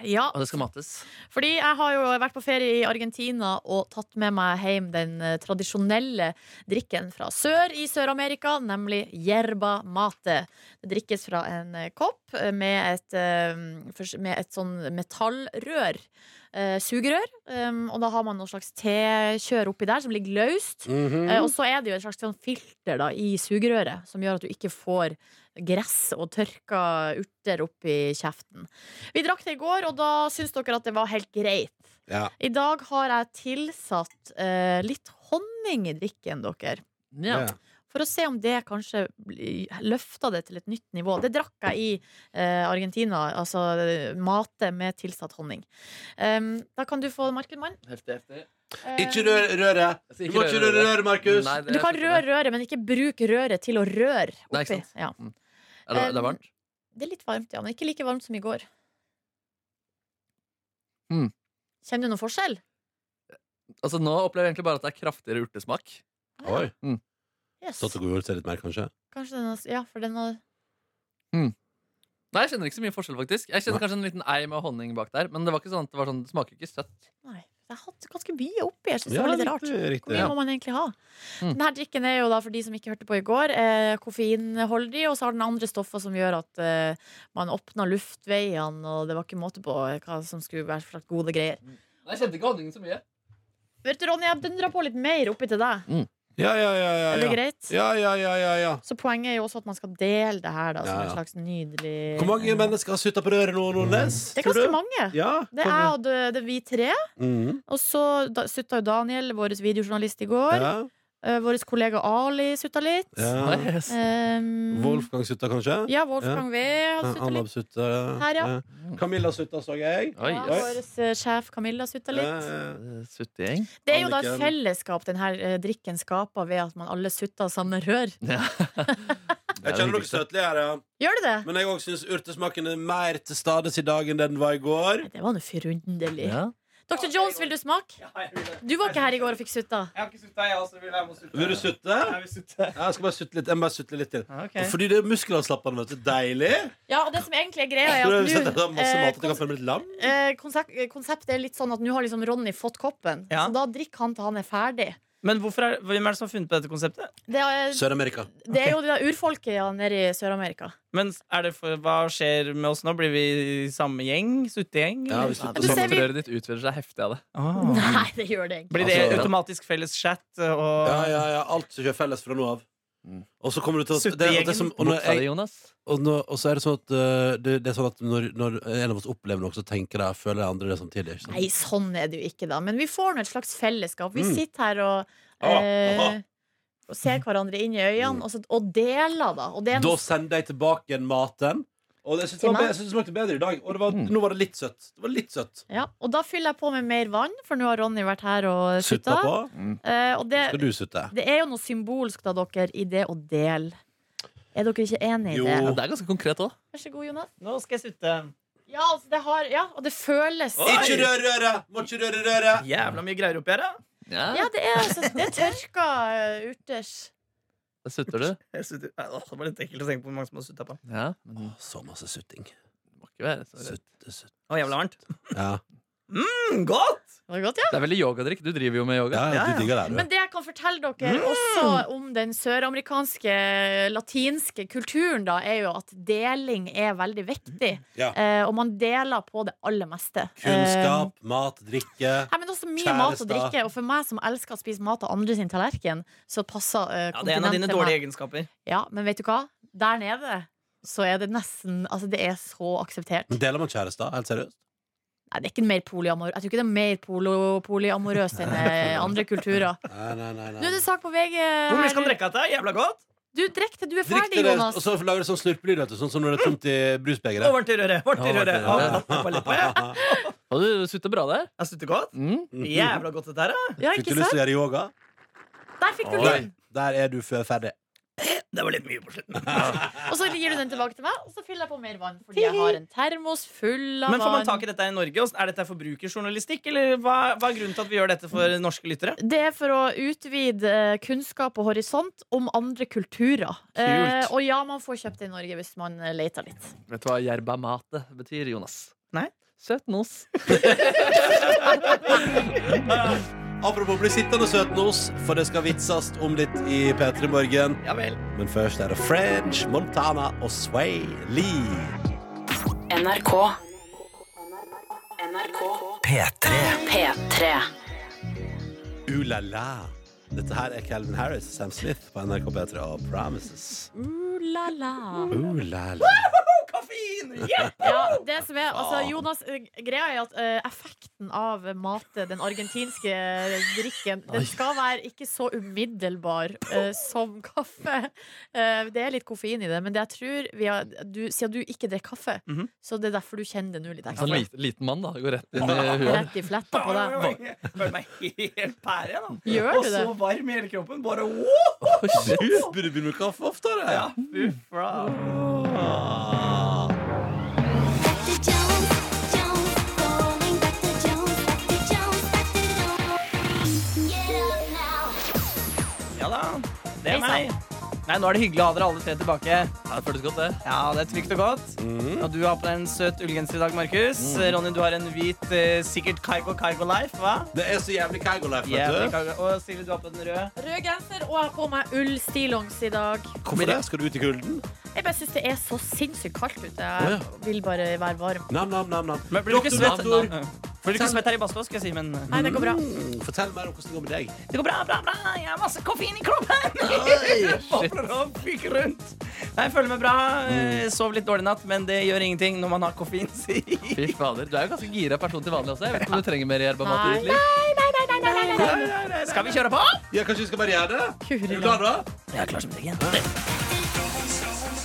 Speaker 2: Ja,
Speaker 4: Og det skal mates.
Speaker 2: Fordi jeg har jo vært på ferie i Argentina og tatt med meg hjem den eh, tradisjonelle drikken fra sør i Sør-Amerika, nemlig yerba mate. Det drikkes fra en eh, kopp eh, med et, eh, først- med et sånn metallrør. eh, sugerør. eh, og da har man noe slags tekjør oppi der som ligger løst.
Speaker 3: Mhm.
Speaker 2: Eh,
Speaker 3: Mm.
Speaker 2: og så er det jo et slags sånn filter da, i sugerøret som gjør at du ikke får gress og tørka urter oppi kjeften. Vi drakk det i går, og da syns dere at det var helt greit.
Speaker 3: Ja.
Speaker 2: I dag har jeg tilsatt eh, litt honning i drikken, dere.
Speaker 4: Ja.
Speaker 2: For å se om det kanskje bli- løfter det til et nytt nivå. Det drakk jeg i eh, Argentina. Altså eh, mate med tilsatt honning. Um, da kan du få Eh, Markedmann.
Speaker 4: Heftig, heftig.
Speaker 3: Ikke rør røret!
Speaker 4: Jeg
Speaker 3: Du
Speaker 4: skal ikke
Speaker 3: må ikke
Speaker 4: røre
Speaker 3: røre
Speaker 4: det.
Speaker 3: røret, Markus!
Speaker 4: Nei, det-
Speaker 2: Du kan
Speaker 4: jeg
Speaker 2: røre
Speaker 4: skjønner det.
Speaker 2: røret, men ikke bruk røret til å røre oppi.
Speaker 4: Nei, ikke sant.
Speaker 2: Ja.
Speaker 4: Er det,
Speaker 2: um,
Speaker 4: det er varmt?
Speaker 2: Det er litt varmt, ja, men ikke like varmt som i går.
Speaker 4: Mm.
Speaker 2: Kjenner du noen forskjell?
Speaker 4: Altså, nå opplever jeg egentlig bare at det er kraftigere urtesmak.
Speaker 3: Oi.
Speaker 2: Yes.
Speaker 3: Stått og godgjort seg litt mer, kanskje?
Speaker 2: Kanskje den har, ja, for den har
Speaker 4: Nei, jeg kjenner ikke så mye forskjell, faktisk. Jeg kjenner kanskje en liten ei med honning bak der, men det var ikke sånn at det var sånn, det smaker ikke søtt.
Speaker 2: Nei, jeg hadde ganske mye oppi. Jeg synes det var litt rart.
Speaker 3: riktig,
Speaker 2: Hvor
Speaker 3: riktig.
Speaker 2: mye må man egentlig ha?
Speaker 4: Mm.
Speaker 2: Denne drikken er jo da, for de som ikke hørte på i går, eh, koffeinholdig, og så har den andre stoffer som gjør at eh, man åpner luftveiene, og det var ikke måte på hva som skulle være for slags gode greier.
Speaker 4: Nei, jeg kjente ikke honningen så mye.
Speaker 2: Vet du, Ronny, jeg dundra på litt mer oppi til deg.
Speaker 3: Ja, ja, ja. ja,
Speaker 2: Er det
Speaker 3: ja.
Speaker 2: greit?
Speaker 3: Ja, ja, ja, ja, ja.
Speaker 2: Så poenget er jo også at man skal dele det her da, som
Speaker 3: Ja,
Speaker 2: en
Speaker 3: ja.
Speaker 2: slags nydelig
Speaker 3: Hvor mange mennesker har sutta på røret nå, Nordnes?
Speaker 2: Det er
Speaker 3: tror du?
Speaker 2: ganske mange.
Speaker 3: Ja.
Speaker 2: Det er jeg og det, det er vi tre.
Speaker 3: Mhm.
Speaker 2: Og så da- sutta jo Daniel, vår videojournalist, i går.
Speaker 3: ja.
Speaker 2: Eh, vår kollega Ali sutta litt.
Speaker 3: ja.
Speaker 4: Nice.
Speaker 2: Um,
Speaker 3: Wolfgang sutta, kanskje?
Speaker 2: Ja, Wolfgang V har sutta
Speaker 3: Anna
Speaker 2: litt.
Speaker 3: sutta.
Speaker 2: Her, ja.
Speaker 3: Camilla sutta, så jeg. Eh,
Speaker 4: Oi, Eh,
Speaker 2: Ja,
Speaker 3: Oi.
Speaker 2: vår eh, sjef Camilla sutta litt.
Speaker 3: Ja, ja.
Speaker 4: Suttegjeng. [laughs]
Speaker 2: Det er jo da et
Speaker 3: Anniken.
Speaker 2: fellesskap den her eh, drikken skaper ved at man alle sutter av samme rør.
Speaker 3: Jeg kjenner noe søtlig her, ja.
Speaker 2: Gjør det det?
Speaker 3: Men jeg òg syns urtesmaken er mer til stades i dag enn den var i går.
Speaker 2: Nei, det var nå forunderlig.
Speaker 4: Ja.
Speaker 2: Dr. Jones, vil du smake?
Speaker 5: Ja, jeg vil det.
Speaker 2: Du var ikke her i går og fikk sutta.
Speaker 5: Jeg har ikke sutta, jeg også. Vil jeg må sutte.
Speaker 3: Vil du sutte?
Speaker 5: Jeg vil sutte.
Speaker 3: Ja, Jeg skal bare sutte litt. Jeg må bare sutte litt til.
Speaker 5: Ah, Ok.
Speaker 3: Fordi det er muskelavslappende, vet du. Deilig.
Speaker 2: Ja, og det som egentlig er greia,
Speaker 3: Jeg
Speaker 2: er
Speaker 3: tror jeg
Speaker 2: at
Speaker 3: vil sette av
Speaker 2: nå
Speaker 3: masse
Speaker 2: eh,
Speaker 3: mat at jeg kan føle meg litt lam.
Speaker 2: eh, konsep- eh, Konseptet er litt sånn at nå har liksom Ronny fått koppen,
Speaker 5: Ja.
Speaker 2: så da drikker han til han er ferdig.
Speaker 5: Men hvorfor er, hvem er det som har funnet på dette konseptet?
Speaker 2: Det er,
Speaker 3: Sør-Amerika.
Speaker 2: det er jo det der urfolket ja, nede i Sør-Amerika.
Speaker 5: Men er det for, hva skjer med oss nå? Blir vi samme gjeng? Suttegjeng?
Speaker 3: Ja, vi
Speaker 4: Ja,
Speaker 3: sutter
Speaker 2: du ser vi-
Speaker 4: Sammenrøret sånn ditt utvider seg heftig av det.
Speaker 5: Ah.
Speaker 2: Nei, det gjør det egentlig.
Speaker 5: Blir det
Speaker 3: Altså-
Speaker 5: automatisk felles chat? Og
Speaker 3: Ja, ja, ja. Alt som kjører felles fra nå av.
Speaker 4: Mm.
Speaker 3: Og så kommer du til å det,
Speaker 5: Suttegjengen.
Speaker 3: det som, og, når
Speaker 4: Buksa di,
Speaker 3: jeg,
Speaker 4: Jonas.
Speaker 3: og, nå, og så er det sånn at eh, det, det er sånn at når, når en av oss opplever noe, så tenker jeg føler jeg andre det samtidig. Ikke sant?
Speaker 2: Nei, sånn er det jo ikke, da. Men vi får nå et slags fellesskap. Vi
Speaker 3: Mm.
Speaker 2: sitter her og,
Speaker 3: Ah,
Speaker 2: eh,
Speaker 3: aha.
Speaker 2: og ser hverandre inn i øynene og, så, og deler, da. Og det er
Speaker 3: Da
Speaker 2: noe,
Speaker 3: sender jeg tilbake igjen maten. Og jeg syns det, var
Speaker 2: Til meg?
Speaker 3: be- jeg synes det smakte bedre i dag. Og det var,
Speaker 4: Mm.
Speaker 3: nå var det litt søtt. Det var litt søtt.
Speaker 2: ja, og da fyller jeg på med mer vann, for nå har Ronny vært her og
Speaker 3: Sutta
Speaker 2: sutta.
Speaker 3: på.
Speaker 2: Eh, og det,
Speaker 3: Skal du sutte?
Speaker 2: det er jo noe symbolsk, da, dere, i det å dele. Er dere ikke enig i
Speaker 3: Jo.
Speaker 2: det?
Speaker 4: Ja, det er ganske konkret òg.
Speaker 2: Vær så god, Jonas.
Speaker 5: Nå skal jeg sutte.
Speaker 2: Ja, altså, det har Ja, og det føles
Speaker 3: Ikke rør røret! Må ikke røre røret!
Speaker 5: Jævla mye greier oppi her, da.
Speaker 2: Ja, det er, altså, det er tørka eh, urters.
Speaker 4: Da sutter du.
Speaker 5: Jeg sutter. Nei, åh, Det var litt ekkelt å tenke på hvor mange som har sutta på.
Speaker 4: Ja, men
Speaker 3: Å, Så masse sutting.
Speaker 4: det må ikke være så redd.
Speaker 3: Sutte, sutte.
Speaker 5: Å, jævla varmt.
Speaker 3: Ja.
Speaker 5: Mm, godt!
Speaker 2: Det var godt, ja.
Speaker 4: Det er veldig yogadrikk. Du driver jo med yoga.
Speaker 3: Ja, ja,
Speaker 5: Ja, ja.
Speaker 3: du digger det,
Speaker 2: Men
Speaker 3: du.
Speaker 2: det jeg kan fortelle dere
Speaker 3: Mm.
Speaker 2: også om den søramerikanske, latinske kulturen, da, er jo at deling er veldig viktig.
Speaker 3: Mm. Ja.
Speaker 2: Eh, og man deler på det aller meste.
Speaker 3: Kunnskap, mat, drikke.
Speaker 2: Eh, Nei, men også mye mat og
Speaker 3: Kjærester.
Speaker 2: drikke, og for meg som elsker å spise mat av andre sin tallerken, så passer eh,
Speaker 5: Ja, det er en av
Speaker 2: kontinent
Speaker 5: dine
Speaker 2: til
Speaker 5: dårlige
Speaker 2: meg.
Speaker 5: egenskaper.
Speaker 2: Ja, men vet du hva? Der nede så er det nesten Altså, det er så akseptert.
Speaker 3: Men Deler man kjærester? Helt seriøst?
Speaker 2: Nei, det er ikke mer polyamor Jeg tror ikke det er mer polo, polyamorøst enn eh, andre kulturer.
Speaker 3: Nei, nei, nei,
Speaker 2: Nå er det sak på VG.
Speaker 5: Hvor mye skal
Speaker 2: her.
Speaker 5: man drikke av dette? Jævla godt!
Speaker 2: Du, drikk til du er
Speaker 3: Drikk
Speaker 2: ferdig,
Speaker 3: til det,
Speaker 2: Jonas.
Speaker 3: og så lager det sånn slurpelyd, vet du. Sånn som når det er tomt i
Speaker 5: Og
Speaker 3: brusbegeret.
Speaker 5: varmt i røret. Varmt i
Speaker 4: Å, varmt i
Speaker 5: røret.
Speaker 4: røret.
Speaker 5: Å, tapp på leppa, jeg.
Speaker 4: Og du sutter bra der.
Speaker 5: Jeg sutter godt.
Speaker 4: Mm.
Speaker 5: Jævla godt, dette her. da.
Speaker 2: Ja,
Speaker 3: Fikk
Speaker 2: ikke
Speaker 3: du lyst
Speaker 2: sant?
Speaker 3: til å gjøre yoga?
Speaker 2: Der fikk du
Speaker 3: Nei,
Speaker 2: den.
Speaker 3: der er du før ferdig.
Speaker 5: Det var litt mye på slutten.
Speaker 2: Og så gir du den tilbake til meg, og så fyller jeg på mer vann. Fordi jeg har en termos full av
Speaker 5: Men får man tak
Speaker 2: vann.
Speaker 5: i dette i Norge? Åssen- Er dette forbrukerjournalistikk, eller hva, hva er grunnen til at vi gjør dette for norske lyttere?
Speaker 2: Det er for å utvide eh, kunnskap og horisont om andre kulturer. Eh, og ja, man får kjøpt det i Norge hvis man eh, leter litt.
Speaker 4: Vet du hva yerba mate betyr, Jonas?
Speaker 5: Nei.
Speaker 4: Søt nos.
Speaker 3: Apropos bli sittende søt nos, for det skal vitses om litt i P3 Morgen.
Speaker 5: Ja vel.
Speaker 3: Men først er det French, Montana og Sway Lee.
Speaker 11: NRK. NRK.
Speaker 1: P3.
Speaker 11: P3.
Speaker 3: Uh-la-la. Dette her er Calvin Harris og Sam Smith på NRK P3 og Promises.
Speaker 2: Uh, la, la.
Speaker 3: Uh-la-la.
Speaker 5: Koffein! Yeah!
Speaker 2: Ja, det som er, altså, Jonas, eh, greia er at eh, effekten av mate, den argentinske eh, drikken, den skal være ikke så umiddelbar eh, som [laughs] kaffe. Eh, det er litt koffein i det, men det jeg tror vi har, du, siden du ikke drikker kaffe,
Speaker 5: Mhm.
Speaker 2: så det er derfor du kjenner det nå litt
Speaker 4: Sånn
Speaker 2: ekstra.
Speaker 4: liten, liten mann, da. Går rett inn i huet.
Speaker 2: Rett i fletta på deg.
Speaker 5: Føler meg helt pære, jeg, da.
Speaker 2: Gjør
Speaker 5: Og
Speaker 2: du
Speaker 5: så
Speaker 2: det?
Speaker 5: varm i hele kroppen. Bare wow!
Speaker 4: Oi, shit.
Speaker 3: Du burde begynne med kaffe oftere.
Speaker 5: Ja, fy fra.
Speaker 3: Ah.
Speaker 5: Ja da. Det er
Speaker 2: Hei,
Speaker 5: meg. Nei, Nå er det hyggelig å ha dere alle tre tilbake.
Speaker 4: Ja, det føltes godt, det.
Speaker 5: Ja, Det er trygt og godt. Og du har på deg en søt ullgenser i dag, Markus. Ronny, du har en hvit, eh, sikkert Kaigo Kaigo Life, hva?
Speaker 3: Det er så jævlig Keigo Life,
Speaker 5: Jævlig
Speaker 3: vet du.
Speaker 5: Kaigo. Og Silje, du har på den røde.
Speaker 2: Rød genser, og jeg har på meg ullstillongs i dag.
Speaker 3: Hvorfor det? Skal du ut i kulden?
Speaker 2: Jeg bare syns det er så sinnssykt kaldt ute.
Speaker 3: Å,
Speaker 2: Jeg vil bare være varm.
Speaker 3: Nam, nam, nam, nam.
Speaker 5: Men blir du ikke
Speaker 3: Doktor,
Speaker 5: svett?
Speaker 3: doktor.
Speaker 5: Nei. Blir du ikke svett her i badstua, skal jeg si, men
Speaker 2: Nei, det går bra.
Speaker 3: Fortell mer om hvordan det går med deg.
Speaker 5: Det går bra, bra, bra. Jeg har masse koffein i [laughs] kroppen. Bobler opp, fyker rundt. Nei, jeg føler meg bra. Eh, Sov litt dårlig i natt, men det gjør ingenting når man har koffein. [laughs] Si.
Speaker 4: Fy fader, Du er jo ganske gira person til vanlig også. Jeg vet ikke om du trenger mer yerba mate i ditt
Speaker 2: Nei,
Speaker 4: liv.
Speaker 5: Skal vi kjøre på?
Speaker 3: Ja, kanskje vi skal bare gjøre det? Er du
Speaker 2: Kuri.
Speaker 3: klar, da?
Speaker 5: Jeg er klar som deg igjen.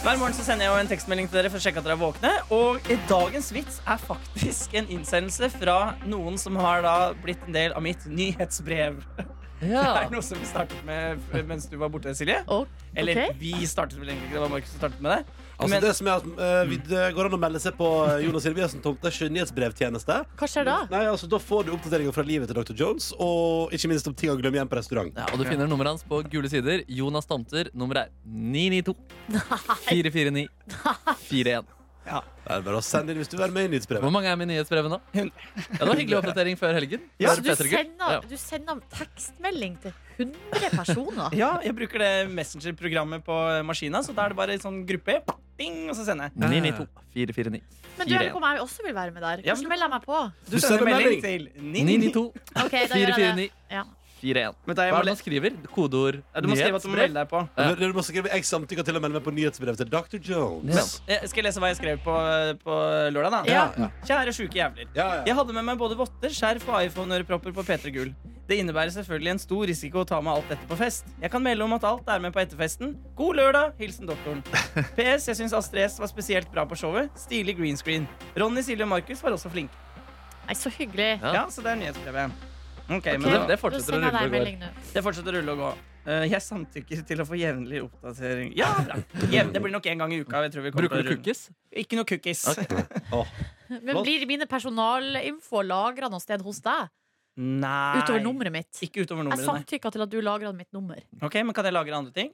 Speaker 5: Hver morgen så sender jeg jo en tekstmelding til dere for å sjekke at dere er våkne. Og i dagens vits er faktisk en innsendelse fra noen som har da blitt en del av mitt nyhetsbrev. [laughs] Det
Speaker 4: Ja.
Speaker 5: er noe som vi startet med f- mens du var borte, Silje.
Speaker 2: Å,
Speaker 5: Eller
Speaker 2: ok.
Speaker 5: vi startet vel egentlig ikke, det var Markus som startet med det.
Speaker 3: Altså,
Speaker 5: Men-
Speaker 3: det som er at eh,
Speaker 4: Mm.
Speaker 3: vi, Det går an å melde seg på eh, Jonas Silviassen Tomtes nyhetsbrevtjeneste.
Speaker 2: Hva skjer da?
Speaker 3: Nei, altså, da får du oppdateringer fra livet til Dr. Jones, og ikke minst om ting han glemmer igjen på restaurant.
Speaker 4: Ja, og Du finner nummeret hans på gule sider. Jonas Tomter. Nummeret er 992 449 41.
Speaker 3: Det er bare å sende inn hvis du vil være med i nyhetsbrevet.
Speaker 4: Hvor mange er med i nyhetsbrevet nå?
Speaker 5: Hundre.
Speaker 4: Ja, det var hyggelig oppdatering før helgen.
Speaker 2: Så
Speaker 4: Bare
Speaker 5: Ja,
Speaker 2: altså, du
Speaker 4: Petter Gull. Ja.
Speaker 2: sender, du sender tekstmelding til 100
Speaker 4: [laughs]
Speaker 2: personer?
Speaker 5: Ja, jeg bruker det Messenger-programmet på maskina, så da er det bare sånn gruppe. Bing, og så sender jeg.
Speaker 4: 992 449
Speaker 2: Men du, jeg lurer på om jeg også vil være med der.
Speaker 5: Ja,
Speaker 2: Hvordan melder jeg meg på?
Speaker 5: Du sender melding til 992.
Speaker 4: 992
Speaker 2: Ok, da gjør jeg det.
Speaker 4: 449
Speaker 2: Ja.
Speaker 4: 41.
Speaker 5: Men da
Speaker 4: Hva
Speaker 5: jeg må
Speaker 4: er det man skriver? Kodeord
Speaker 5: Ja, Du må skrive at du må melde deg på.
Speaker 3: Men Du må skrive jeg samtykker til å melde meg på nyhetsbrev til Dr. Jones.
Speaker 4: Ja.
Speaker 5: Jeg Eh, skal jeg lese hva jeg skrev på, på lørdag, da?
Speaker 2: Ja.
Speaker 5: Kjære sjuke jævler.
Speaker 3: Ja, ja.
Speaker 5: Jeg hadde med meg både votter, skjerf og iPhone-ørepropper på P3 Gull. Det innebærer selvfølgelig en stor risiko å ta med alt dette på fest. Jeg kan melde om at alt er med på etterfesten. God lørdag! Hilsen doktoren. PS. Jeg syns Astrid S var spesielt bra på showet. Stilig green screen. Ronny, Silje og Markus var også flinke.
Speaker 2: Nei, så hyggelig.
Speaker 4: Ja.
Speaker 5: Ja, så det er nyhetsbrevet. Ok, men
Speaker 4: Men det,
Speaker 5: da-
Speaker 4: det
Speaker 2: Da
Speaker 4: fortsetter å
Speaker 2: sender jeg deg
Speaker 4: rulle og
Speaker 2: en
Speaker 4: går.
Speaker 2: melding nå.
Speaker 5: Det fortsetter å rulle og gå. Eh, jeg samtykker til å få jevnlig oppdatering. Ja, bra. Jevn- det blir nok en gang i uka. Jeg tror vi kommer
Speaker 4: Bruker
Speaker 5: til
Speaker 4: du
Speaker 5: å rulle.
Speaker 4: cookies?
Speaker 5: Ikke noe cookies.
Speaker 3: Åh.
Speaker 2: Men blir mine personalinfo lagra noe sted hos deg?
Speaker 5: Nei.
Speaker 2: Utover nummeret Altså. mitt?
Speaker 5: Ikke utover
Speaker 2: Jeg
Speaker 5: nummeret, nei.
Speaker 2: samtykker til at du lagrer mitt nummer.
Speaker 5: Ok, Men kan jeg lagre andre ting?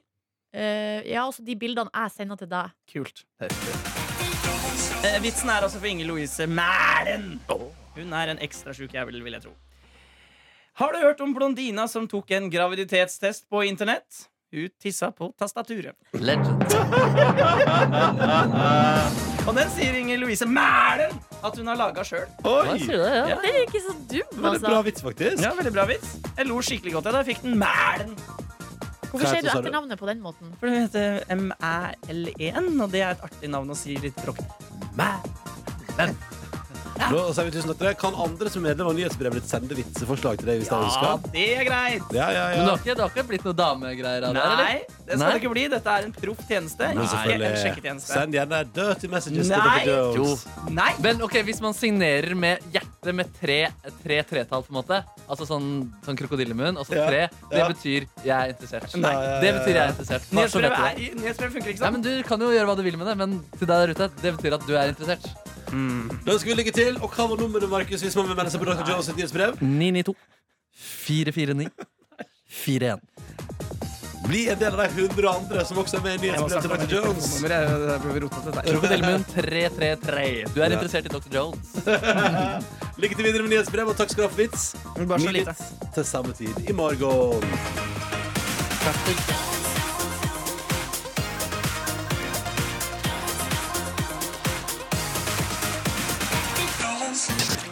Speaker 2: Eh, ja, også de bildene jeg sender til deg.
Speaker 5: Kult. Eh, vitsen er altså for Inger Louise Mælen. Hun er en ekstra sjuk jævel, vil jeg tro. Har du hørt om blondina som tok en graviditetstest på internett? Hun tissa på tastaturet.
Speaker 4: Legend.
Speaker 5: Og den sier Inger Louise Mælen at hun har laga sjøl.
Speaker 4: Hva
Speaker 3: Oi!
Speaker 4: sier du det? Ja.
Speaker 2: Den er ikke så dum,
Speaker 3: Veldig bra
Speaker 2: altså.
Speaker 3: vits, faktisk.
Speaker 5: Ja, veldig bra vits. Jeg lo skikkelig godt jeg, da jeg fikk den Mælen.
Speaker 2: Hvorfor
Speaker 3: Hva
Speaker 2: sier
Speaker 3: heter
Speaker 2: du
Speaker 3: det, sa du?
Speaker 2: etternavnet på den måten?
Speaker 5: For det heter M-æ-l-e-n, og det er et artig navn å si litt bråkete.
Speaker 3: Da sier vi tusen takk til deg. Kan andre som medlem av nyhetsbrevet ditt sende vitseforslag til deg? hvis de ønsker?
Speaker 5: det er greit.
Speaker 3: Ja, ja,
Speaker 4: Men det
Speaker 3: ja.
Speaker 4: har ikke, det har ikke blitt noe damegreier av det? eller?
Speaker 5: Nei, det skal
Speaker 4: Nei.
Speaker 5: det ikke bli. Dette er en proff tjeneste,
Speaker 3: Men
Speaker 5: ikke en
Speaker 3: selvfølgelig,
Speaker 5: sjekketjeneste.
Speaker 3: Send gjerne dirty messages
Speaker 5: Nei.
Speaker 3: til Dr.
Speaker 4: Jo.
Speaker 3: Jones.
Speaker 5: Nei!
Speaker 4: Men ok, hvis man signerer med hjertet med tre tre tretall, på en måte Altså sånn, sånn krokodillemunn, og så
Speaker 3: Ja,
Speaker 4: tre. Det
Speaker 3: ja.
Speaker 4: betyr 'jeg er interessert'.
Speaker 5: Nei.
Speaker 4: Det betyr 'jeg er interessert'. Bare så vet
Speaker 5: Nyhetsbrevet,
Speaker 4: du det.
Speaker 5: er, i- nyhetsbrevet funker ikke
Speaker 4: Nei, men
Speaker 5: sånn.
Speaker 4: Du kan jo gjøre hva du vil med det, men til deg der ute, det betyr at du er interessert.
Speaker 3: Da ønsker vi lykke til. Og hva var nummeret, Markus, hvis man vil melde seg på Dr. Jones sitt nyhetsbrev?
Speaker 4: 992 449 41.
Speaker 3: Bli en del av de hundre andre som også er med i
Speaker 5: Jeg må
Speaker 3: nyhetsbrevet til
Speaker 5: snakke om
Speaker 3: Dr. Jones.
Speaker 5: telefonnummeret, jeg- jeg prøver å rote dette her.
Speaker 4: Krokodillemunn 333. Du er interessert i Dr. Jones.
Speaker 3: Lykke til videre med nyhetsbrev, og takk skal du ha for vits.
Speaker 5: Bare så
Speaker 3: Ny
Speaker 5: lite.
Speaker 3: vits til samme tid i morgen.